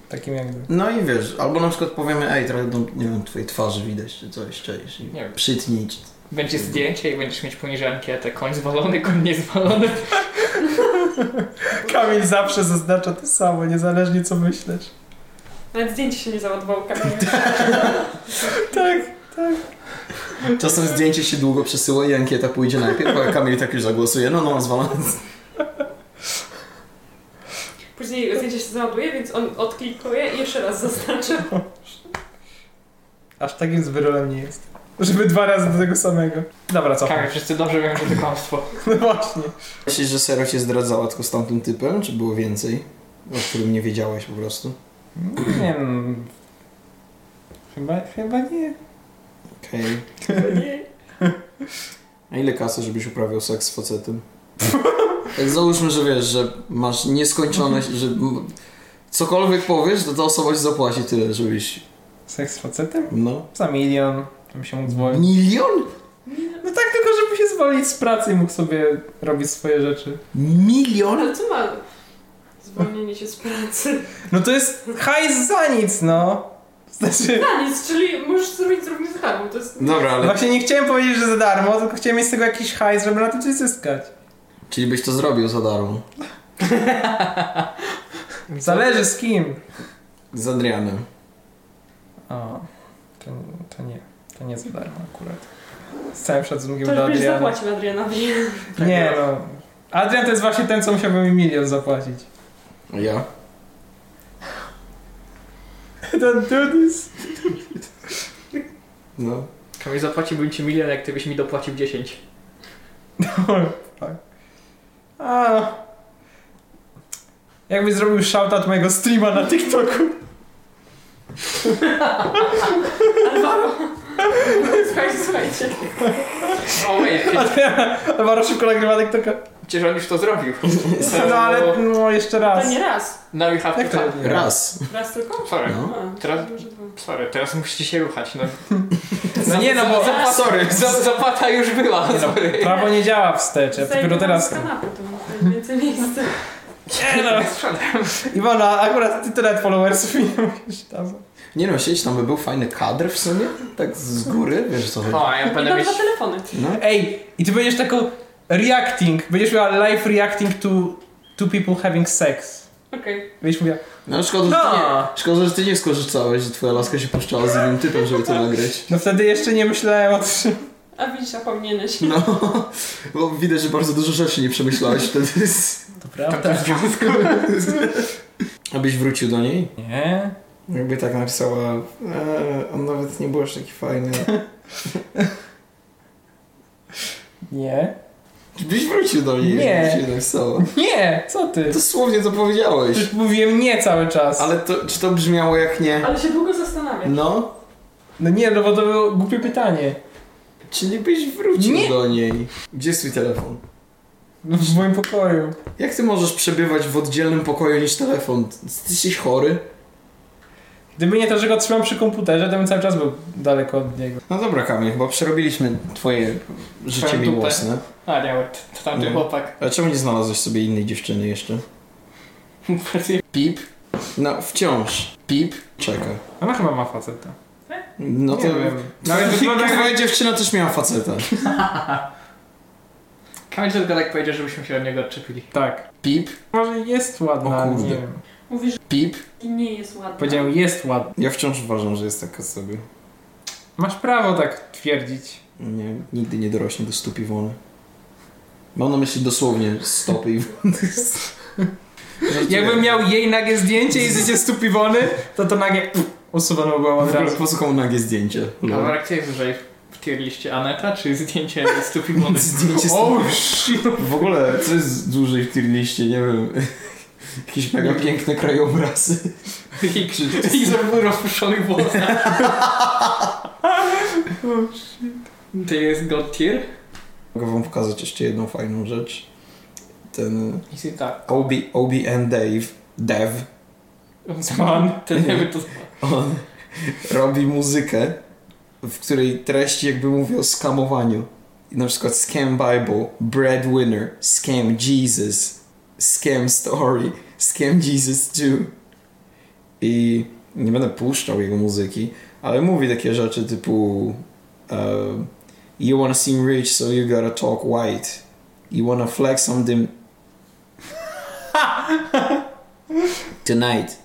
C: Takim jakby.
A: no i wiesz, albo na przykład powiemy, ej, trochę, do, nie wiem, twojej twarzy widać, czy coś, cześć, i
D: Nie wiem.
A: przytnij, czy
D: Będzie zdjęcie i będziesz mieć poniżej ankietę. Koń zwalony, koń niezwalony.
C: Kamil zawsze zaznacza to samo, niezależnie co myślisz.
B: Nawet zdjęcie się nie załadowało kamieniem.
C: Tak.
A: Czasem zdjęcie się długo przesyła i ankieta pójdzie najpierw, a Kamil tak już zagłosuje. No, no, zwalony.
B: Później zdjęcie się załaduje, więc on odklikuje i jeszcze raz zaznaczy.
C: Aż takim zwyrolem nie jest. Żeby dwa razy do tego samego. Dobra, co?
D: Kamil, wszyscy dobrze wiemy, że to kłamstwo.
C: No właśnie.
A: Myślisz, że Sero cię zdradzała tylko z tamtym typem, czy było więcej? O którym nie wiedziałaś po prostu.
C: Nie wiem. Chyba, chyba nie.
A: Okej. A ile kasy, żebyś uprawiał seks z facetem? Tak załóżmy, że wiesz, że masz nieskończone, że m- cokolwiek powiesz, to ta osoba ci zapłaci tyle, żebyś...
C: Seks z facetem?
A: No.
C: Za milion. Żeby się mógł zwolnić.
A: Milion?
C: No tak, tylko żeby się zwolnić z pracy i mógł sobie robić swoje rzeczy.
A: Milion?
B: Ale co ma zwolnienie się z pracy?
C: No to jest hajs za nic, no. Znaczy...
B: Na nic, czyli możesz zrobić równie z darmo. To jest...
A: Dobra, ale...
C: Właśnie nie chciałem powiedzieć, że za darmo, tylko chciałem mieć z tego jakiś hajs, żeby na tym coś zyskać.
A: Czyli byś to zrobił za darmo.
C: Zależy z kim.
A: Z Adrianem.
C: O, to, to nie. To nie za darmo akurat. Z całym szacunkiem
B: To
C: dla
B: już byś
C: Adriana.
B: zapłacił tak. Adrianowi.
C: Nie no. Adrian to jest właśnie ten, co musiałby mi milion zapłacić.
A: A ja?
C: Don't do this.
A: No.
D: Kamil, zapłaciłbym ci milion, jak ty byś mi dopłacił 10.
C: A. Jakbyś zrobił shoutout mojego streama na TikToku.
B: Alvaro! słuchajcie, słuchajcie.
D: O wait,
C: Adrian, Alvaro szybko nagrywa TikToka.
D: przecież on już to zrobił.
C: No ale no, jeszcze raz.
B: To nie raz.
D: Now you have
C: Jak
D: to...
C: to
D: Tak.
C: nie?
A: Raz.
B: Raz tylko?
D: Sorry.
A: No.
B: A,
D: Teraz-
B: Może dwa.
D: Sorry, teraz musicie się ruchać, no.
C: No nie no, bo
D: Zapłata-
A: Sorry.
D: za- Zapłata już była,
C: Nie no.
D: sorry.
C: prawo nie działa wstecz, ja dopiero
B: Zajmę
C: teraz...
B: z kanapy, to mam więcej miejsca.
C: Nie no. Iwona, akurat ty tyle followersów i nie musisz tam.
A: Nie no, sieć tam by był fajny kadr w sumie, tak z góry, wiesz co chodzi.
D: O, a ja
B: I
D: będę
B: mam
D: mieć...
B: dwa telefony.
A: No.
C: Ej, i ty będziesz taką reacting, będziesz miała live reacting to two people having sex.
B: Okej.
C: Będziesz mówiła,
A: No, szkoda, że ty nie,
C: no!
A: szkoda, że ty nie skorzystałeś, że twoja laska się puszczała z innym typem, żeby to nagrać.
C: No wtedy jeszcze nie myślałem o czym.
B: A widzisz, a powinieneś.
A: No, bo widać, że bardzo dużo rzeczy nie przemyślałeś wtedy.
C: To
D: Tamten związku.
A: Abyś wrócił do niej?
C: Nie.
A: Jakby tak napisała, eee, on nawet nie był aż taki fajny.
C: Nie.
A: Byś wrócił do niej,
C: Nie.
A: jakby ci napisała.
C: Nie, co ty?
A: Dosłownie to powiedziałeś.
C: Przecież mówiłem nie cały czas.
A: Ale to, czy to brzmiało jak nie?
B: Ale się długo zastanawiam.
A: No,
C: No nie, no bo to było głupie pytanie.
A: czyli byś wrócił
C: Nie.
A: do niej. Gdzie jest twój telefon?
C: No, W moim pokoju.
A: Jak ty możesz przebywać w oddzielnym pokoju niż telefon? Ty jesteś chory?
C: Gdyby nie to, że go trzymam przy komputerze, to bym cały czas był daleko od niego.
A: No dobra, Kamil, chyba przerobiliśmy twoje życie
D: Twoją dupę.
A: miłosne.
D: A nie, wait, to tamten
A: No.
D: chłopak.
A: A czemu nie znalazłeś sobie innej dziewczyny jeszcze? Pip? No, wciąż. Pip? Czeka.
C: Ona chyba ma faceta.
A: No to...
C: nie wiem.
A: Nawet
C: Nawet wygląda
A: twoja dziewczyna też miała faceta.
D: Kamil tylko tak powiedział, żebyśmy się od niego odczepili.
C: Tak.
A: Pip?
C: Może jest ładna,
A: O
C: ale
A: kurde.
C: nie wiem.
B: Mówisz,
A: Pip?
B: że nie jest ładna.
C: Powiedziałem jest ładna.
A: Ja wciąż uważam, że jest taka sobie.
C: Masz prawo tak twierdzić.
A: Nie, nigdy nie dorośnie do stóp Iwony. Mam na myśli dosłownie stopy Iwony.
C: Jakbym miał jej nagie zdjęcie i zdjęcie stóp Iwony, to to nagie pff, usuwane było od
A: W ogóle
C: razu.
A: posłuchał nagie zdjęcie.
D: No. Dobra, gdzie jest wyżej? W tier liście Aneta, czy zdjęcie z Tupi Mony?
A: Zdjęcie z
D: O,
A: W ogóle, co jest dłużej w tier liście, nie wiem. Jakieś mega piękne krajobrazy.
D: I krzyż. I zrobił rozpuszczonych włosach. To jest God tier?
A: Mogę wam pokazać jeszcze jedną fajną rzecz. Ten
D: I tak.
A: OB, OBN Dave, Dev,
D: Zman. Ten nie wiem, to zman.
A: on robi muzykę, w której treści jakby mówi o skamowaniu. I Na przykład Scam Bible, Breadwinner, Scam Jesus, Scam Story, Scam Jesus 2. I nie będę puszczał jego muzyki, ale mówi takie rzeczy typu um, You wanna seem rich, so you gotta talk white. You wanna flex on them tonight.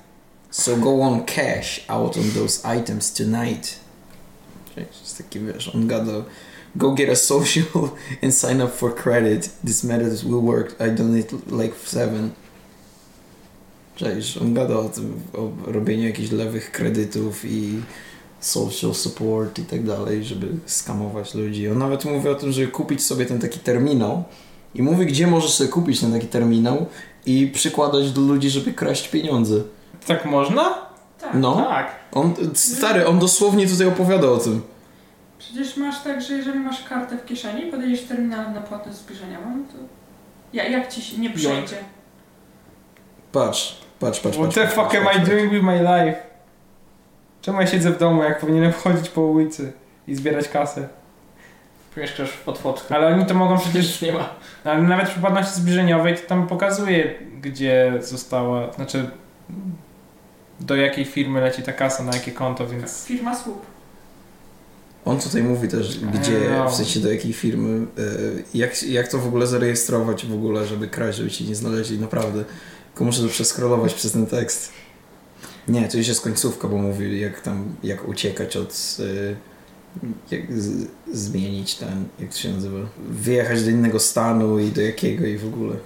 A: So go on cash out on those items tonight. Czyli Jest taki wiesz, on gada Go get a social and sign up for credit. This method will work. I donate like seven. Cześć, on gada o tym, o robieniu jakichś lewych kredytów i social support i tak dalej, żeby skamować ludzi. On nawet mówi o tym, żeby kupić sobie ten taki terminał i mówi, gdzie możesz sobie kupić ten taki terminał i przykładać do ludzi, żeby kraść pieniądze.
C: Tak można?
B: Tak.
A: No,
D: Tak.
A: on, stary, on dosłownie tutaj opowiada o tym.
B: Przecież masz tak, że jeżeli masz kartę w kieszeni, podejdziesz terminalem na płatność zbliżeniową, to ja, jak ci się nie przejdzie?
A: Patrz, patrz, patrz.
C: What
A: patrz,
C: the
A: patrz,
C: fuck
A: patrz,
C: am I
A: patrz.
C: doing with my life? Czemu ja siedzę w domu, jak powinienem chodzić po ulicy i zbierać kasę?
D: Mieszkasz pod fotką.
C: Ale oni to mogą przecież
D: Przecież nie ma.
C: Ale nawet w przypadności zbliżeniowej to tam pokazuje, gdzie została, znaczy do jakiej firmy leci ta kasa, na jakie konto, więc...
B: Firma słup.
A: On tutaj mówi też, gdzie,
C: Eee.
A: w sensie do jakiej firmy, e, jak, jak to w ogóle zarejestrować w ogóle, żeby kraść, żeby ci nie znaleźli, naprawdę. Tylko muszę to przeskrolować przez ten tekst. Nie, to już jest końcówka, bo mówi jak tam, jak uciekać od, e, jak z, zmienić ten, jak to się nazywa, wyjechać do innego stanu i do jakiego i w ogóle.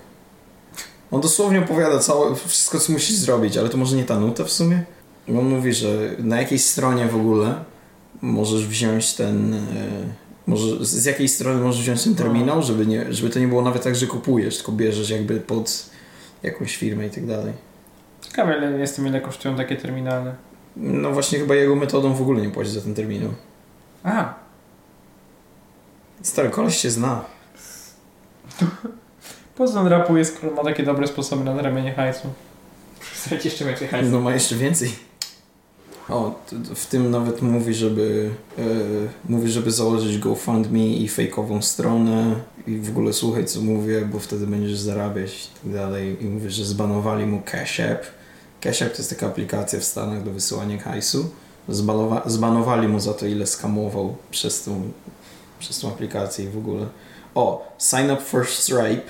A: On dosłownie opowiada całe, wszystko co musisz zrobić, ale to może nie ta nuta w sumie? Bo On mówi, że na jakiej stronie w ogóle możesz wziąć ten. e, Może z z jakiej strony możesz wziąć ten terminał, żeby, nie, żeby to nie było nawet tak, że kupujesz, tylko bierzesz jakby pod jakąś firmę i tak dalej.
C: Ciekawe ile jestem, ile kosztują takie terminale.
A: No właśnie chyba jego metodą w ogóle nie płaci za ten terminał.
C: Aha,
A: Stary koleś się zna.
C: poza on rapuje, skoro ma takie dobre sposoby na zarabianie hajsu.
D: Przestańcie jeszcze więcej hajsu.
A: No ma jeszcze więcej. O, t- t- w tym nawet mówi, żeby e, mówi, żeby założyć GoFundMe i fejkową stronę i w ogóle słuchaj co mówię, bo wtedy będziesz zarabiać i tak dalej. I mówi, że zbanowali mu Cash App. Cash App to jest taka aplikacja w Stanach do wysyłania hajsu. Zbanowa- zbanowali mu za to, ile skamował przez tą, przez tą aplikację i w ogóle. O, sign up for Stripe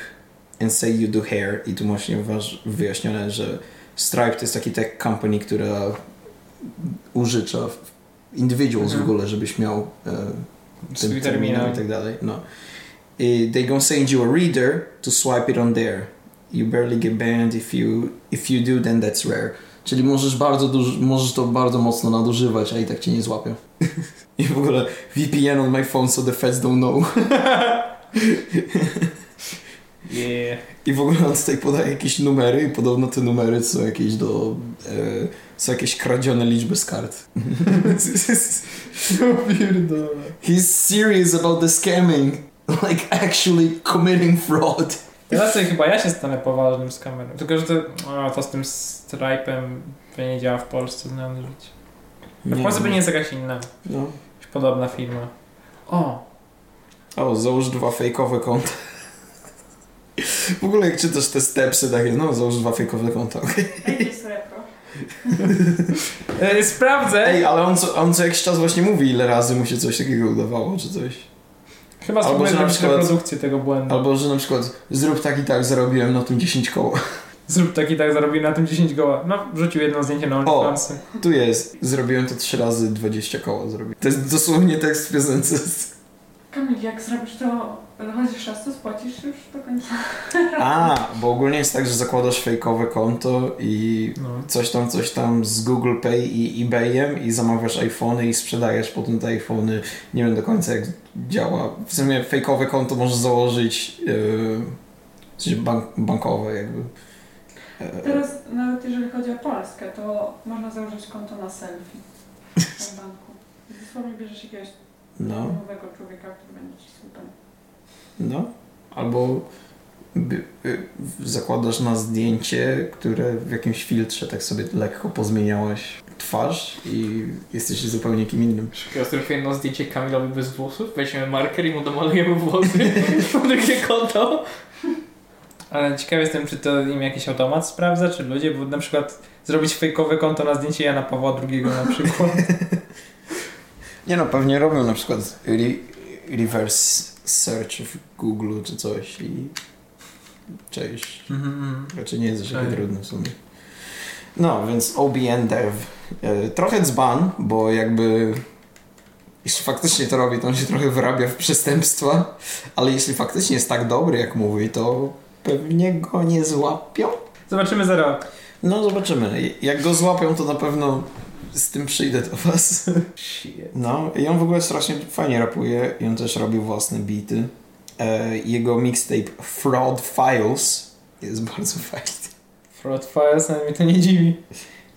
A: and say you do hair. I tu właśnie waż- wyjaśnione, że Stripe to jest taki tech company, która użycza individuals
C: Mhm.
A: w ogóle, żebyś miał e, ten
C: Swój terminał.
A: terminal i tak dalej. No. I they gonna send you a reader to swipe it on there. You barely get banned if you, if you do, then that's rare. Czyli możesz, bardzo duż, możesz to bardzo mocno nadużywać, a i tak cię nie złapią. I w ogóle VPN on my phone so the feds don't know.
C: Yeah.
A: I w ogóle on tutaj podaje jakieś numery i podobno te numery są jakieś do... E, są jakieś kradzione liczby z kart.
C: Pierdolę.
A: He's serious about the scamming. Like actually committing fraud.
C: Teraz to Znaczy, chyba ja się stanę poważnym z kamerą. Tylko, że to, o, to z tym Stripe'em by nie działa w Polsce, znam życie. W Polsce by nie jest jakaś inna,
A: No.
C: jakaś podobna firma. O,
A: O, załóż dwa fejkowe konta. W ogóle jak czytasz te stepsy takie, no załóż dwa fejkowe konta.
B: Ej, to jest repro.
C: E, Sprawdzę.
A: Ej, ale on co, on co jakiś czas właśnie mówi, ile razy mu się coś takiego udawało, czy coś.
C: Chyba
A: Albo, że na
C: spróbuję
A: przykład-
C: przykład... produkcję tego błędu.
A: Albo, że na przykład zrób tak i tak, zarobiłem na tym 10 koła.
C: Zrób tak i tak, zarobił na tym 10 goła. No, wrzucił jedno zdjęcie na OnlyFansy.
A: Tu jest, zrobiłem to 3 razy 20 koła. Zrobiłem. To jest dosłownie tekst w piosence.
B: Kamil, jak zrobisz to, chodzisz raz, to spłacisz już do końca.
A: A, bo ogólnie jest tak, że zakładasz fejkowe konto i
C: No.
A: coś tam, coś tam z Google Pay i eBayem i zamawiasz iPhony i sprzedajesz potem te iPhony. Nie wiem do końca jak działa. W sumie fejkowe konto możesz założyć yy, w sensie bank, bankowe jakby.
B: Teraz nawet jeżeli chodzi o Polskę, to można założyć konto na selfie w banku. I Dosłownie bierzesz jakiegoś
A: No,
B: nowego człowieka, który będzie ci super.
A: no. Albo by, y, zakładasz na zdjęcie, które w jakimś filtrze tak sobie lekko pozmieniałaś twarz i jesteś zupełnie kim innym.
D: Ja zrobię jedno zdjęcie Kamilowi bez włosów, weźmiemy marker i mu domalujemy włosy, drugie konto.
C: Ale ciekaw jestem, czy to im jakiś automat sprawdza, czy ludzie, bo na przykład zrobić fejkowe konto na zdjęcie Jana Pawła II na przykład.
A: Nie no, pewnie robią na przykład re reverse search w Google czy coś i cześć.
C: Mhm.
A: Raczej Znaczy nie jest aż takie
C: Tak.
A: trudne w sumie. No, więc OBN dev. E, Trochę dzban, bo jakby jeśli faktycznie to robi, to on się trochę wyrabia w przestępstwa, ale jeśli faktycznie jest tak dobry, jak mówi, to pewnie go nie złapią.
C: Zobaczymy za rok.
A: No, zobaczymy. Jak go złapią, to na pewno z tym przyjdę do was. No, i on w ogóle strasznie fajnie rapuje i on też robi własne bity. E, Jego mixtape Fraud Files jest bardzo fajny.
C: Fraud Files, ale mnie to nie dziwi.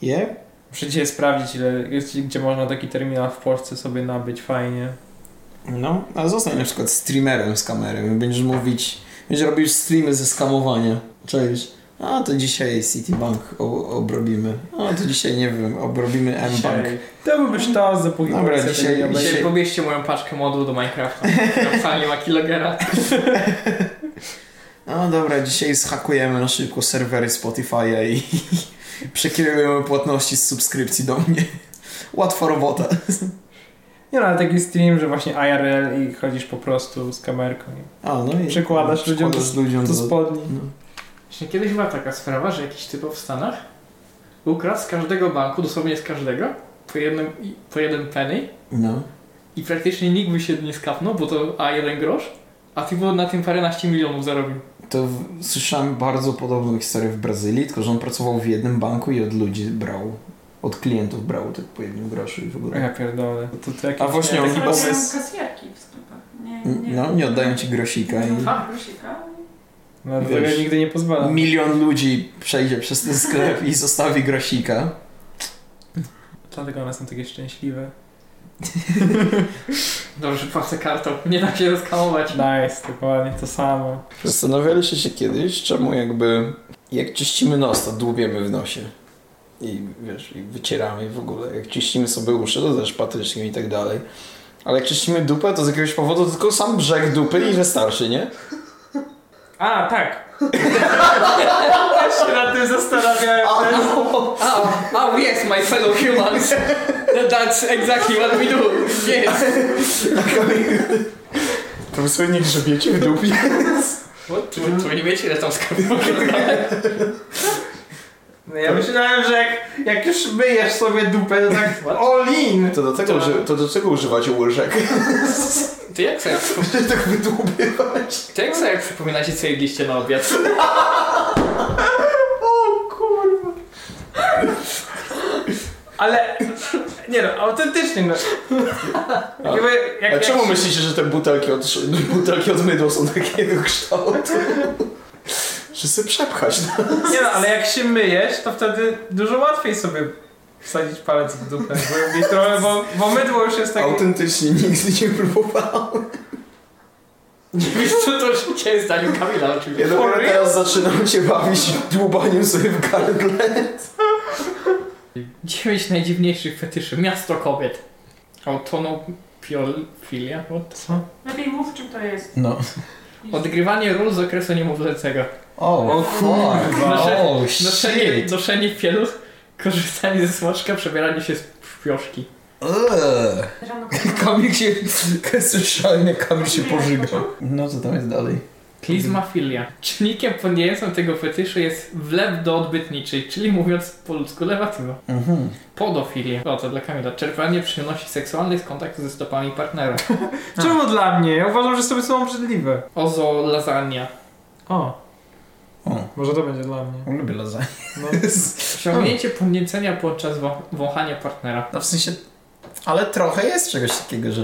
A: Yeah?
C: Muszę dzisiaj sprawdzić, ile, gdzie można taki terminal w Polsce sobie nabyć fajnie.
A: No, a zostań na przykład streamerem z kamerą i będziesz mówić, będziesz robił streamy ze skamowania. Cześć. A to dzisiaj Citibank o- obrobimy. A to dzisiaj, nie wiem, obrobimy M-Bank.
C: Dzisiaj. To byłby sztos, dopóki
A: Dobra,
C: policja
A: dzisiaj-
C: tego nie obejrzy.
D: Dzisiaj
A: Dzisiaj-
D: pobierzcie moją paczkę modu do Minecrafta. Napisanie ma kilogera.
A: No dobra, dzisiaj zhakujemy na szybko serwery Spotify'a i przekierujemy płatności z subskrypcji do mnie. Łatwa robota.
C: Nie no, ale taki stream, że właśnie IRL i chodzisz po prostu z kamerką. i
A: A, no i
C: Przekładasz ludziom
A: przekładasz ludziom
C: To
A: do-
C: spodni.
A: no.
D: Właśnie kiedyś była taka sprawa, że jakiś typ w Stanach ukradł z każdego banku, dosłownie z każdego, po, jednym, po jeden penny
A: no.
D: i praktycznie nikt by się nie skapnął, bo to a jeden grosz, a ty było na tym paręnaście milionów zarobił.
A: To w, słyszałem bardzo podobną historię w Brazylii, tylko że on pracował w jednym banku i od ludzi brał, od klientów brał tak po jednym groszu i w
C: O
A: ogóle.
C: ja pierdolę. To, to jakiś,
A: A właśnie
C: nie,
A: on
C: taki
A: chyba
B: Robią
C: pomysł.
B: kasjerki w sklepach. Nie, nie.
A: No, nie oddają ci grosika i
D: Ha.
B: Ha, grosika.
C: No, do tego
A: Wiesz.
C: nigdy nie pozwala.
A: milion ludzi przejdzie przez ten sklep i zostawi grosika.
C: Dlatego one są takie szczęśliwe.
D: Dobrze, płacę kartą, nie da się rozkamować.
C: Nice, dokładnie to samo.
A: Zastanawialiście się kiedyś, czemu jakby jak czyścimy nos, to dłubiemy w nosie. I wiesz, i wycieramy i w ogóle. Jak czyścimy sobie uszy, to też patyczkiem i tak dalej. Ale jak czyścimy dupę, to z jakiegoś powodu tylko sam brzeg dupy i wystarczy, nie?
C: A, tak! ja się nad tym zastanawiałem.
D: Oh, oh yes, my fellow humans. That's exactly what we do. Yes.
A: To wy sobie nie grzebiecie w dupie.
D: Tu, tu nie wiecie, ile tam skarbów
C: No ja myślałem, że jak, jak już myjesz sobie dupę, to tak all in!
A: To do tego, uży, to do tego używacie łyżek.
D: Ty jak sobie,
A: Żeby tak wydłubiewać.
D: ty jak sobie przypominacie, co jedliście na obiad?
C: Ale, nie no, autentycznie no. Jakby, jak,
A: A czemu
C: jak,
A: myślicie, że te butelki od, butelki od mydła są takiego kształtu? Że sobie przepchać. No.
C: Nie no, ale jak się myjesz, to wtedy dużo łatwiej sobie wsadzić palec w dupę, głębiej trochę, bo, bo mydło już jest takie...
A: Tak. Autentycznie nigdy nie próbowałem.
D: Nie wiesz, co to życie jest zdaniem Kamila
A: Ja
D: oczywiście.
A: dopiero teraz zaczynam się bawić dłubaniem sobie w gardle.
D: Dziewięć najdziwniejszych fetyszy. Miasto kobiet. Autonopiolfilia? What?
C: Co?
B: Lepiej mów, czym to jest.
A: No.
D: Odgrywanie ról z okresu niemowlęcego.
A: O,
C: O kurwa. no
A: O,
D: Noszenie,
A: shit.
D: noszenie pieluch, korzystanie ze smaczka, przebieranie się z pioszki.
A: Eee.
B: Rano
A: Kamil się... Słyszałem jak Kamil się pożygał.
B: poszło?
A: No co tam jest dalej?
D: Klizmafilia. Czynnikiem podniejącym tego fetyszu jest wlep do odbytniczej, czyli mówiąc po ludzku lewatywa.
A: Mhm.
D: Podofilia. O, to dla Kamila. Czerpanie przyjemności seksualnych z kontaktu ze stopami partnera.
C: Czemu dla mnie? Ja uważam, że sobie są obrzydliwe.
D: Ozo lasagna.
C: O,
A: O,
C: może to będzie dla mnie.
A: lubię lasagne.
C: No.
D: Osiągnięcie
C: Hmm.
D: podniecenia podczas wą- wąchania partnera.
A: No w sensie... Ale trochę jest czegoś takiego, że...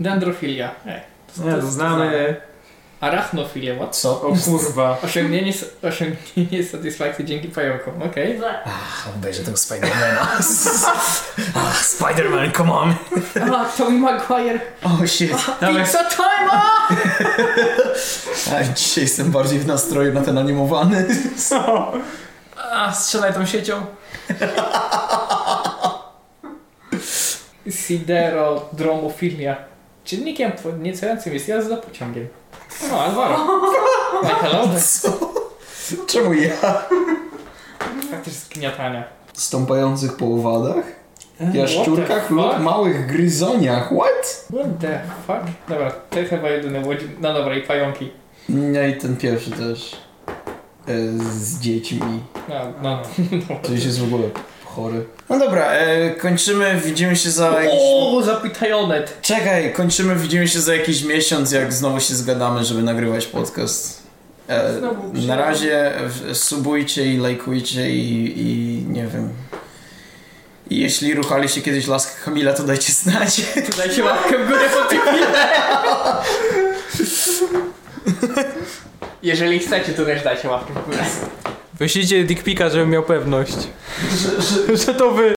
D: Dendrofilia. Ej,
C: Nie, to
D: jest
C: znamy.
D: Arachnofilia, what?
F: Co?
C: O kurwa.
D: Osiągnięcie, osiągnięcie satysfakcji dzięki pająkom, okej.
F: Ach, obejrzę tego Spidermana. Ach, Spiderman, come on.
D: A, Tobey Maguire,
F: Oh shit.
C: Dawaj.
D: pizza time! a!
A: A dzisiaj jestem bardziej w nastroju na ten animowany.
C: A, strzelaj tą siecią.
D: Siderodromofilia. Czynnikiem tw- niecojącym jest jazda pociągiem. No, Alvaro. Ej, hello?
A: Co? Czemu ja?
D: Faktycznie zgniatania.
A: Stąpających po owadach? Jaszczurkach
D: What the
A: lub
D: fuck?
A: małych gryzoniach? What?
D: What the fuck? Dobra, to chyba jedyny łodzi... No dobra, i pająki.
A: No i ten pierwszy też. E, Z dziećmi.
D: No, no.
A: To już jest w ogóle chory. No dobra, e, kończymy, widzimy się za jakiś...
D: O, zapitajonet!
A: Czekaj, kończymy, widzimy się za jakiś miesiąc, jak znowu się zgadamy, żeby nagrywać podcast. E,
B: Znowu
A: na
B: przyjadę.
A: razie e, subujcie i lajkujcie i, i nie wiem. I jeśli ruchaliście kiedyś lask Kamila, to dajcie znać.
D: Dajcie łapkę w górę po tym Jeżeli chcecie, to tak. też dajcie łapkę w górę.
C: Wyślijcie dickpika, żebym miał pewność. Że, że, że to wy.